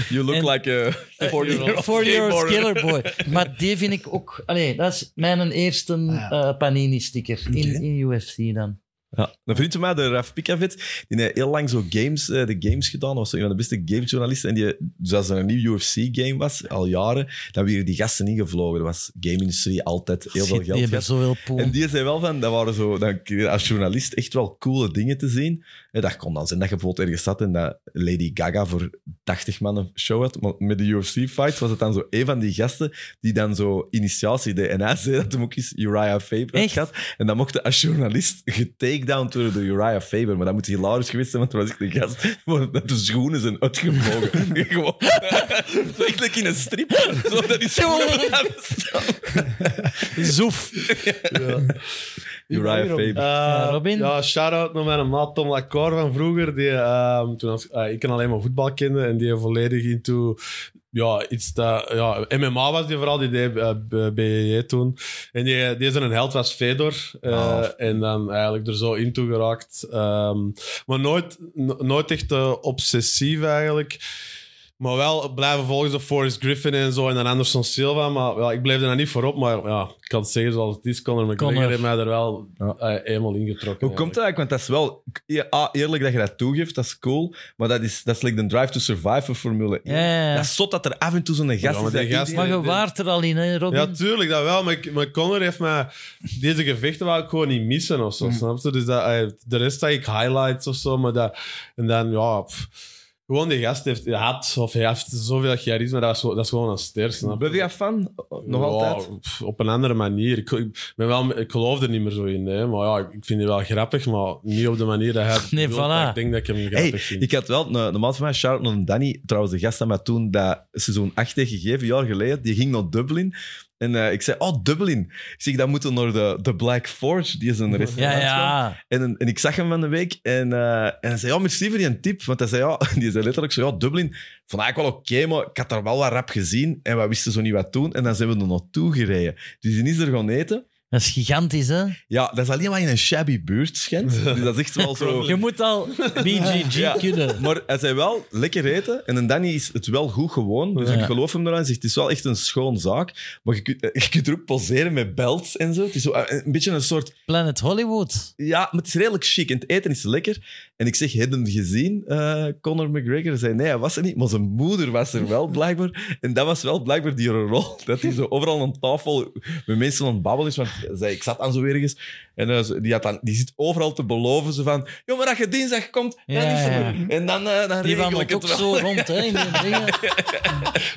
[SPEAKER 1] You look
[SPEAKER 2] En-
[SPEAKER 1] like
[SPEAKER 2] [LAUGHS]
[SPEAKER 1] a four-year-old
[SPEAKER 2] Four-year-old
[SPEAKER 1] skateboarder.
[SPEAKER 2] killer boy. Maar die vind ik ook... Allee, dat is mijn eerste
[SPEAKER 4] Ah, ja.
[SPEAKER 2] eh, Panini-sticker in,
[SPEAKER 4] Oké.
[SPEAKER 2] in UFC dan.
[SPEAKER 1] Ja, een vriend van mij, de Raf Pikavet, die heeft heel lang zo games, eh, de games gedaan. Dat was zo een van de beste gamejournalisten. En die, dus als er een nieuw UFC-game was, al jaren, dan werden die gasten ingevlogen. Dat was game-industrie, altijd heel veel
[SPEAKER 2] Shit, Die
[SPEAKER 1] geld.
[SPEAKER 2] hebben
[SPEAKER 1] gehad.
[SPEAKER 2] zoveel poen.
[SPEAKER 1] En die zei wel van, dat waren zo, dan, kreeg je als journalist echt wel coole dingen te zien. En dat kon dan zijn dat je bijvoorbeeld ergens zat en dat Lady Gaga voor 80 man een show had. Maar met de UFC-fight was het dan zo een van die gasten die dan zo initiatie deed. En hij zei dat hem ook eens Uriah Faber had
[SPEAKER 2] Echt?
[SPEAKER 1] gehad. En dan mocht hij als journalist getakedown worden door Uriah Faber. Maar dat moet hilarisch geweest zijn, want er was echt een gast waar dat de schoenen zijn uitgevlogen. [LAUGHS] Gewoon. Zo echt like in een strip. Zo, dat is gewoon [LAUGHS] Zoef. Uriah Faber.
[SPEAKER 3] Eh,
[SPEAKER 2] Robin?
[SPEAKER 3] Ja, shout-out naar mijn maat Tom Lacor van vroeger. Die, ehm, toen als, eh, ik kan alleen maar voetbal kennen en die volledig into... Ja, iets dat, ja, MMA was die vooral, die deed eh, B- BJJ toen. En die, die zijn een held was Fedor. eh,
[SPEAKER 1] Ah.
[SPEAKER 3] En dan eigenlijk er zo into geraakt. Ehm, maar nooit, no- nooit echt eh, obsessief eigenlijk. Maar wel blijven volgen zo Forrest Griffin en zo en dan Anderson Silva. Maar ja, ik bleef er dan niet voor op. Maar ja, ik kan het zeggen zoals het is. Conor McGregor
[SPEAKER 2] Conor.
[SPEAKER 3] heeft mij er wel
[SPEAKER 1] Ja.
[SPEAKER 3] eh, eenmaal ingetrokken.
[SPEAKER 1] Hoe komt dat eigenlijk? Want dat is wel ja, ah, eerlijk dat je dat toegeeft, dat is cool. Maar dat is, dat is like de drive to survive voor Formule 1.
[SPEAKER 2] Ja, ja, ja.
[SPEAKER 1] Dat is zot dat er af en toe zo'n
[SPEAKER 3] Ja,
[SPEAKER 1] gast
[SPEAKER 3] maar
[SPEAKER 1] is.
[SPEAKER 3] die
[SPEAKER 1] dat
[SPEAKER 3] gast-
[SPEAKER 1] iedereen-
[SPEAKER 2] [LAUGHS] Maar je
[SPEAKER 3] die-
[SPEAKER 2] waart er al in, hè, Robin?
[SPEAKER 3] Ja, tuurlijk, dat wel. Maar, ik- maar Conor heeft mij... Deze gevechten wou ik gewoon niet missen of zo,
[SPEAKER 1] Hmm.
[SPEAKER 3] snap je? Dus dat, eh, de rest zag ik highlights of zo, maar dat... En dan, ja... pff, gewoon die gast heeft, had, of hij heeft zoveel charisma, dat is, gewoon- dat is gewoon een ster, snap je?
[SPEAKER 1] Ben jij fan? Hmm. Nog
[SPEAKER 3] Ja,
[SPEAKER 1] altijd?
[SPEAKER 3] pff, Op een andere manier. Ik, ik, ben wel, ik geloof er niet meer zo in. Hè. Maar ja, ik- ik vind het wel grappig, maar niet op de
[SPEAKER 1] [LAUGHS]
[SPEAKER 3] manier dat hij het
[SPEAKER 2] Nee,
[SPEAKER 3] bedoelt,
[SPEAKER 2] voilà.
[SPEAKER 3] dat Ik denk dat ik hem grappig
[SPEAKER 1] Hey,
[SPEAKER 3] vind.
[SPEAKER 1] ik had wel een, een maat van mij, Charlotte en Danny, trouwens de gast aan mij toen dat seizoen 8 heeft gegeven, een jaar geleden, die ging naar Dublin. En eh, ik zei, oh, Dublin. Ik zeg, dan moeten we naar de, de Black Forge. Die is een
[SPEAKER 2] Ja,
[SPEAKER 1] restaurant.
[SPEAKER 2] ja.
[SPEAKER 1] En, en ik zag hem van de week en, eh, en hij zei, ja, merci voor die tip. Want hij zei, ja, [LAUGHS] die zei letterlijk zo, ja, Dublin, vond ik eigenlijk wel oké, maar ik had daar wel wat rap gezien en we wisten zo niet wat doen. En dan zijn we er naartoe gereden. Dus die is er gaan eten.
[SPEAKER 2] Dat is gigantisch, hè?
[SPEAKER 1] Ja, dat is alleen maar in een shabby buurt, schijnt. Dus dat is echt wel zo...
[SPEAKER 2] Je moet al BGG
[SPEAKER 1] Ja.
[SPEAKER 2] kunnen.
[SPEAKER 1] Maar hij zei wel, lekker eten. En dan Danny is het wel goed gewoon. Dus
[SPEAKER 2] Ja.
[SPEAKER 1] ik geloof hem eraan. Hij zegt, het is wel echt een schoon zaak. Maar je kunt, eh, je kunt er ook poseren met belts en zo. Het is zo eh, een beetje een soort...
[SPEAKER 2] Planet Hollywood.
[SPEAKER 1] Ja, maar het is redelijk chic. En het eten is lekker. En ik zeg, heb je hem gezien, eh, Conor McGregor? Hij zei, nee, hij was er niet. Maar zijn moeder was er wel, blijkbaar. En dat was wel blijkbaar die rol. [LAUGHS] Dat hij zo overal aan tafel met mensen aan het babbelen is. Want hij zei, ik zat aan zo ergens. En eh, zo- die, had dan, die zit overal te beloven. Zo van, joh, maar als je dinsdag komt, dan
[SPEAKER 2] Ja,
[SPEAKER 1] is er...
[SPEAKER 2] ja.
[SPEAKER 1] En dan, eh dan
[SPEAKER 2] Die
[SPEAKER 1] regel ik
[SPEAKER 2] wandelt ook
[SPEAKER 1] het wel.
[SPEAKER 2] zo rond, hè? In
[SPEAKER 1] [LAUGHS]
[SPEAKER 2] die dingen.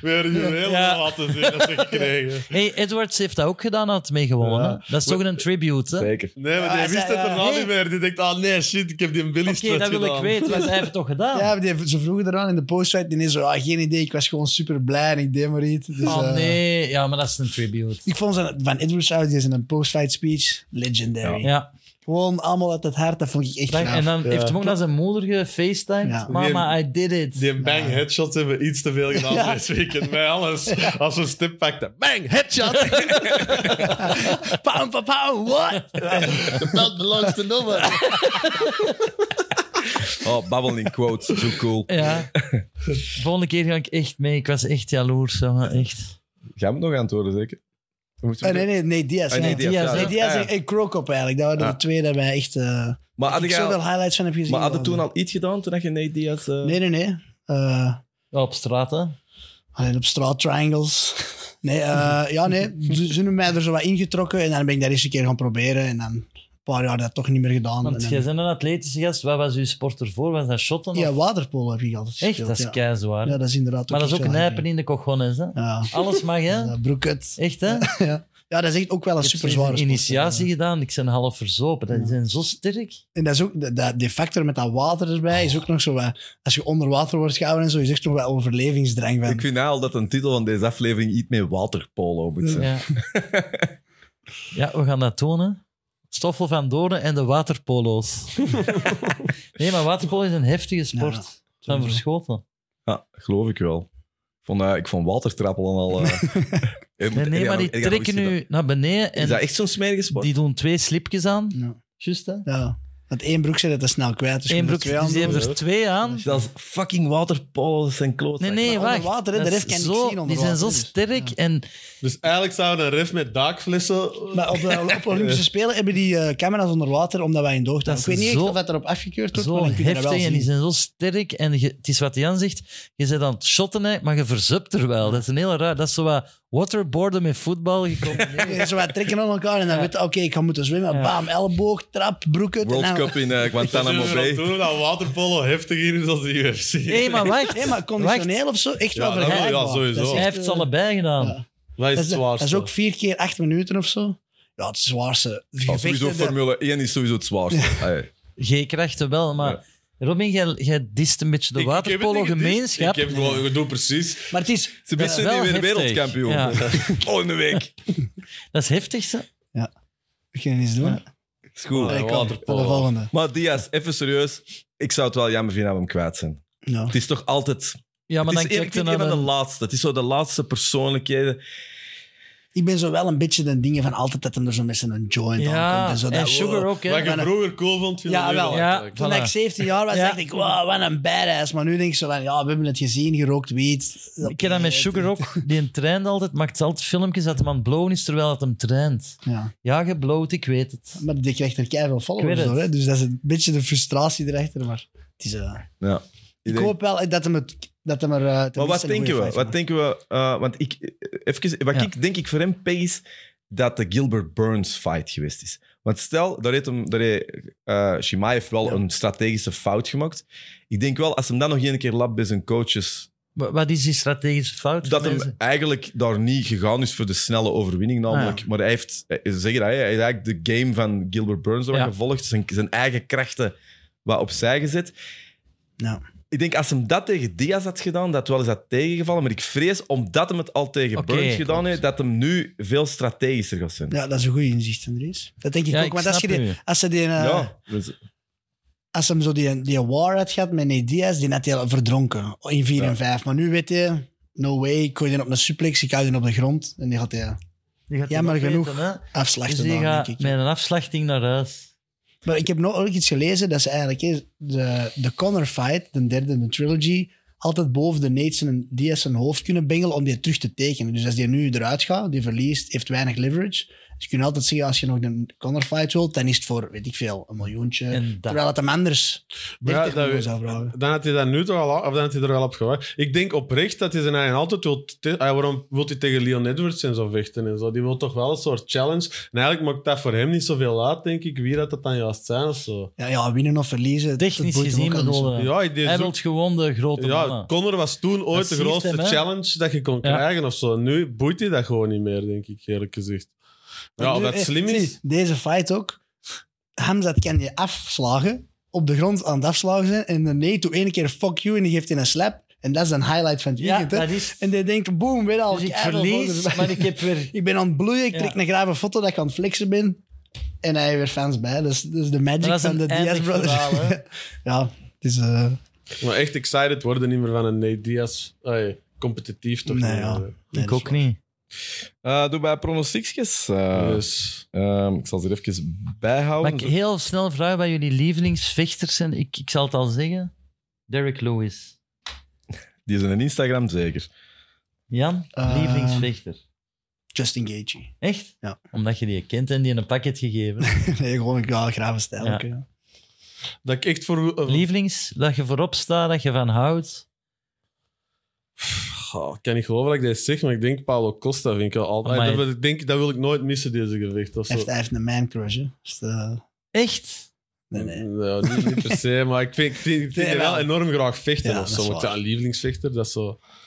[SPEAKER 3] Weer je hele
[SPEAKER 2] Ja.
[SPEAKER 3] laten zien
[SPEAKER 1] [LAUGHS]
[SPEAKER 3] dat ze gekregen.
[SPEAKER 2] Hey, Edwards heeft dat ook gedaan, had meegewonnen.
[SPEAKER 3] Ja.
[SPEAKER 2] hè? Dat is toch een tribute, hè?
[SPEAKER 1] Zeker.
[SPEAKER 3] Nee, maar
[SPEAKER 4] Ja,
[SPEAKER 3] die wist
[SPEAKER 4] zij-
[SPEAKER 3] het erna
[SPEAKER 2] Nee.
[SPEAKER 3] niet meer. Die denkt, ah nee, shit, ik heb die een Billy
[SPEAKER 2] Oké, dat wil ik weten, want hij heeft het toch gedaan?
[SPEAKER 4] Ja, die- ze vroegen eraan in de post-site. Die is zo, ah, geen idee. Ik was gewoon super blij en ik deed maar iets. Dus,
[SPEAKER 2] oh
[SPEAKER 4] eh,
[SPEAKER 2] nee, ja, maar dat is een tribute.
[SPEAKER 4] Ik vond zijn, van Edwards uit, die is in een post-fight speech, legendary.
[SPEAKER 2] Ja,
[SPEAKER 4] Gewoon allemaal uit het hart, dat vond ik echt
[SPEAKER 2] dan-
[SPEAKER 4] gaaf.
[SPEAKER 2] en dan
[SPEAKER 3] Ja.
[SPEAKER 2] heeft hem ook naar zijn moeder gefacetimed.
[SPEAKER 4] Ja.
[SPEAKER 2] Mama, I did it.
[SPEAKER 3] Die bang headshots hebben iets te veel gedaan dit weekend. Bij alles. Als ze een stip pakte. Bang, headshot.
[SPEAKER 4] [LAUGHS] Pound for pound, what? The belt belongs to no one.
[SPEAKER 1] Oh, babbeling quotes. Zo cool.
[SPEAKER 2] Ja. [LAUGHS] Volgende keer ga ik echt mee. Ik was echt jaloers, jongen. Echt.
[SPEAKER 1] Jij moet nog antwoorden, zeker? Moet je-
[SPEAKER 4] Oh, nee, nee, nee, Diaz.
[SPEAKER 1] Ah,
[SPEAKER 4] ja.
[SPEAKER 1] nee, Diaz,
[SPEAKER 2] Diaz,
[SPEAKER 1] ja.
[SPEAKER 4] Nee, Diaz
[SPEAKER 1] Ah, ja.
[SPEAKER 4] en, en Krokop eigenlijk. Dat waren
[SPEAKER 1] Ja.
[SPEAKER 4] de twee dat mij echt... eh
[SPEAKER 1] Maar
[SPEAKER 4] ik
[SPEAKER 1] hadden jij
[SPEAKER 4] zoveel
[SPEAKER 1] al-
[SPEAKER 4] highlights van heb gezien.
[SPEAKER 1] maar hadden
[SPEAKER 4] man.
[SPEAKER 1] toen al iets gedaan toen had je Nate Diaz... eh,
[SPEAKER 4] Nee, nee, nee. Eh,
[SPEAKER 2] Ja, op straat, hè?
[SPEAKER 4] alleen op straat, triangles. Nee, eh, ja, nee. Ze, ze hebben mij er zo wat ingetrokken en dan ben ik dat eens een keer gaan proberen. En dan een paar jaar dat toch niet meer gedaan.
[SPEAKER 2] Want
[SPEAKER 4] En
[SPEAKER 2] jij
[SPEAKER 4] dan-
[SPEAKER 2] bent een atletische gast. Wat was uw sport ervoor? Was dat shotten?
[SPEAKER 4] ja,
[SPEAKER 2] of-
[SPEAKER 4] waterpolo heb ik altijd
[SPEAKER 2] echt,
[SPEAKER 4] gespeeld.
[SPEAKER 2] dat is
[SPEAKER 4] ja.
[SPEAKER 2] keizwaar.
[SPEAKER 4] ja, dat is inderdaad
[SPEAKER 2] maar dat is ook
[SPEAKER 4] iets wat
[SPEAKER 2] nijpen
[SPEAKER 4] ik-
[SPEAKER 2] in de cojones, hè?
[SPEAKER 4] Ja,
[SPEAKER 2] Alles mag, hè?
[SPEAKER 4] [LAUGHS] ja broeket.
[SPEAKER 2] [LAUGHS] Echt, hè? Ik
[SPEAKER 4] Ja. ja, dat is echt ook wel een
[SPEAKER 2] heb
[SPEAKER 4] super
[SPEAKER 2] een
[SPEAKER 4] zware
[SPEAKER 2] initiatie gedaan. Ik ben half verzopen. Dat zijn zo sterk.
[SPEAKER 4] En dat is ook, dat- dat, die factor met dat water erbij is ook nog zo wat, als je onder water wordt gehouden en zo, is echt nog wel overlevingsdrang van.
[SPEAKER 1] Ik vind nou al dat een titel van deze aflevering iets meer waterpolo moet zijn.
[SPEAKER 4] [LAUGHS]
[SPEAKER 2] Ja. ja, we gaan dat tonen. Stoffel van Doornen en de
[SPEAKER 4] [LAUGHS]
[SPEAKER 2] waterpolo's. nee, maar waterpolo is een heftige
[SPEAKER 4] Ja,
[SPEAKER 2] sport. van Verschoten.
[SPEAKER 1] Ja, geloof ik wel. Ik vond, eh, ik vond watertrappelen al... eh, en-
[SPEAKER 2] Nee,
[SPEAKER 1] en
[SPEAKER 2] nee,
[SPEAKER 1] ja,
[SPEAKER 2] maar die
[SPEAKER 1] en ja,
[SPEAKER 2] trekken
[SPEAKER 1] is dat-
[SPEAKER 2] nu naar beneden
[SPEAKER 1] Is dat
[SPEAKER 2] en
[SPEAKER 1] echt zo'n smerige sport?
[SPEAKER 2] die doen twee slipjes aan.
[SPEAKER 4] Ja.
[SPEAKER 2] Juist, hè?
[SPEAKER 4] Ja. Want één broek zit het te snel kwijt. Dus je
[SPEAKER 2] Eén
[SPEAKER 4] moet
[SPEAKER 2] broek,
[SPEAKER 4] er twee
[SPEAKER 2] dus die
[SPEAKER 4] aan
[SPEAKER 2] hebben
[SPEAKER 4] doen.
[SPEAKER 2] er twee aan.
[SPEAKER 1] Dat is fucking waterpolo, dat zijn kloot.
[SPEAKER 2] Nee, nee,
[SPEAKER 4] Maar
[SPEAKER 2] wacht.
[SPEAKER 4] onder water, hè, de
[SPEAKER 2] Dat
[SPEAKER 4] rest
[SPEAKER 2] is
[SPEAKER 4] kan ik
[SPEAKER 2] zo-
[SPEAKER 4] zien onder
[SPEAKER 2] Die zijn zo
[SPEAKER 4] water, dus.
[SPEAKER 2] sterk en
[SPEAKER 3] Dus eigenlijk zouden een ref met daakflessen...
[SPEAKER 4] Maar op de
[SPEAKER 1] [LAUGHS]
[SPEAKER 4] op Olympische Spelen hebben die eh, camera's onder water, omdat wij in doog
[SPEAKER 2] Dat
[SPEAKER 4] Ik weet
[SPEAKER 2] is
[SPEAKER 4] niet echt
[SPEAKER 2] zo-
[SPEAKER 4] of dat erop afgekeurd wordt,
[SPEAKER 2] zo
[SPEAKER 4] maar dan kun je dat wel
[SPEAKER 2] heftig en die
[SPEAKER 4] zien.
[SPEAKER 2] zijn zo sterk. En je- het is wat Jan zegt, je bent aan het shotten, hè, maar je verzupt er wel. Dat is een hele raar... Dat is zo wat waterboarden met voetbal
[SPEAKER 4] [LAUGHS]
[SPEAKER 2] gecombineerd.
[SPEAKER 4] Ja, Zo wat trekken aan elkaar en dan weet je, oké, ik ga moeten zwemmen.
[SPEAKER 2] Ja.
[SPEAKER 4] Bam, elleboog, trap, broek
[SPEAKER 2] Nou.
[SPEAKER 4] uit. en
[SPEAKER 1] World
[SPEAKER 4] dan-
[SPEAKER 1] Cup in eh, Guantanamo Bay.
[SPEAKER 3] Toen dat waterpolo heftiger is dan de UFC.
[SPEAKER 2] Nee, maar wacht.
[SPEAKER 4] Nee, maar conditioneel of zo, echt
[SPEAKER 3] Ja,
[SPEAKER 4] wel
[SPEAKER 3] dat wel, ja,
[SPEAKER 4] vergelijkbaar.
[SPEAKER 3] sowieso.
[SPEAKER 4] Dat is
[SPEAKER 2] Hij
[SPEAKER 4] echt,
[SPEAKER 2] heeft
[SPEAKER 4] eh,
[SPEAKER 2] ze allebei gedaan.
[SPEAKER 4] ja.
[SPEAKER 3] Wat is
[SPEAKER 4] Dat
[SPEAKER 3] het
[SPEAKER 4] is, de-
[SPEAKER 3] zwaarste?
[SPEAKER 4] dat is ook vier keer acht minuten of zo. Ja, het zwaarste.
[SPEAKER 1] Oh,
[SPEAKER 4] gevechten,
[SPEAKER 1] sowieso
[SPEAKER 4] dat-
[SPEAKER 1] Formule 1 is sowieso het zwaarste. Ah, ja.
[SPEAKER 2] G-krachten wel, maar... Robin, jij, jij dist een beetje de
[SPEAKER 3] Ik- ik heb het niet
[SPEAKER 2] waterpolo-gemeenschap.
[SPEAKER 3] gedist. Ik heb gewoon, ik doe precies.
[SPEAKER 4] Maar het is...
[SPEAKER 1] Ze best
[SPEAKER 2] Ja,
[SPEAKER 1] zijn
[SPEAKER 2] wel
[SPEAKER 1] nu weer
[SPEAKER 2] heftig.
[SPEAKER 1] wereldkampioen. [LAUGHS]
[SPEAKER 2] Ja.
[SPEAKER 1] Volgende week.
[SPEAKER 2] Dat is heftig, hè?
[SPEAKER 4] Ik kan eens doen. Ja,
[SPEAKER 1] Is goed.
[SPEAKER 3] Ja,
[SPEAKER 4] ik kan. Tot de
[SPEAKER 3] waterpolo.
[SPEAKER 4] volgende.
[SPEAKER 1] Maar Diaz, even serieus. Ik zou het wel jammer vinden dat we hem kwijt zijn.
[SPEAKER 4] Ja.
[SPEAKER 1] Het is toch altijd...
[SPEAKER 2] Ja, maar
[SPEAKER 1] het
[SPEAKER 2] dan
[SPEAKER 1] is een, ik
[SPEAKER 2] kijkt je
[SPEAKER 1] vind een
[SPEAKER 2] naar
[SPEAKER 1] van de
[SPEAKER 2] een...
[SPEAKER 1] laatste. Het is zo de laatste persoonlijkheden.
[SPEAKER 4] Ik ben zo wel een beetje de dingen van altijd dat hem er zo met zijn joint
[SPEAKER 2] Ja,
[SPEAKER 4] aankomt. En,
[SPEAKER 2] en,
[SPEAKER 4] zo, dat,
[SPEAKER 2] Sugar
[SPEAKER 4] wow.
[SPEAKER 2] ook,
[SPEAKER 3] Wat
[SPEAKER 2] hè?
[SPEAKER 3] je vroeger cool vond, vind je
[SPEAKER 4] Ja,
[SPEAKER 3] nu
[SPEAKER 4] wel.
[SPEAKER 3] wel.
[SPEAKER 2] Ja.
[SPEAKER 3] eigenlijk.
[SPEAKER 4] Toen
[SPEAKER 2] Voilà.
[SPEAKER 4] ik 17 jaar was,
[SPEAKER 2] Ja.
[SPEAKER 4] dacht ik, wow, wat een badass. Maar nu denk ik zo van, ja, we hebben het gezien, gerookt wiet.
[SPEAKER 2] Ik ken dat met Sugar ook. Die traint altijd, maakt altijd filmpjes dat hem aan het blowen is terwijl dat hem traint.
[SPEAKER 4] Ja.
[SPEAKER 2] Ja, geblowt, ik weet het.
[SPEAKER 4] Maar die krijgt er keihard veel
[SPEAKER 2] Ik
[SPEAKER 4] followers
[SPEAKER 2] weet het.
[SPEAKER 4] door. Hè? Dus dat is een beetje de frustratie erachter. Maar het is, eh,
[SPEAKER 1] Ja.
[SPEAKER 4] ik
[SPEAKER 1] denk-
[SPEAKER 4] hoop wel dat hem, het, dat hem er... eh,
[SPEAKER 1] Maar
[SPEAKER 4] tenminste
[SPEAKER 1] wat
[SPEAKER 4] een
[SPEAKER 1] denken
[SPEAKER 4] goede
[SPEAKER 1] we?
[SPEAKER 4] fight
[SPEAKER 1] Wat
[SPEAKER 4] maakt.
[SPEAKER 1] denken we eh, want ik, eh, even, wat
[SPEAKER 2] Ja.
[SPEAKER 1] ik denk ik voor hem pech is dat de Gilbert Burns fight geweest is. Want stel, daar heeft, hem, daar heeft eh, Shimaev wel
[SPEAKER 4] Ja.
[SPEAKER 1] een strategische fout gemaakt. Ik denk wel, als hem dan nog één keer lapt bij zijn coaches,
[SPEAKER 2] Wa- Wat is die strategische fout?
[SPEAKER 1] dat
[SPEAKER 2] Mensen?
[SPEAKER 1] hem eigenlijk daar niet gegaan is voor de snelle overwinning namelijk.
[SPEAKER 4] Ah,
[SPEAKER 1] Maar hij heeft, eh, zeg dat, hij hij heeft eigenlijk de game van Gilbert Burns er wat
[SPEAKER 2] Ja.
[SPEAKER 1] gevolgd, zijn, zijn eigen krachten wat opzij gezet.
[SPEAKER 4] Ja.
[SPEAKER 1] Ik denk als hem dat tegen Diaz had gedaan, dat wel eens had tegengevallen. Maar ik vrees, omdat hem het al tegen
[SPEAKER 2] Oké,
[SPEAKER 1] Burns gedaan
[SPEAKER 2] klopt.
[SPEAKER 1] heeft, dat hem nu veel strategischer gaat zijn.
[SPEAKER 4] Ja, dat is een goede inzicht, Andries. Dat denk ik
[SPEAKER 2] Ja,
[SPEAKER 4] ook.
[SPEAKER 2] ik
[SPEAKER 4] Want als, je
[SPEAKER 2] snap
[SPEAKER 4] die,
[SPEAKER 2] u.
[SPEAKER 4] als, ze die, eh,
[SPEAKER 1] Ja, dus-
[SPEAKER 4] als hem zo die, die war had gehad met Nate Diaz, die had hij al verdronken in 4
[SPEAKER 1] Ja.
[SPEAKER 4] en 5. Maar nu weet je, no way, ik gooi die op een suplex, ik hou die op de grond. En die gaat hij
[SPEAKER 2] Die gaat
[SPEAKER 4] Jammer
[SPEAKER 2] die
[SPEAKER 4] genoeg.
[SPEAKER 2] opeten, hè. Dus
[SPEAKER 4] afslachten,
[SPEAKER 2] die
[SPEAKER 4] dan,
[SPEAKER 2] gaat
[SPEAKER 4] denk ik.
[SPEAKER 2] met een afslachting naar huis.
[SPEAKER 4] Maar ik heb nog ook iets gelezen dat ze eigenlijk eh, de, de Connor fight, de derde in de trilogy, altijd boven de Nates en Diaz zijn hoofd kunnen bengelen om die terug te tekenen. Dus als die nu eruit gaat, die verliest, heeft weinig leverage. Dus je kunt altijd zeggen, als je nog een Connor fight wilt, dan is het voor, weet ik veel, een miljoentje.
[SPEAKER 2] En dat.
[SPEAKER 4] Terwijl het hem anders
[SPEAKER 3] Maar ja,
[SPEAKER 4] 30
[SPEAKER 3] dat
[SPEAKER 4] miljoen
[SPEAKER 3] we-
[SPEAKER 4] zou vragen.
[SPEAKER 3] Dan had hij dat nu toch al, of dan had hij er wel op gewacht. Ik denk oprecht dat hij zijn eigen altijd wil. te- Ah, waarom wil hij tegen Leon Edwards en zo vechten en zo? Die wil toch wel een soort challenge. En eigenlijk maakt dat voor hem niet zoveel uit, denk ik, wie dat, dat dan juist zijn of zo.
[SPEAKER 4] Ja, ja, winnen of verliezen. het- het
[SPEAKER 2] Technisch
[SPEAKER 4] boeit hem
[SPEAKER 2] gezien
[SPEAKER 4] ook al niet zo.
[SPEAKER 2] bedoel je.
[SPEAKER 3] Ja, ik deed
[SPEAKER 2] Hij
[SPEAKER 3] zo-
[SPEAKER 2] wil gewoon de grote
[SPEAKER 3] Ja,
[SPEAKER 2] mannen.
[SPEAKER 3] Connor was toen
[SPEAKER 2] Dat
[SPEAKER 3] ooit de
[SPEAKER 2] siert
[SPEAKER 3] grootste
[SPEAKER 2] hem, hè?
[SPEAKER 3] challenge dat je kon
[SPEAKER 2] Ja.
[SPEAKER 3] krijgen of zo. Nu boeit hij dat gewoon niet meer, denk ik, eerlijk gezegd. Ja,
[SPEAKER 4] Want
[SPEAKER 3] of
[SPEAKER 4] nu,
[SPEAKER 3] dat
[SPEAKER 4] eh,
[SPEAKER 3] slim is.
[SPEAKER 4] zie, Deze fight ook. Hamzat kan je afslagen, op de grond aan het afslagen zijn. En de nee, doet één keer fuck you en die geeft in een slap. En dat is een highlight van het
[SPEAKER 2] Ja,
[SPEAKER 4] weekend. hè.
[SPEAKER 2] dat is...
[SPEAKER 4] En die denkt, boom, weer al.
[SPEAKER 2] Dus ik
[SPEAKER 4] keihard
[SPEAKER 2] verlies,
[SPEAKER 4] volgers.
[SPEAKER 2] maar ik heb weer...
[SPEAKER 4] [LAUGHS] Ik ben aan het bloeien, ik
[SPEAKER 2] Ja.
[SPEAKER 4] trek een grave foto dat ik aan het flexen ben. En hij heeft weer fans bij. Dat is, dat is de magic
[SPEAKER 2] Dat was
[SPEAKER 4] van
[SPEAKER 2] een
[SPEAKER 4] de Diaz
[SPEAKER 2] eindig
[SPEAKER 4] Brothers.
[SPEAKER 2] verhaal, hè.
[SPEAKER 4] [LAUGHS] ja, het is... eh,
[SPEAKER 3] Maar echt excited worden niet meer van een Nate Diaz. Ai, competitief toch?
[SPEAKER 4] Nee,
[SPEAKER 3] niet
[SPEAKER 4] ja.
[SPEAKER 3] meer.
[SPEAKER 4] nee, dat
[SPEAKER 2] Ik
[SPEAKER 4] is
[SPEAKER 2] ook niet.
[SPEAKER 1] Eh, doe bij pronostiekjes. eh.
[SPEAKER 3] Dus,
[SPEAKER 1] Ehm, ik zal ze er even
[SPEAKER 2] Mag
[SPEAKER 1] bijhouden.
[SPEAKER 2] ik heel snel vragen bij jullie lievelingsvechters zijn? Ik, ik zal het al zeggen. Derek Lewis.
[SPEAKER 1] Die is in Instagram zeker.
[SPEAKER 2] Jan,
[SPEAKER 4] Eh,
[SPEAKER 2] lievelingsvechter.
[SPEAKER 4] Justin Gaethje. [LAUGHS]
[SPEAKER 2] Echt?
[SPEAKER 4] ja.
[SPEAKER 2] Omdat je die kent en die een pakket
[SPEAKER 4] [LAUGHS]
[SPEAKER 2] gegeven.
[SPEAKER 4] nee, gewoon een ja, grave stijl.
[SPEAKER 2] Ja.
[SPEAKER 4] ook, ja.
[SPEAKER 3] dat ik echt voor... eh,
[SPEAKER 2] Lievelings, dat je voorop staat, dat je van houdt.
[SPEAKER 3] Goh, oh, ik kan niet geloven dat ik dit zeg, maar ik denk Paulo Costa vind ik wel altijd.
[SPEAKER 2] Amai.
[SPEAKER 3] Dat, ik denk, dat wil ik nooit missen, deze gewicht. Of
[SPEAKER 4] Hij
[SPEAKER 3] zo.
[SPEAKER 4] heeft, hij heeft een man crush, hè. Dus, eh,
[SPEAKER 2] Echt?
[SPEAKER 4] nee, nee.
[SPEAKER 3] Mm, Ja, niet, niet per se, maar ik vind, ik vind, ik vind
[SPEAKER 4] Nee,
[SPEAKER 3] die wel
[SPEAKER 4] wel.
[SPEAKER 3] enorm graag vechten.
[SPEAKER 4] Ja,
[SPEAKER 3] of
[SPEAKER 4] dat
[SPEAKER 3] zo.
[SPEAKER 4] is
[SPEAKER 3] Want
[SPEAKER 4] waar.
[SPEAKER 3] ja, een lievelingsvechter, dat is, zo,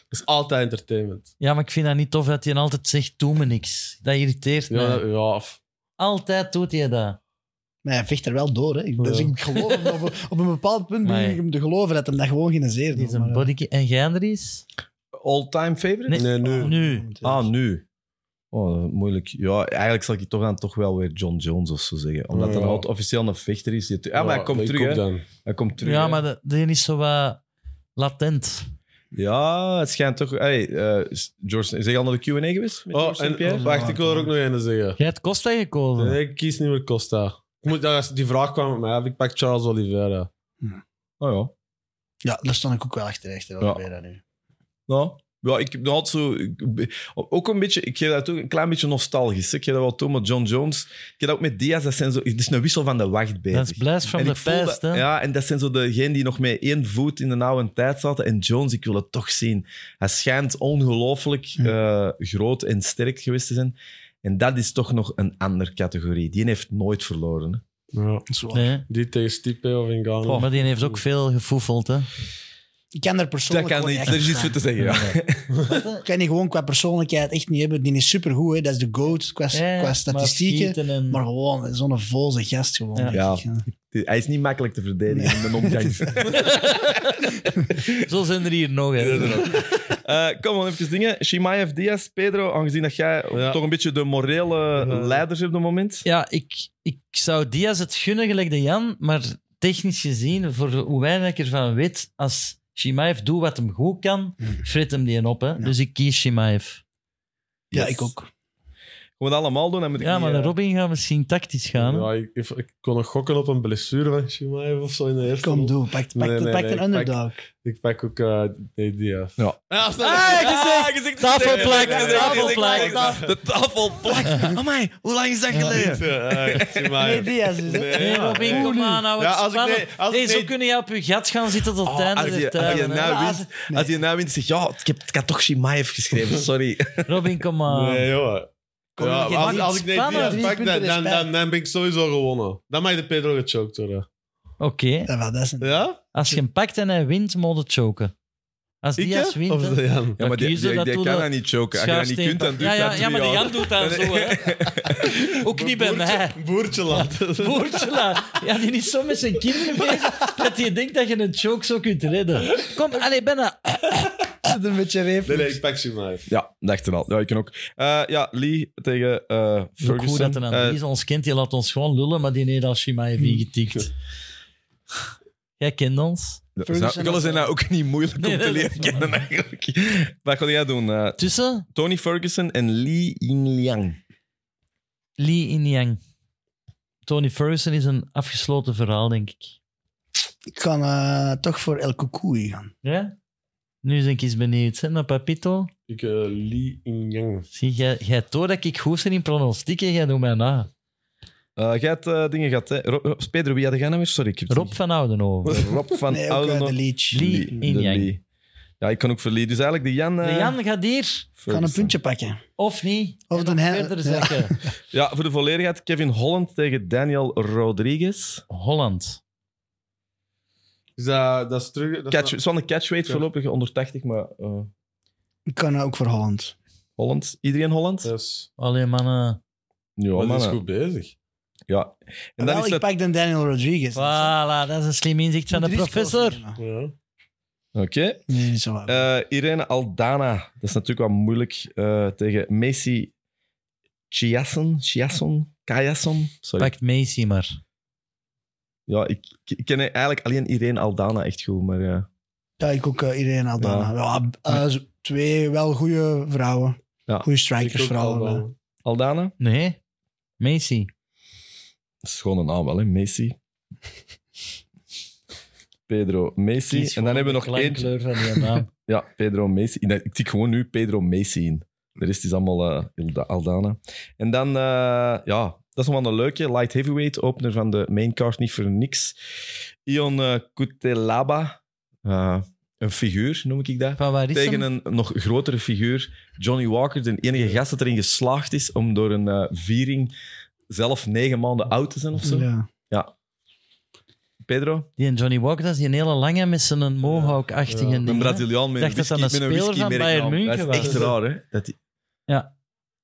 [SPEAKER 3] dat is altijd entertainment.
[SPEAKER 2] Ja, maar ik vind dat niet tof dat hij altijd zegt, doe me niks. Dat irriteert me.
[SPEAKER 3] Ja, dat- ja, of-
[SPEAKER 2] Altijd doet hij dat.
[SPEAKER 4] Maar hij vecht er wel door, hè. Ik- Dus
[SPEAKER 3] Ja.
[SPEAKER 4] ik geloof hem. Op, op een bepaald punt
[SPEAKER 2] Maar-
[SPEAKER 4] begin ik hem te geloven dat hem dat gewoon geen zeer
[SPEAKER 2] Die
[SPEAKER 4] doet.
[SPEAKER 2] is een
[SPEAKER 4] maar, eh,
[SPEAKER 2] bodyke- En jij, Andries?
[SPEAKER 1] All-time favorite?
[SPEAKER 3] Nee, nu.
[SPEAKER 2] Nu.
[SPEAKER 1] Ah, nu. Oh, dat is moeilijk. Ja, eigenlijk zal ik toch dan toch wel weer John Jones of zo zeggen. Omdat
[SPEAKER 3] Ja.
[SPEAKER 1] hij altijd officieel een vechter is. Die- Ah,
[SPEAKER 3] ja,
[SPEAKER 1] maar hij komt
[SPEAKER 3] ik ook
[SPEAKER 1] terug, hè.
[SPEAKER 3] dan.
[SPEAKER 1] Hij komt terug.
[SPEAKER 2] ja,
[SPEAKER 1] hè.
[SPEAKER 2] maar dat- die is zo wat latent.
[SPEAKER 1] Ja, het schijnt toch... Hey, eh, is George, is hij al naar de Q&A geweest met
[SPEAKER 3] Oh,
[SPEAKER 1] George St. Pierre?
[SPEAKER 3] en, wacht, ik wil er ook nog een zeggen.
[SPEAKER 2] Jij hebt Costa gekozen.
[SPEAKER 3] Nee, ik kies niet meer Costa. Ik moet, ja, die vraag kwam met mij af. Ik pak Charles Oliveira.
[SPEAKER 1] Oh
[SPEAKER 4] Ja, daar stond ik ook wel achter, echt.
[SPEAKER 1] Ja.
[SPEAKER 4] Ja. Dat nu.
[SPEAKER 1] ja. Ja. Nou, Ja, ik ben altijd zo... ik- ook een beetje... Ik geef dat ook een klein beetje nostalgisch. hè. Ik geef dat wel toe, maar John Jones... Ik heb dat ook met Diaz. Dat zijn zo... Het is een wissel van de wacht bezig.
[SPEAKER 2] Dat is Blast from
[SPEAKER 1] En
[SPEAKER 2] the
[SPEAKER 1] ik voel
[SPEAKER 2] Past,
[SPEAKER 1] dat-
[SPEAKER 2] hè?
[SPEAKER 1] Ja, en dat zijn zo degenen die nog met één voet in de oude tijd zaten. En Jones, ik wil het toch zien. Hij schijnt ongelooflijk
[SPEAKER 2] Hm.
[SPEAKER 1] eh, groot en sterk geweest te zijn. En dat is toch nog een andere categorie. Die heeft nooit verloren. hè.
[SPEAKER 3] Ja.
[SPEAKER 4] Dat is waar.
[SPEAKER 2] Nee.
[SPEAKER 3] Die tegen Stipe of Ngannou.
[SPEAKER 1] Oh.
[SPEAKER 2] Maar die heeft ook veel gefoefeld, hè?
[SPEAKER 4] Dus Ik kan daar persoonlijk gewoon echt niet
[SPEAKER 1] te zeggen, ja. [LAUGHS]
[SPEAKER 2] [LAUGHS]
[SPEAKER 4] Ik kan die gewoon qua persoonlijkheid echt niet hebben. Die is supergoed, hè. dat is de GOAT qua, qua statistieken. Maar,
[SPEAKER 2] Eh, En...
[SPEAKER 4] gewoon zo'n voze gast gewoon.
[SPEAKER 2] Ja.
[SPEAKER 4] denk ik, ja.
[SPEAKER 1] Hij is niet makkelijk te verdedigen in de
[SPEAKER 2] [LAUGHS]
[SPEAKER 1] omgang.
[SPEAKER 2] Zo zijn er hier nog, hè?
[SPEAKER 1] Eh, Kom, dan even dingen. Shimaev Diaz, Pedro, aangezien dat jij
[SPEAKER 3] Ja.
[SPEAKER 1] toch een beetje de morele
[SPEAKER 3] Ja.
[SPEAKER 1] leider bent op het moment.
[SPEAKER 2] Ja, ik, ik zou Diaz het gunnen, gelijk de Jan, maar technisch gezien, voor hoe weinig ik ervan weet, als Shimaev doet wat hem goed kan,
[SPEAKER 3] Hmm.
[SPEAKER 2] frit hem die een op, hè? Dus ik kies Shimaev.
[SPEAKER 4] Ja,
[SPEAKER 1] Yes.
[SPEAKER 4] ik ook.
[SPEAKER 1] Gewoon allemaal doen. Dan moet ik
[SPEAKER 2] Ja,
[SPEAKER 1] niet,
[SPEAKER 2] maar de
[SPEAKER 1] eh,
[SPEAKER 2] Robin gaat misschien tactisch gaan. hè?
[SPEAKER 3] Ja, ik, ik, ik kon nog gokken op een blessure van Shimaev of zo in de eerste
[SPEAKER 4] Kom,
[SPEAKER 3] ronde.
[SPEAKER 4] doe. Pak, pak,
[SPEAKER 3] Nee, nee,
[SPEAKER 4] pak
[SPEAKER 3] nee, ik
[SPEAKER 4] een
[SPEAKER 3] pak-
[SPEAKER 4] underdog.
[SPEAKER 3] Ik pak ook eh nee, Diaz.
[SPEAKER 1] Ja.
[SPEAKER 3] Ah,
[SPEAKER 2] Ah,
[SPEAKER 1] gezicht.
[SPEAKER 2] Tafelplak, tafelplak.
[SPEAKER 1] De
[SPEAKER 2] [LAUGHS]
[SPEAKER 1] tafelplak. Amai, hoe lang is dat geleden? eh,
[SPEAKER 3] [LAUGHS]
[SPEAKER 4] Nee, Diaz is het.
[SPEAKER 2] Nee, Robin, kom aan, nou, het
[SPEAKER 3] Ja,
[SPEAKER 2] is
[SPEAKER 3] als ik
[SPEAKER 2] spannend.
[SPEAKER 3] nee- als ik
[SPEAKER 2] hey, zo
[SPEAKER 3] nee-
[SPEAKER 2] kun je op je gat gaan zitten tot het eh,
[SPEAKER 1] Oh,
[SPEAKER 2] einde
[SPEAKER 1] als,
[SPEAKER 2] der
[SPEAKER 1] je, als, je
[SPEAKER 2] tijden, hè.
[SPEAKER 1] nou
[SPEAKER 4] Ja,
[SPEAKER 1] wint, als je nou wint, zeg je, ja, ik heb, ik had toch Shimaev
[SPEAKER 2] [LAUGHS]
[SPEAKER 1] geschreven, sorry.
[SPEAKER 2] Robin, kom
[SPEAKER 1] Ah.
[SPEAKER 2] aan.
[SPEAKER 3] Nee, joh.
[SPEAKER 4] Kom,
[SPEAKER 3] ja,
[SPEAKER 4] je
[SPEAKER 3] maar als,
[SPEAKER 4] niet
[SPEAKER 3] als ik nee
[SPEAKER 2] spannen,
[SPEAKER 3] Diaz
[SPEAKER 4] drie
[SPEAKER 3] pak,
[SPEAKER 4] punten
[SPEAKER 3] dan, dan,
[SPEAKER 4] respect.
[SPEAKER 3] dan, dan ben ik sowieso gewonnen. Dan mag de Pedro gechoked worden.
[SPEAKER 2] Oké,
[SPEAKER 4] Ja, wel, dat is een...
[SPEAKER 3] Ja?
[SPEAKER 2] als je hem pakt en hij wint, moet het choken. Als
[SPEAKER 3] Ik,
[SPEAKER 2] die als
[SPEAKER 3] hè?
[SPEAKER 2] wint,
[SPEAKER 3] Of
[SPEAKER 2] hè.
[SPEAKER 3] de Jan?
[SPEAKER 2] Ja,
[SPEAKER 1] Ja, maar die,
[SPEAKER 2] kiezen,
[SPEAKER 1] die,
[SPEAKER 2] dat
[SPEAKER 1] die
[SPEAKER 2] doe
[SPEAKER 1] kan
[SPEAKER 2] dat
[SPEAKER 1] dat niet choken. Als je dat niet
[SPEAKER 2] schuifsteen.
[SPEAKER 1] kunt, dan doet
[SPEAKER 2] ja, ja,
[SPEAKER 1] dat
[SPEAKER 2] ja, maar de
[SPEAKER 1] drie
[SPEAKER 2] Jan
[SPEAKER 1] jaar.
[SPEAKER 2] doet dat zo, hè.
[SPEAKER 3] [LAUGHS]
[SPEAKER 2] Ook niet bij mij.
[SPEAKER 3] Boertje, boertje laten.
[SPEAKER 2] [LAUGHS] Boertje, ja, die is zo met zijn kinderen bezig dat hij denkt dat je een choke zo kunt redden. Kom, allez, Benna.
[SPEAKER 4] een beetje reef.
[SPEAKER 3] Nee, nee, ik pak ze maar.
[SPEAKER 1] Ja, dacht er al. Ja, ik kan ook. Eh, ja, Lee tegen eh,
[SPEAKER 2] Ook goed
[SPEAKER 1] Ferguson.
[SPEAKER 2] dat er een
[SPEAKER 1] Eh, Hmm.
[SPEAKER 2] Andries ons kent, die laat ons gewoon lullen, maar die heeft al Shimaev ingetikt. Jij kent ons.
[SPEAKER 1] dat is nou-
[SPEAKER 4] Ferguson
[SPEAKER 1] Gullen
[SPEAKER 4] was,
[SPEAKER 1] zijn nou ook niet moeilijk
[SPEAKER 4] [LAUGHS]
[SPEAKER 2] Nee,
[SPEAKER 1] om te
[SPEAKER 2] dat is
[SPEAKER 1] leren kennen, eigenlijk. Wat ga jij doen? eh,
[SPEAKER 2] Tussen
[SPEAKER 1] Tony Ferguson en Lee Ying-Liang.
[SPEAKER 2] Lee en Yang. Tony Ferguson is een afgesloten verhaal, denk ik.
[SPEAKER 4] Ik kan eh, toch voor El Cucuy gaan.
[SPEAKER 2] Ja? Nu ben ik eens benieuwd. Hè, naar Papito.
[SPEAKER 3] Ik eh, Lee in Yang.
[SPEAKER 2] Zie, jij, jij door dat ik goed ben in pronostieken, jij doet mij na.
[SPEAKER 1] Eh jij hebt eh, dingen gehad, hè? Rob, Rob- Pedro, wie had jij nou weer? Sorry, ik heb het
[SPEAKER 2] Rob van Oudenhoven.
[SPEAKER 1] niet- Rob van
[SPEAKER 4] [LAUGHS] Nee, ook eh,
[SPEAKER 1] Oudenhof.
[SPEAKER 4] de Leech.
[SPEAKER 2] Lee
[SPEAKER 1] de
[SPEAKER 2] Ying-Yang.
[SPEAKER 1] Lee. Ja, ik kan ook voor Lee. Dus eigenlijk de Jan...
[SPEAKER 2] De
[SPEAKER 1] eh,
[SPEAKER 2] Jan gaat hier,
[SPEAKER 4] Ik kan
[SPEAKER 1] Ferguson.
[SPEAKER 4] een puntje pakken.
[SPEAKER 2] of niet,
[SPEAKER 4] Of
[SPEAKER 2] en
[SPEAKER 4] de
[SPEAKER 2] nog
[SPEAKER 4] Hen-
[SPEAKER 2] verder
[SPEAKER 4] Eh, ja.
[SPEAKER 2] zakken.
[SPEAKER 4] [LAUGHS]
[SPEAKER 1] Ja, voor de volledigheid. Kevin Holland tegen Daniel Rodriguez.
[SPEAKER 2] Holland.
[SPEAKER 3] Dus dat, dat is terug... Dat is
[SPEAKER 1] Catch, het is wel een catchweight
[SPEAKER 3] Ja.
[SPEAKER 1] voorlopig, onder 80, maar eh,
[SPEAKER 4] Ik kan ook voor Holland.
[SPEAKER 1] Holland. Iedereen Holland?
[SPEAKER 3] nou- yes.
[SPEAKER 2] Alleen mannen.
[SPEAKER 1] Ja,
[SPEAKER 3] Maar die is
[SPEAKER 1] mannen.
[SPEAKER 3] goed bezig.
[SPEAKER 1] Ja. En dan
[SPEAKER 4] Wel,
[SPEAKER 1] is
[SPEAKER 4] ik
[SPEAKER 1] dat...
[SPEAKER 4] pak dan Daniel Rodriguez.
[SPEAKER 2] Voilà, dat is een slim inzicht van de
[SPEAKER 4] Moet risico's
[SPEAKER 2] professor.
[SPEAKER 4] nemen.
[SPEAKER 3] Ja.
[SPEAKER 1] Oké.
[SPEAKER 4] Nee, niet zo waar.
[SPEAKER 1] Eh, Irene Aldana. Dat is natuurlijk wel moeilijk eh, tegen Messi Chiasson. Chiasson? Kayasson? Sorry.
[SPEAKER 2] Pakt Macy maar.
[SPEAKER 1] Ja, ik, ik ken eigenlijk alleen Irene Aldana echt goed, maar... eh,
[SPEAKER 4] Ja, ik ook eh, iedereen al
[SPEAKER 1] Ja.
[SPEAKER 4] dan. Ja, eh, z- twee wel goede vrouwen.
[SPEAKER 1] Ja.
[SPEAKER 4] Goede
[SPEAKER 3] Ik
[SPEAKER 4] strikers
[SPEAKER 3] ook
[SPEAKER 4] vooral.
[SPEAKER 3] al
[SPEAKER 4] allebei.
[SPEAKER 3] wel.
[SPEAKER 1] Aldana?
[SPEAKER 2] Nee, Macy.
[SPEAKER 1] Dat is gewoon een naam wel, hè. Messi. Pedro Messi. En dan hebben we nog één...
[SPEAKER 2] kleur van die
[SPEAKER 1] [LAUGHS]
[SPEAKER 2] naam.
[SPEAKER 1] Ja, Pedro Messi. Ik denk- Ik tik gewoon nu Pedro Messi in. De rest is allemaal eh, Ilda- Aldana. En dan, eh, ja, dat is nog wel een leuke. Light heavyweight, opener van de maincard, niet voor niks. Ion eh, Kutelaba, eh, een figuur noem ik dat.
[SPEAKER 2] Van waar is
[SPEAKER 1] Tegen
[SPEAKER 2] Tegen
[SPEAKER 1] een nog grotere figuur, Johnny Walker, de enige gast dat erin geslaagd is om door een eh, viering zelf negen maanden oud te zijn of zo.
[SPEAKER 4] eh. Ja.
[SPEAKER 1] Pedro,
[SPEAKER 2] Die en Johnny Walker, dat is die een hele lange met zijn mohawk-achtige
[SPEAKER 3] Ja.
[SPEAKER 2] ding,
[SPEAKER 1] een
[SPEAKER 2] hè.
[SPEAKER 1] Braziliaan met een
[SPEAKER 2] dacht dat dat
[SPEAKER 1] whisky,
[SPEAKER 2] een
[SPEAKER 1] met een
[SPEAKER 2] speler van
[SPEAKER 1] whiskymerknaam.
[SPEAKER 2] Bayern München
[SPEAKER 1] Dat is echt
[SPEAKER 2] was.
[SPEAKER 1] raar, hè? Dat die-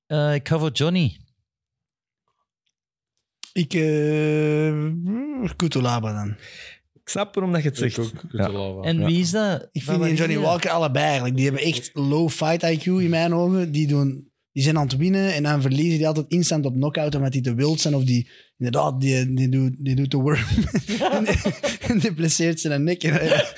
[SPEAKER 2] Eh, ik ga voor Johnny.
[SPEAKER 4] Ik eh Kutulaba dan.
[SPEAKER 1] Ik snap waarom dat je het
[SPEAKER 3] Ik
[SPEAKER 1] zegt.
[SPEAKER 3] ook.
[SPEAKER 1] Ja.
[SPEAKER 3] Kutelava.
[SPEAKER 2] En
[SPEAKER 1] Ja.
[SPEAKER 2] wie is dat?
[SPEAKER 4] Ik
[SPEAKER 2] Van
[SPEAKER 4] vind die en
[SPEAKER 2] waar
[SPEAKER 4] Johnny
[SPEAKER 2] is die?
[SPEAKER 4] Walker allebei eigenlijk. Die hebben echt low fight IQ in
[SPEAKER 1] Hmm.
[SPEAKER 4] mijn ogen. Die, doen, die zijn aan het winnen en dan verliezen die altijd instant op knockout omdat die te wild zijn. Of die, inderdaad, die, die, doet, die doet de
[SPEAKER 1] [LAUGHS]
[SPEAKER 4] worm. en, die, en die blesseert zijn nek. Dus, eh, En, ja. Dat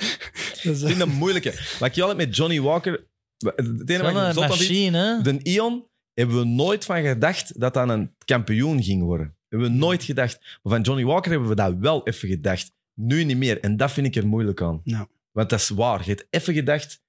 [SPEAKER 4] is,
[SPEAKER 1] Ik vind dat moeilijke. Wat ik al heb met Johnny Walker... Het ene
[SPEAKER 2] Wel
[SPEAKER 1] wat ik
[SPEAKER 2] een
[SPEAKER 1] zot aan vind,
[SPEAKER 2] machine, hè?
[SPEAKER 1] de Ion hebben we nooit van gedacht dat dat een kampioen ging worden. Hebben we nooit gedacht. Maar van Johnny Walker hebben we dat wel even gedacht. Nu niet meer. En dat vind ik er moeilijk aan.
[SPEAKER 4] Ja.
[SPEAKER 1] Want dat is waar. Je hebt even gedacht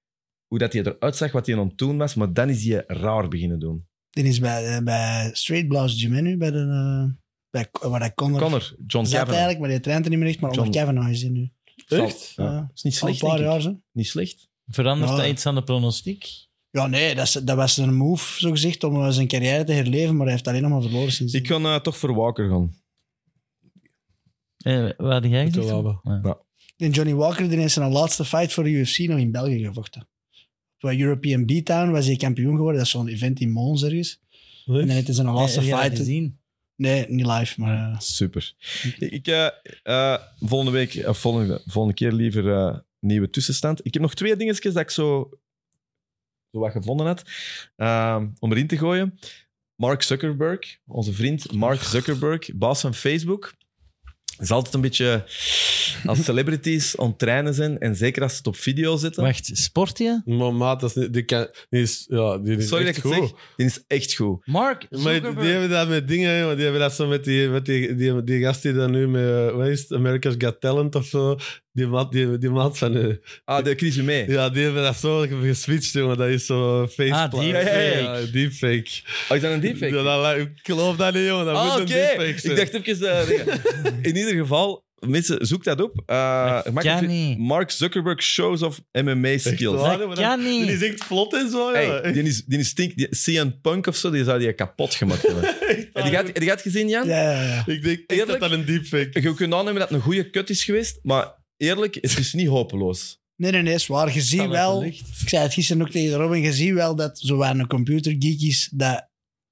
[SPEAKER 1] hoe dat hij eruit zag, wat hij aan het doen was. Maar dan is hij raar beginnen doen.
[SPEAKER 4] die is bij, eh, bij Straight Blouse Gym hè, nu, bij de, eh, bij, waar dat Connor,
[SPEAKER 1] Connor, John
[SPEAKER 4] zat
[SPEAKER 1] Kavanaugh.
[SPEAKER 4] eigenlijk, maar die traint er niet meer echt. Maar
[SPEAKER 1] John-
[SPEAKER 4] onder Kavanaugh is die nu.
[SPEAKER 3] Echt?
[SPEAKER 1] Ja.
[SPEAKER 4] Ja.
[SPEAKER 1] Dat is niet
[SPEAKER 4] eh, Al een
[SPEAKER 1] slecht,
[SPEAKER 4] paar
[SPEAKER 1] denk ik.
[SPEAKER 4] jaar, zo.
[SPEAKER 1] Niet slecht.
[SPEAKER 2] Verandert
[SPEAKER 4] Ja.
[SPEAKER 2] dat iets aan de pronostiek?
[SPEAKER 4] Ja, nee, dat, is- dat was een move, zo gezegd, om eh, zijn carrière te herleven, maar hij heeft alleen nog maar verloren sinds.
[SPEAKER 1] Ik kan eh, toch voor Walker gaan.
[SPEAKER 2] Eh, wat had jij gezegd?
[SPEAKER 3] Kutelava.
[SPEAKER 2] Ja.
[SPEAKER 4] En Johnny Walker die heeft zijn laatste fight voor de UFC nog in België gevochten. Bij European Beatdown was hij kampioen geworden. Dat is zo'n event in Mons ergens. En dan heeft hij zijn laatste
[SPEAKER 2] Eh, ja,
[SPEAKER 4] fight...
[SPEAKER 2] gezien.
[SPEAKER 4] Nee, niet live, maar... eh,
[SPEAKER 1] Super. Ik, eh, eh, volgende week, eh, volgende, volgende keer liever eh, nieuwe tussenstand. Ik heb nog twee dingetjes dat ik zo, zo wat gevonden had ehm, om erin te gooien. Mark Zuckerberg, onze vriend Mark Zuckerberg, baas van Facebook, is altijd een beetje als celebrities aan het trainen zijn en zeker als ze het op video zetten.
[SPEAKER 2] Wacht, sport je?
[SPEAKER 3] Maar maat, dat is niet... Die, kan, die is, ja, die is
[SPEAKER 1] Sorry dat
[SPEAKER 3] echt
[SPEAKER 1] ik het
[SPEAKER 3] goed.
[SPEAKER 1] zeg, dit is echt goed.
[SPEAKER 2] Mark
[SPEAKER 3] Maar die, die
[SPEAKER 2] Zuckerberg.
[SPEAKER 3] hebben dat met dingen, jongen. Die hebben dat zo met die, met die, die, die gast die dan nu met, eh, wat is het, America's Got Talent of zo. Die maat, die, die maat van nu.
[SPEAKER 1] Ah, de Chris mee.
[SPEAKER 3] Ja, die hebben dat zo geswitcht, jongen. Dat is zo face
[SPEAKER 2] Ah, deepfake.
[SPEAKER 3] deepfake.
[SPEAKER 1] Oh, is dat een deepfake?
[SPEAKER 3] Ja, dat lijkt- ik geloof dat niet, jongen. Dat
[SPEAKER 1] Ah,
[SPEAKER 3] moet
[SPEAKER 1] oké.
[SPEAKER 3] een deepfake zijn.
[SPEAKER 1] Ik dacht even... eh, in ieder geval, mensen, zoek dat op.
[SPEAKER 3] ah,
[SPEAKER 1] Eh,
[SPEAKER 2] Dat
[SPEAKER 1] maak
[SPEAKER 2] kan
[SPEAKER 1] het-
[SPEAKER 2] niet.
[SPEAKER 1] Mark Zuckerberg shows of MMA skills.
[SPEAKER 3] waar?
[SPEAKER 2] Dat kan
[SPEAKER 3] Die is
[SPEAKER 2] niet.
[SPEAKER 3] echt vlot en zo, jongen.
[SPEAKER 1] Hey, die is, die is stink, die, CN Punk of zo, die zou die kapot gemaakt hebben.
[SPEAKER 3] [LAUGHS]
[SPEAKER 1] Heb je gaat, die gaat gezien, Jan?
[SPEAKER 4] ja, ja, ja.
[SPEAKER 3] Ik denk echt
[SPEAKER 1] Eerlijk?
[SPEAKER 3] dat dat een deepfake
[SPEAKER 1] Je kunt aannemen dat het een goede kut is geweest, maar eerlijk, het is niet hopeloos.
[SPEAKER 4] Nee, nee, nee, is waar. Je ziet wel... Ik zei het gisteren ook tegen Robin, je ziet wel dat zowel een computergeek is dat
[SPEAKER 2] Dat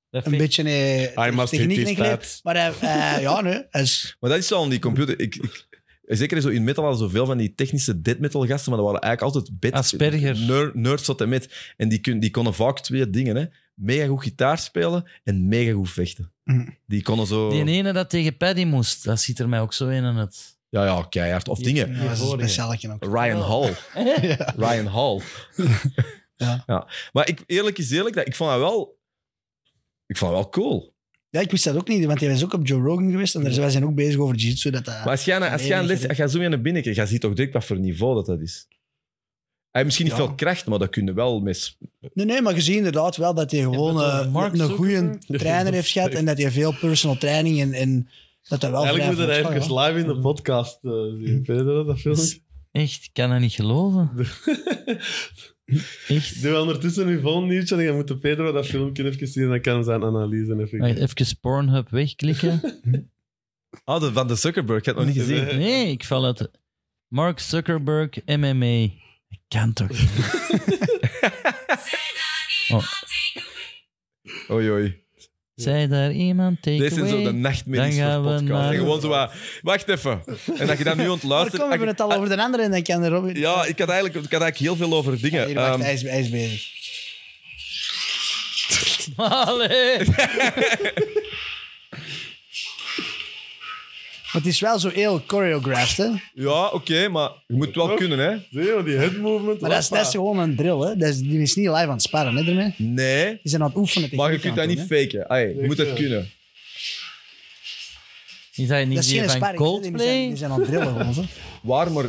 [SPEAKER 4] een
[SPEAKER 2] vind ik-
[SPEAKER 4] beetje eh,
[SPEAKER 3] Hij must
[SPEAKER 4] techniek
[SPEAKER 3] have
[SPEAKER 4] ingeleerd.
[SPEAKER 3] that.
[SPEAKER 4] Maar hij, eh, ja, nee, hij is...
[SPEAKER 1] Maar dat is zo aan die computer. Ik, ik, zeker zo in metal hadden zoveel van die technische death metal gasten, maar dat waren eigenlijk altijd bed,
[SPEAKER 2] Asperger.
[SPEAKER 1] Ner, nerds tot en met. En die, kun, die konden vaak twee dingen. Hè. Mega goed gitaar spelen en mega goed vechten.
[SPEAKER 4] Mhm.
[SPEAKER 1] Die konden zo...
[SPEAKER 2] Die ene dat tegen Paddy moest, dat ziet er mij ook zo in. aan
[SPEAKER 3] [LAUGHS]
[SPEAKER 2] het...
[SPEAKER 1] Ja, ja, keihard. Of
[SPEAKER 2] Die-
[SPEAKER 1] dingen.
[SPEAKER 4] Ja, dat is een
[SPEAKER 2] vorige.
[SPEAKER 4] speciaaltje ook.
[SPEAKER 1] Ryan
[SPEAKER 2] Ja.
[SPEAKER 4] [LAUGHS]
[SPEAKER 1] Hall.
[SPEAKER 4] Ja.
[SPEAKER 1] Ryan Hall.
[SPEAKER 4] Oh. Ja.
[SPEAKER 1] Maar ik, eerlijk is eerlijk, dat- ik vond dat wel... Ik vond dat wel cool.
[SPEAKER 4] Ja, ik wist dat ook niet, want hij was ook op Joe Rogan geweest en daar wij zijn ook bezig over jiu-jitsu. Dat eh, dat...
[SPEAKER 1] Maar als jij, als jij een les, als jij zo mee naar binnen kijkt, je ziet toch direct wat voor niveau dat dat is. Hij heeft misschien niet
[SPEAKER 4] Ja.
[SPEAKER 1] veel kracht, maar dat kunnen wel mis.
[SPEAKER 4] Nee, nee, maar je ziet inderdaad wel dat hij gewoon
[SPEAKER 2] bedoel,
[SPEAKER 4] eh,
[SPEAKER 2] Mark
[SPEAKER 4] een goede
[SPEAKER 2] Zuckerberg?
[SPEAKER 4] trainer heeft gehad en dat hij veel personal training en, en dat dat wel
[SPEAKER 3] Eigenlijk moet
[SPEAKER 4] vrij
[SPEAKER 3] je dat
[SPEAKER 4] vlot gaat,
[SPEAKER 3] even live in de podcast eh, zien. Vind je dat, dat filmpje?
[SPEAKER 2] Echt, ik kan dat niet geloven. Echt.
[SPEAKER 3] Doe ondertussen uw volgende nieuwtje en je moet de Pedro dat filmpje even zien. Dan kan hij zijn analyse even
[SPEAKER 2] Wacht, even Pornhub
[SPEAKER 3] [LAUGHS]
[SPEAKER 2] wegklikken.
[SPEAKER 1] Ah, de, van de Zuckerberg, ik had het nog niet gezien.
[SPEAKER 2] Nee, ik val uit. Mark Zuckerberg, MMA. Dat kan toch
[SPEAKER 3] [LAUGHS]
[SPEAKER 2] niet?
[SPEAKER 1] Oei, oei.
[SPEAKER 2] Zij daar iemand tegen?
[SPEAKER 1] Dit zijn zo de nachtmerries
[SPEAKER 2] Dan
[SPEAKER 1] voor
[SPEAKER 2] gaan we
[SPEAKER 1] podcasts.
[SPEAKER 2] naar-
[SPEAKER 1] En gewoon zo wat, wacht even. En dat je dat nu
[SPEAKER 4] Maar
[SPEAKER 1] ontluistert.
[SPEAKER 4] kom, we hebben het al over de andere en dan kan de Robin...
[SPEAKER 1] Ah. Ja, ik had, eigenlijk, ik had eigenlijk heel veel over dingen.
[SPEAKER 4] Hier, wacht,
[SPEAKER 1] Ehm,
[SPEAKER 4] hij, is, hij is bezig.
[SPEAKER 2] [LAUGHS] Allee.
[SPEAKER 3] [LAUGHS]
[SPEAKER 4] Maar het is wel zo heel choreographed, hè.
[SPEAKER 1] ja, oké, maar je moet het wel kunnen, hè?
[SPEAKER 3] Zie je, die head movement.
[SPEAKER 4] Maar dat is, dat is gewoon een drill, hè. Dat is, die is niet live aan het sparren, hè, daarmee.
[SPEAKER 1] Nee,
[SPEAKER 4] Die zijn aan het oefenen. tegen
[SPEAKER 1] maar je
[SPEAKER 4] elkaar
[SPEAKER 1] kunt dat
[SPEAKER 4] aan
[SPEAKER 1] niet
[SPEAKER 4] het
[SPEAKER 1] faken. Ai, je moet
[SPEAKER 3] eh,
[SPEAKER 1] dat kunnen.
[SPEAKER 2] Is dat
[SPEAKER 4] doen, hè.
[SPEAKER 2] niet
[SPEAKER 4] Dat is
[SPEAKER 2] die
[SPEAKER 4] geen
[SPEAKER 2] van
[SPEAKER 4] sparring, hè. die zijn, die
[SPEAKER 2] Coldplay?
[SPEAKER 4] zijn aan het drillen gewoon, zo.
[SPEAKER 1] Waar, maar...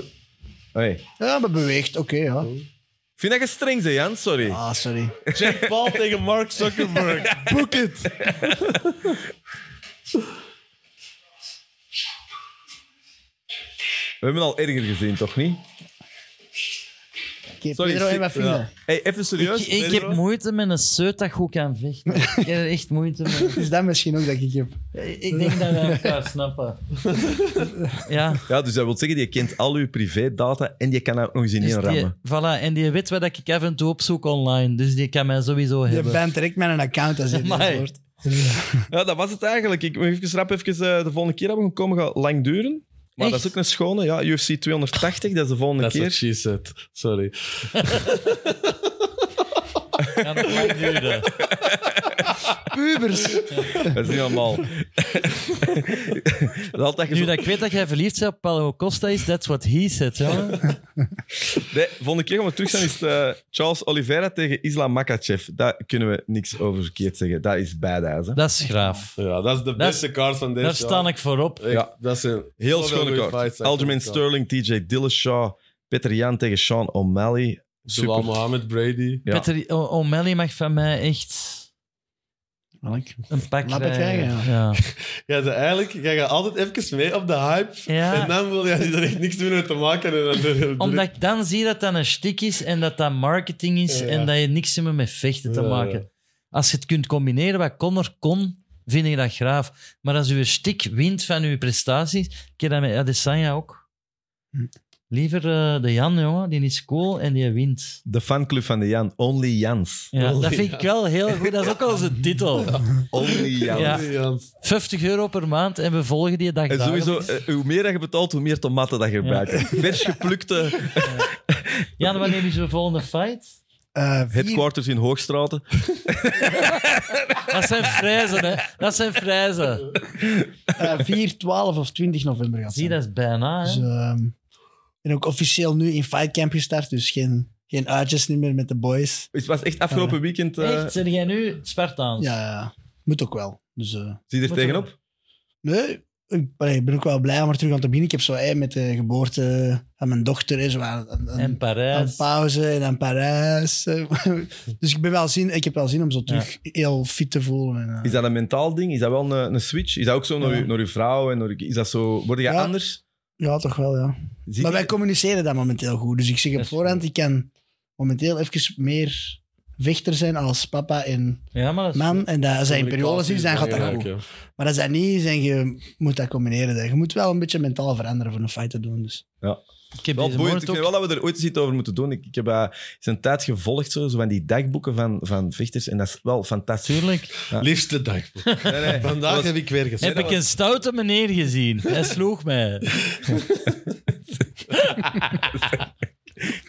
[SPEAKER 1] Hey.
[SPEAKER 4] Ja, maar beweegt, oké, ja.
[SPEAKER 1] Ik vind dat je streng bent, Jan, sorry.
[SPEAKER 4] Ah, sorry.
[SPEAKER 3] Jack Paul tegen Mark Zuckerberg.
[SPEAKER 1] [LAUGHS]
[SPEAKER 3] Boek het.
[SPEAKER 1] We hebben al erger gezien, toch niet?
[SPEAKER 4] Oké,
[SPEAKER 1] Sorry,
[SPEAKER 4] Pedro en
[SPEAKER 1] si-
[SPEAKER 4] wat
[SPEAKER 1] ja.
[SPEAKER 4] vinden?
[SPEAKER 1] Hey, even serieus.
[SPEAKER 2] Ik, ik heb moeite met een seut dat goed kan vechten. Ik heb er echt moeite mee.
[SPEAKER 4] Is Dus dat misschien ook dat ik heb?
[SPEAKER 2] Ik denk dat wij elkaar [LAUGHS] snappen. Ja.
[SPEAKER 1] Ja, dus dat wil zeggen, je kent al je privédata en je kan dat ook nog eens in
[SPEAKER 2] Dus
[SPEAKER 1] één
[SPEAKER 2] die,
[SPEAKER 1] rammen.
[SPEAKER 2] voilà, en die weet wat ik af en toe opzoek online. Dus die kan mij sowieso
[SPEAKER 4] Je
[SPEAKER 2] hebben.
[SPEAKER 4] bent direct met een account als je dit
[SPEAKER 2] Amai.
[SPEAKER 4] hoort.
[SPEAKER 1] Ja, dat was het eigenlijk. Ik moet even rap even, eh, de volgende keer dat we gaan komen, gaat lang duren. Maar dat is
[SPEAKER 2] Echt?
[SPEAKER 1] ook een schone. Ja, UFC 280, dat is de volgende
[SPEAKER 3] That's what
[SPEAKER 1] keer.
[SPEAKER 3] she said. Sorry.
[SPEAKER 2] Kan nog lang duren.
[SPEAKER 4] Pubers.
[SPEAKER 1] Dat is niet
[SPEAKER 2] [LAUGHS]
[SPEAKER 1] normaal. [LAUGHS] dat is altijd
[SPEAKER 2] Nu
[SPEAKER 1] gezond.
[SPEAKER 2] dat ik weet dat jij verliefd bent op Paulo Costa is, that's what he said. Ja?
[SPEAKER 1] Nee, volgende keer gaan we terug zijn, is het, eh, Charles Oliveira tegen Islam Makachev. Daar kunnen we niks over verkeerd zeggen. Dat is badass. hè.
[SPEAKER 2] Dat is graaf.
[SPEAKER 3] Ja, dat is de
[SPEAKER 2] Dat-
[SPEAKER 3] beste kaart van deze
[SPEAKER 2] Daar sta ik voor op.
[SPEAKER 3] jaar. Echt,
[SPEAKER 1] Ja.
[SPEAKER 3] dat is een
[SPEAKER 1] Heel
[SPEAKER 3] zoveel
[SPEAKER 1] schone
[SPEAKER 3] goede
[SPEAKER 1] kaart.
[SPEAKER 3] fights.
[SPEAKER 1] Alderman Sterling, TJ Dillashaw, Peter Jan tegen Sean O'Malley.
[SPEAKER 3] Bilal
[SPEAKER 1] Super.
[SPEAKER 3] Mohammed Brady.
[SPEAKER 1] Ja.
[SPEAKER 2] Peter O- O'Malley mag van mij echt een pak
[SPEAKER 4] Lappen
[SPEAKER 2] krijgen.
[SPEAKER 4] krijgen,
[SPEAKER 2] ja.
[SPEAKER 3] Ja, dus eigenlijk, jij gaat altijd even mee op de hype.
[SPEAKER 2] Ja.
[SPEAKER 3] En dan wil jij er echt niks meer mee te maken. En dan doe je het
[SPEAKER 2] Omdat ik dan zie dat dat een stik is en dat dat marketing is
[SPEAKER 3] Ja.
[SPEAKER 2] en dat je niks meer met vechten te
[SPEAKER 3] Ja, ja.
[SPEAKER 2] maken. Als je het kunt combineren wat Connor kon, vind ik dat graaf. Maar als je stik wint van je prestaties, ik heb dat met Adesanya ook.
[SPEAKER 3] Hm.
[SPEAKER 2] Liever eh, de Jan, jongen, die is cool en die wint.
[SPEAKER 1] De fanclub van de Jan. Only Jans.
[SPEAKER 2] Ja,
[SPEAKER 3] Oh,
[SPEAKER 2] dat vind ik wel heel goed. Dat is ook al
[SPEAKER 3] [LAUGHS]
[SPEAKER 2] zijn titel.
[SPEAKER 1] Only Jans.
[SPEAKER 2] [LAUGHS] Ja.
[SPEAKER 3] Nee, Jans.
[SPEAKER 2] 50 euro per maand en we volgen die dag
[SPEAKER 1] En
[SPEAKER 2] dagelijks.
[SPEAKER 1] sowieso, eh, hoe meer dat je betaalt, hoe meer tomaten dat je erbij krijgt. Vers geplukte
[SPEAKER 2] Jan, wanneer is de volgende fight?
[SPEAKER 4] Eh, vier-
[SPEAKER 1] headquarters in Hoogstraten.
[SPEAKER 2] Dat
[SPEAKER 3] [LAUGHS]
[SPEAKER 2] zijn vrijzen, hè. Dat zijn vrijzen.
[SPEAKER 4] eh, 4, 12 of 20 november gaat
[SPEAKER 2] Zie,
[SPEAKER 4] zijn.
[SPEAKER 2] dat is bijna, hè.
[SPEAKER 4] Dus, ehm, ik ben ook officieel nu in Fight Camp gestart, dus geen, geen uitjes niet meer met de boys.
[SPEAKER 1] Het was echt afgelopen weekend. eh,
[SPEAKER 2] Echt, zijn jij nu Spartaans?
[SPEAKER 4] Ja, ja, moet ook wel. Dus, eh,
[SPEAKER 1] Zie je er tegenop?
[SPEAKER 4] nee, ik, allee, ik ben ook wel blij om er terug aan te beginnen. Ik heb zo eh, met de geboorte van mijn dochter eh, zo aan, aan- aan-
[SPEAKER 2] En
[SPEAKER 4] aan
[SPEAKER 2] Parijs.
[SPEAKER 4] pauze en aan
[SPEAKER 2] [LAUGHS]
[SPEAKER 4] Parijs. eh. dus ik, ben wel zin, ik heb wel zin om zo terug heel fit te voelen. En, eh,
[SPEAKER 1] Is dat een mentaal ding? Is dat wel een, een switch? Is dat ook zo naar,
[SPEAKER 4] Ja.
[SPEAKER 1] je, naar je vrouw? En naar je- is dat zo, word je
[SPEAKER 4] Ja.
[SPEAKER 1] anders?
[SPEAKER 4] Ja, toch wel, ja.
[SPEAKER 1] Zie
[SPEAKER 4] Maar
[SPEAKER 1] je-
[SPEAKER 4] wij communiceren dat momenteel goed. Dus ik zeg
[SPEAKER 2] Dat
[SPEAKER 4] op
[SPEAKER 2] is
[SPEAKER 4] voorhand, ik kan momenteel even meer vechter zijn als papa en
[SPEAKER 2] Ja, maar dat is-
[SPEAKER 4] man. En dat, als hij in periodes is, dan gaat dat
[SPEAKER 3] Belangrijk,
[SPEAKER 4] goed.
[SPEAKER 3] ja.
[SPEAKER 4] Maar als dat niet is, en je moet dat combineren. dan. Je moet wel een beetje mentaal veranderen voor een fight te doen. Dus.
[SPEAKER 2] Ik heb
[SPEAKER 1] Wel
[SPEAKER 2] deze
[SPEAKER 1] boeiend.
[SPEAKER 2] morgen
[SPEAKER 1] Ik vind
[SPEAKER 2] ook-
[SPEAKER 1] wel dat we er ooit eens iets over moeten doen. Ik, ik heb eh, eens een tijd gevolgd zo, zo van die dagboeken van, van vechters. En dat is wel fantastisch.
[SPEAKER 2] Tuurlijk.
[SPEAKER 3] Liefste dag.
[SPEAKER 1] Nee, nee,
[SPEAKER 3] Vandaag
[SPEAKER 1] dat was-
[SPEAKER 3] heb ik weer gezegd.
[SPEAKER 2] Heb ik een stoute meneer gezien. Hij sloeg mij.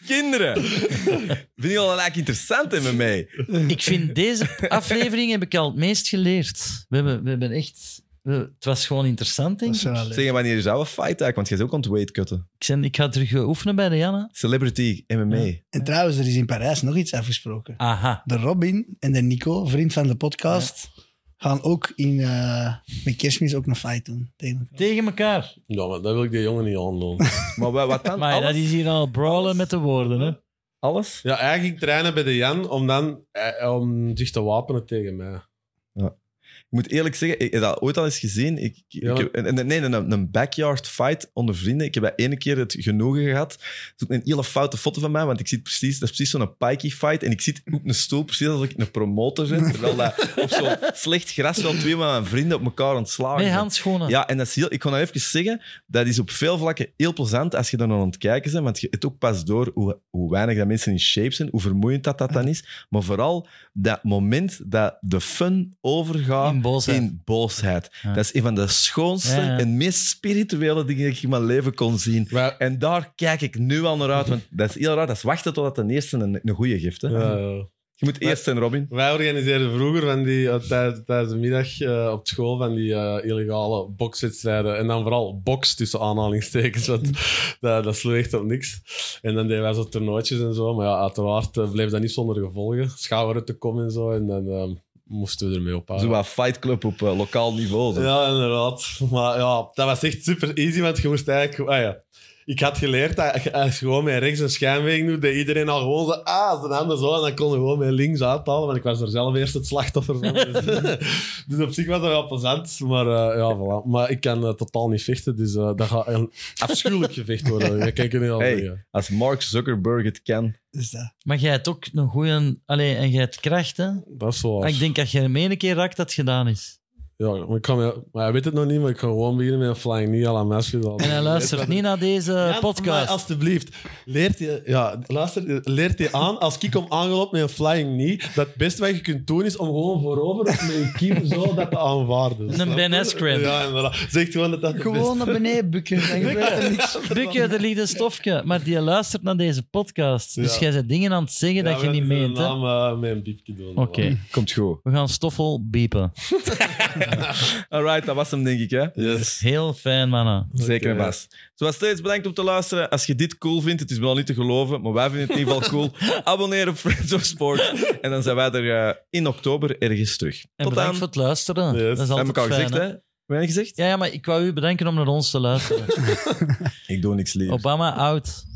[SPEAKER 1] Kinderen! [LAUGHS] vind je al eigenlijk interessant in me mee?
[SPEAKER 2] Ik vind deze aflevering heb ik al het meest geleerd. We hebben, we hebben echt... we- het was gewoon interessant, denk
[SPEAKER 4] Dat is
[SPEAKER 2] ik.
[SPEAKER 4] wel leuk.
[SPEAKER 1] Zeg, wanneer zou een fight eigenlijk? Want jij is ook aan het weightcutten.
[SPEAKER 2] Ik, zei, ik ga terug eh, oefenen bij Rihanna.
[SPEAKER 1] Celebrity, MMA.
[SPEAKER 4] En trouwens, er is in Parijs nog iets afgesproken.
[SPEAKER 2] Aha.
[SPEAKER 4] De Robin en de Nico, vriend van de podcast, gaan ook in, eh met kerstmis ook een fight doen. tegen elkaar.
[SPEAKER 2] Tegen elkaar.
[SPEAKER 3] Ja, maar dat wil ik die jongen niet aanlopen.
[SPEAKER 1] Maar wa- wat dan?
[SPEAKER 2] Maar
[SPEAKER 1] alles?
[SPEAKER 2] dat is hier al brawlen met de woorden, hè.
[SPEAKER 1] alles?
[SPEAKER 3] ja, eigenlijk trainen bij de Jan om dan eh, om zich te wapenen tegen mij.
[SPEAKER 1] Ik moet eerlijk zeggen, ik heb dat ooit al eens gezien. Ik, ik-
[SPEAKER 3] Ja.
[SPEAKER 1] ik heb- en- en- nee, een, een backyard fight onder vrienden. Ik heb dat ene keer het genoegen gehad. Het is ook een hele foute foto van mij, want ik zit precies, dat is precies zo'n pikey fight. En ik zit op een stoel, precies als ik een promotor zit. Terwijl dat op zo'n [LAUGHS] slecht gras wel twee van mijn vrienden op elkaar aan het slagen
[SPEAKER 2] Met
[SPEAKER 1] zijn.
[SPEAKER 2] handschoenen.
[SPEAKER 1] Ja, en dat is heel, ik kon dat even zeggen, dat is op veel vlakken heel plezant als je dan aan het kijken bent, want je het ook pas door hoe, hoe weinig dat mensen in shape zijn, hoe vermoeiend dat, dat dan is. Maar vooral dat moment dat de fun overgaat
[SPEAKER 2] In boosheid.
[SPEAKER 1] in boosheid.
[SPEAKER 2] Ja.
[SPEAKER 1] Dat is een van de schoonste
[SPEAKER 2] Ja, ja.
[SPEAKER 1] en meest spirituele dingen die ik in mijn leven kon zien.
[SPEAKER 3] Maar,
[SPEAKER 1] En daar kijk ik nu al naar uit, want dat is heel raar. Dat is wachten totdat de eerste een, een goede gift. Hè?
[SPEAKER 3] ja, ja.
[SPEAKER 1] Je moet eerst zijn, Robin.
[SPEAKER 3] eh, Wij organiseerden vroeger van die, eh, tijd- tijdens de middag eh, op school van die eh, illegale bokswedstrijden. En dan vooral boks tussen aanhalingstekens, want [LAUGHS] dat, dat sloeg echt op niks. En dan deden wij zo toernooitjes en zo. Maar ja, uiteraard eh, bleef dat niet zonder gevolgen. Schouweren te komen en zo. En dan eh, moesten we ermee ophouden.
[SPEAKER 1] Zo wat Fight Club op eh, lokaal niveau. zo.
[SPEAKER 3] Ja, inderdaad. Maar ja, dat was echt super easy, want je moest eigenlijk... Ah ja. Ik had geleerd dat je- als je gewoon met rechts een schijnweging doet, dat iedereen al gewoon zo... Ah, zijn handen zo. En dan kon je gewoon met links uithalen, want ik was er zelf eerst het slachtoffer van. [LAUGHS] Dus, dus op zich was dat wel plezant. Maar eh, ja, voilà. Maar ik kan eh, totaal niet vechten, dus eh, dat gaat een afschuwelijk gevecht worden. Dat kan ik je niet al
[SPEAKER 1] Hey.
[SPEAKER 3] zeggen.
[SPEAKER 1] Als Mark Zuckerberg het kan.
[SPEAKER 4] Dus dat.
[SPEAKER 2] Maar jij hebt ook een goeie... Allee, en jij hebt kracht, hè.
[SPEAKER 3] Dat is wel...
[SPEAKER 2] Maar ik denk dat je hem één keer raakt, dat het gedaan is.
[SPEAKER 3] Ja, maar, ik kan, me- maar hij weet het nog niet, maar ik ga gewoon beginnen met een flying knee à la
[SPEAKER 2] [LAUGHS]
[SPEAKER 3] Masvidal.
[SPEAKER 2] En hij luistert niet naar deze
[SPEAKER 3] Ja, maar
[SPEAKER 2] Eh, podcast.
[SPEAKER 3] alstublieft. Leert je, ja, luister, leert je aan, als ik om aangelopen met een flying knee, dat het beste wat je kunt doen is om gewoon voorover of met je kiem zo dat te aanvaarden. Snap je?
[SPEAKER 2] Ben Askren.
[SPEAKER 3] Ja, inderdaad. Zeg gewoon dat dat het beste
[SPEAKER 4] Gewoon naar beneden bukken. Dan gebeurt
[SPEAKER 2] [LAUGHS]
[SPEAKER 4] er niks.
[SPEAKER 2] Bukje, er ligt een stofje. Maar die luistert naar deze podcast. Dus
[SPEAKER 3] Ja.
[SPEAKER 2] jij zet dingen aan het zeggen
[SPEAKER 3] Ja,
[SPEAKER 2] dat
[SPEAKER 3] we
[SPEAKER 2] je niet
[SPEAKER 3] hebben
[SPEAKER 2] meent,
[SPEAKER 3] een
[SPEAKER 2] hè. Oké,
[SPEAKER 3] naam eh, met een piepje doen.
[SPEAKER 1] Komt goed.
[SPEAKER 2] we gaan stoffel biepen.
[SPEAKER 1] Alright, dat was hem, denk ik. Hè?
[SPEAKER 3] Yes.
[SPEAKER 2] Heel fijn, mannen.
[SPEAKER 1] Zeker en
[SPEAKER 3] Oké.
[SPEAKER 1] vast. Zoals steeds, bedankt om te luisteren. Als je dit cool vindt, het is wel niet te geloven, maar wij vinden het in ieder geval [LAUGHS] cool. Abonneer op Friends of Sport. En dan zijn wij er eh, in oktober ergens terug.
[SPEAKER 2] En
[SPEAKER 1] Tot
[SPEAKER 2] bedankt
[SPEAKER 1] dan.
[SPEAKER 2] voor het luisteren.
[SPEAKER 3] Yes.
[SPEAKER 2] Dat is
[SPEAKER 1] Heb
[SPEAKER 2] altijd
[SPEAKER 1] ik al
[SPEAKER 2] fijn,
[SPEAKER 1] gezegd, hè?
[SPEAKER 2] hè.
[SPEAKER 1] Heb jij niet gezegd?
[SPEAKER 2] Ja, ja, maar ik wou u bedanken om naar ons te luisteren.
[SPEAKER 1] Ik doe niks liever.
[SPEAKER 2] Obama, out.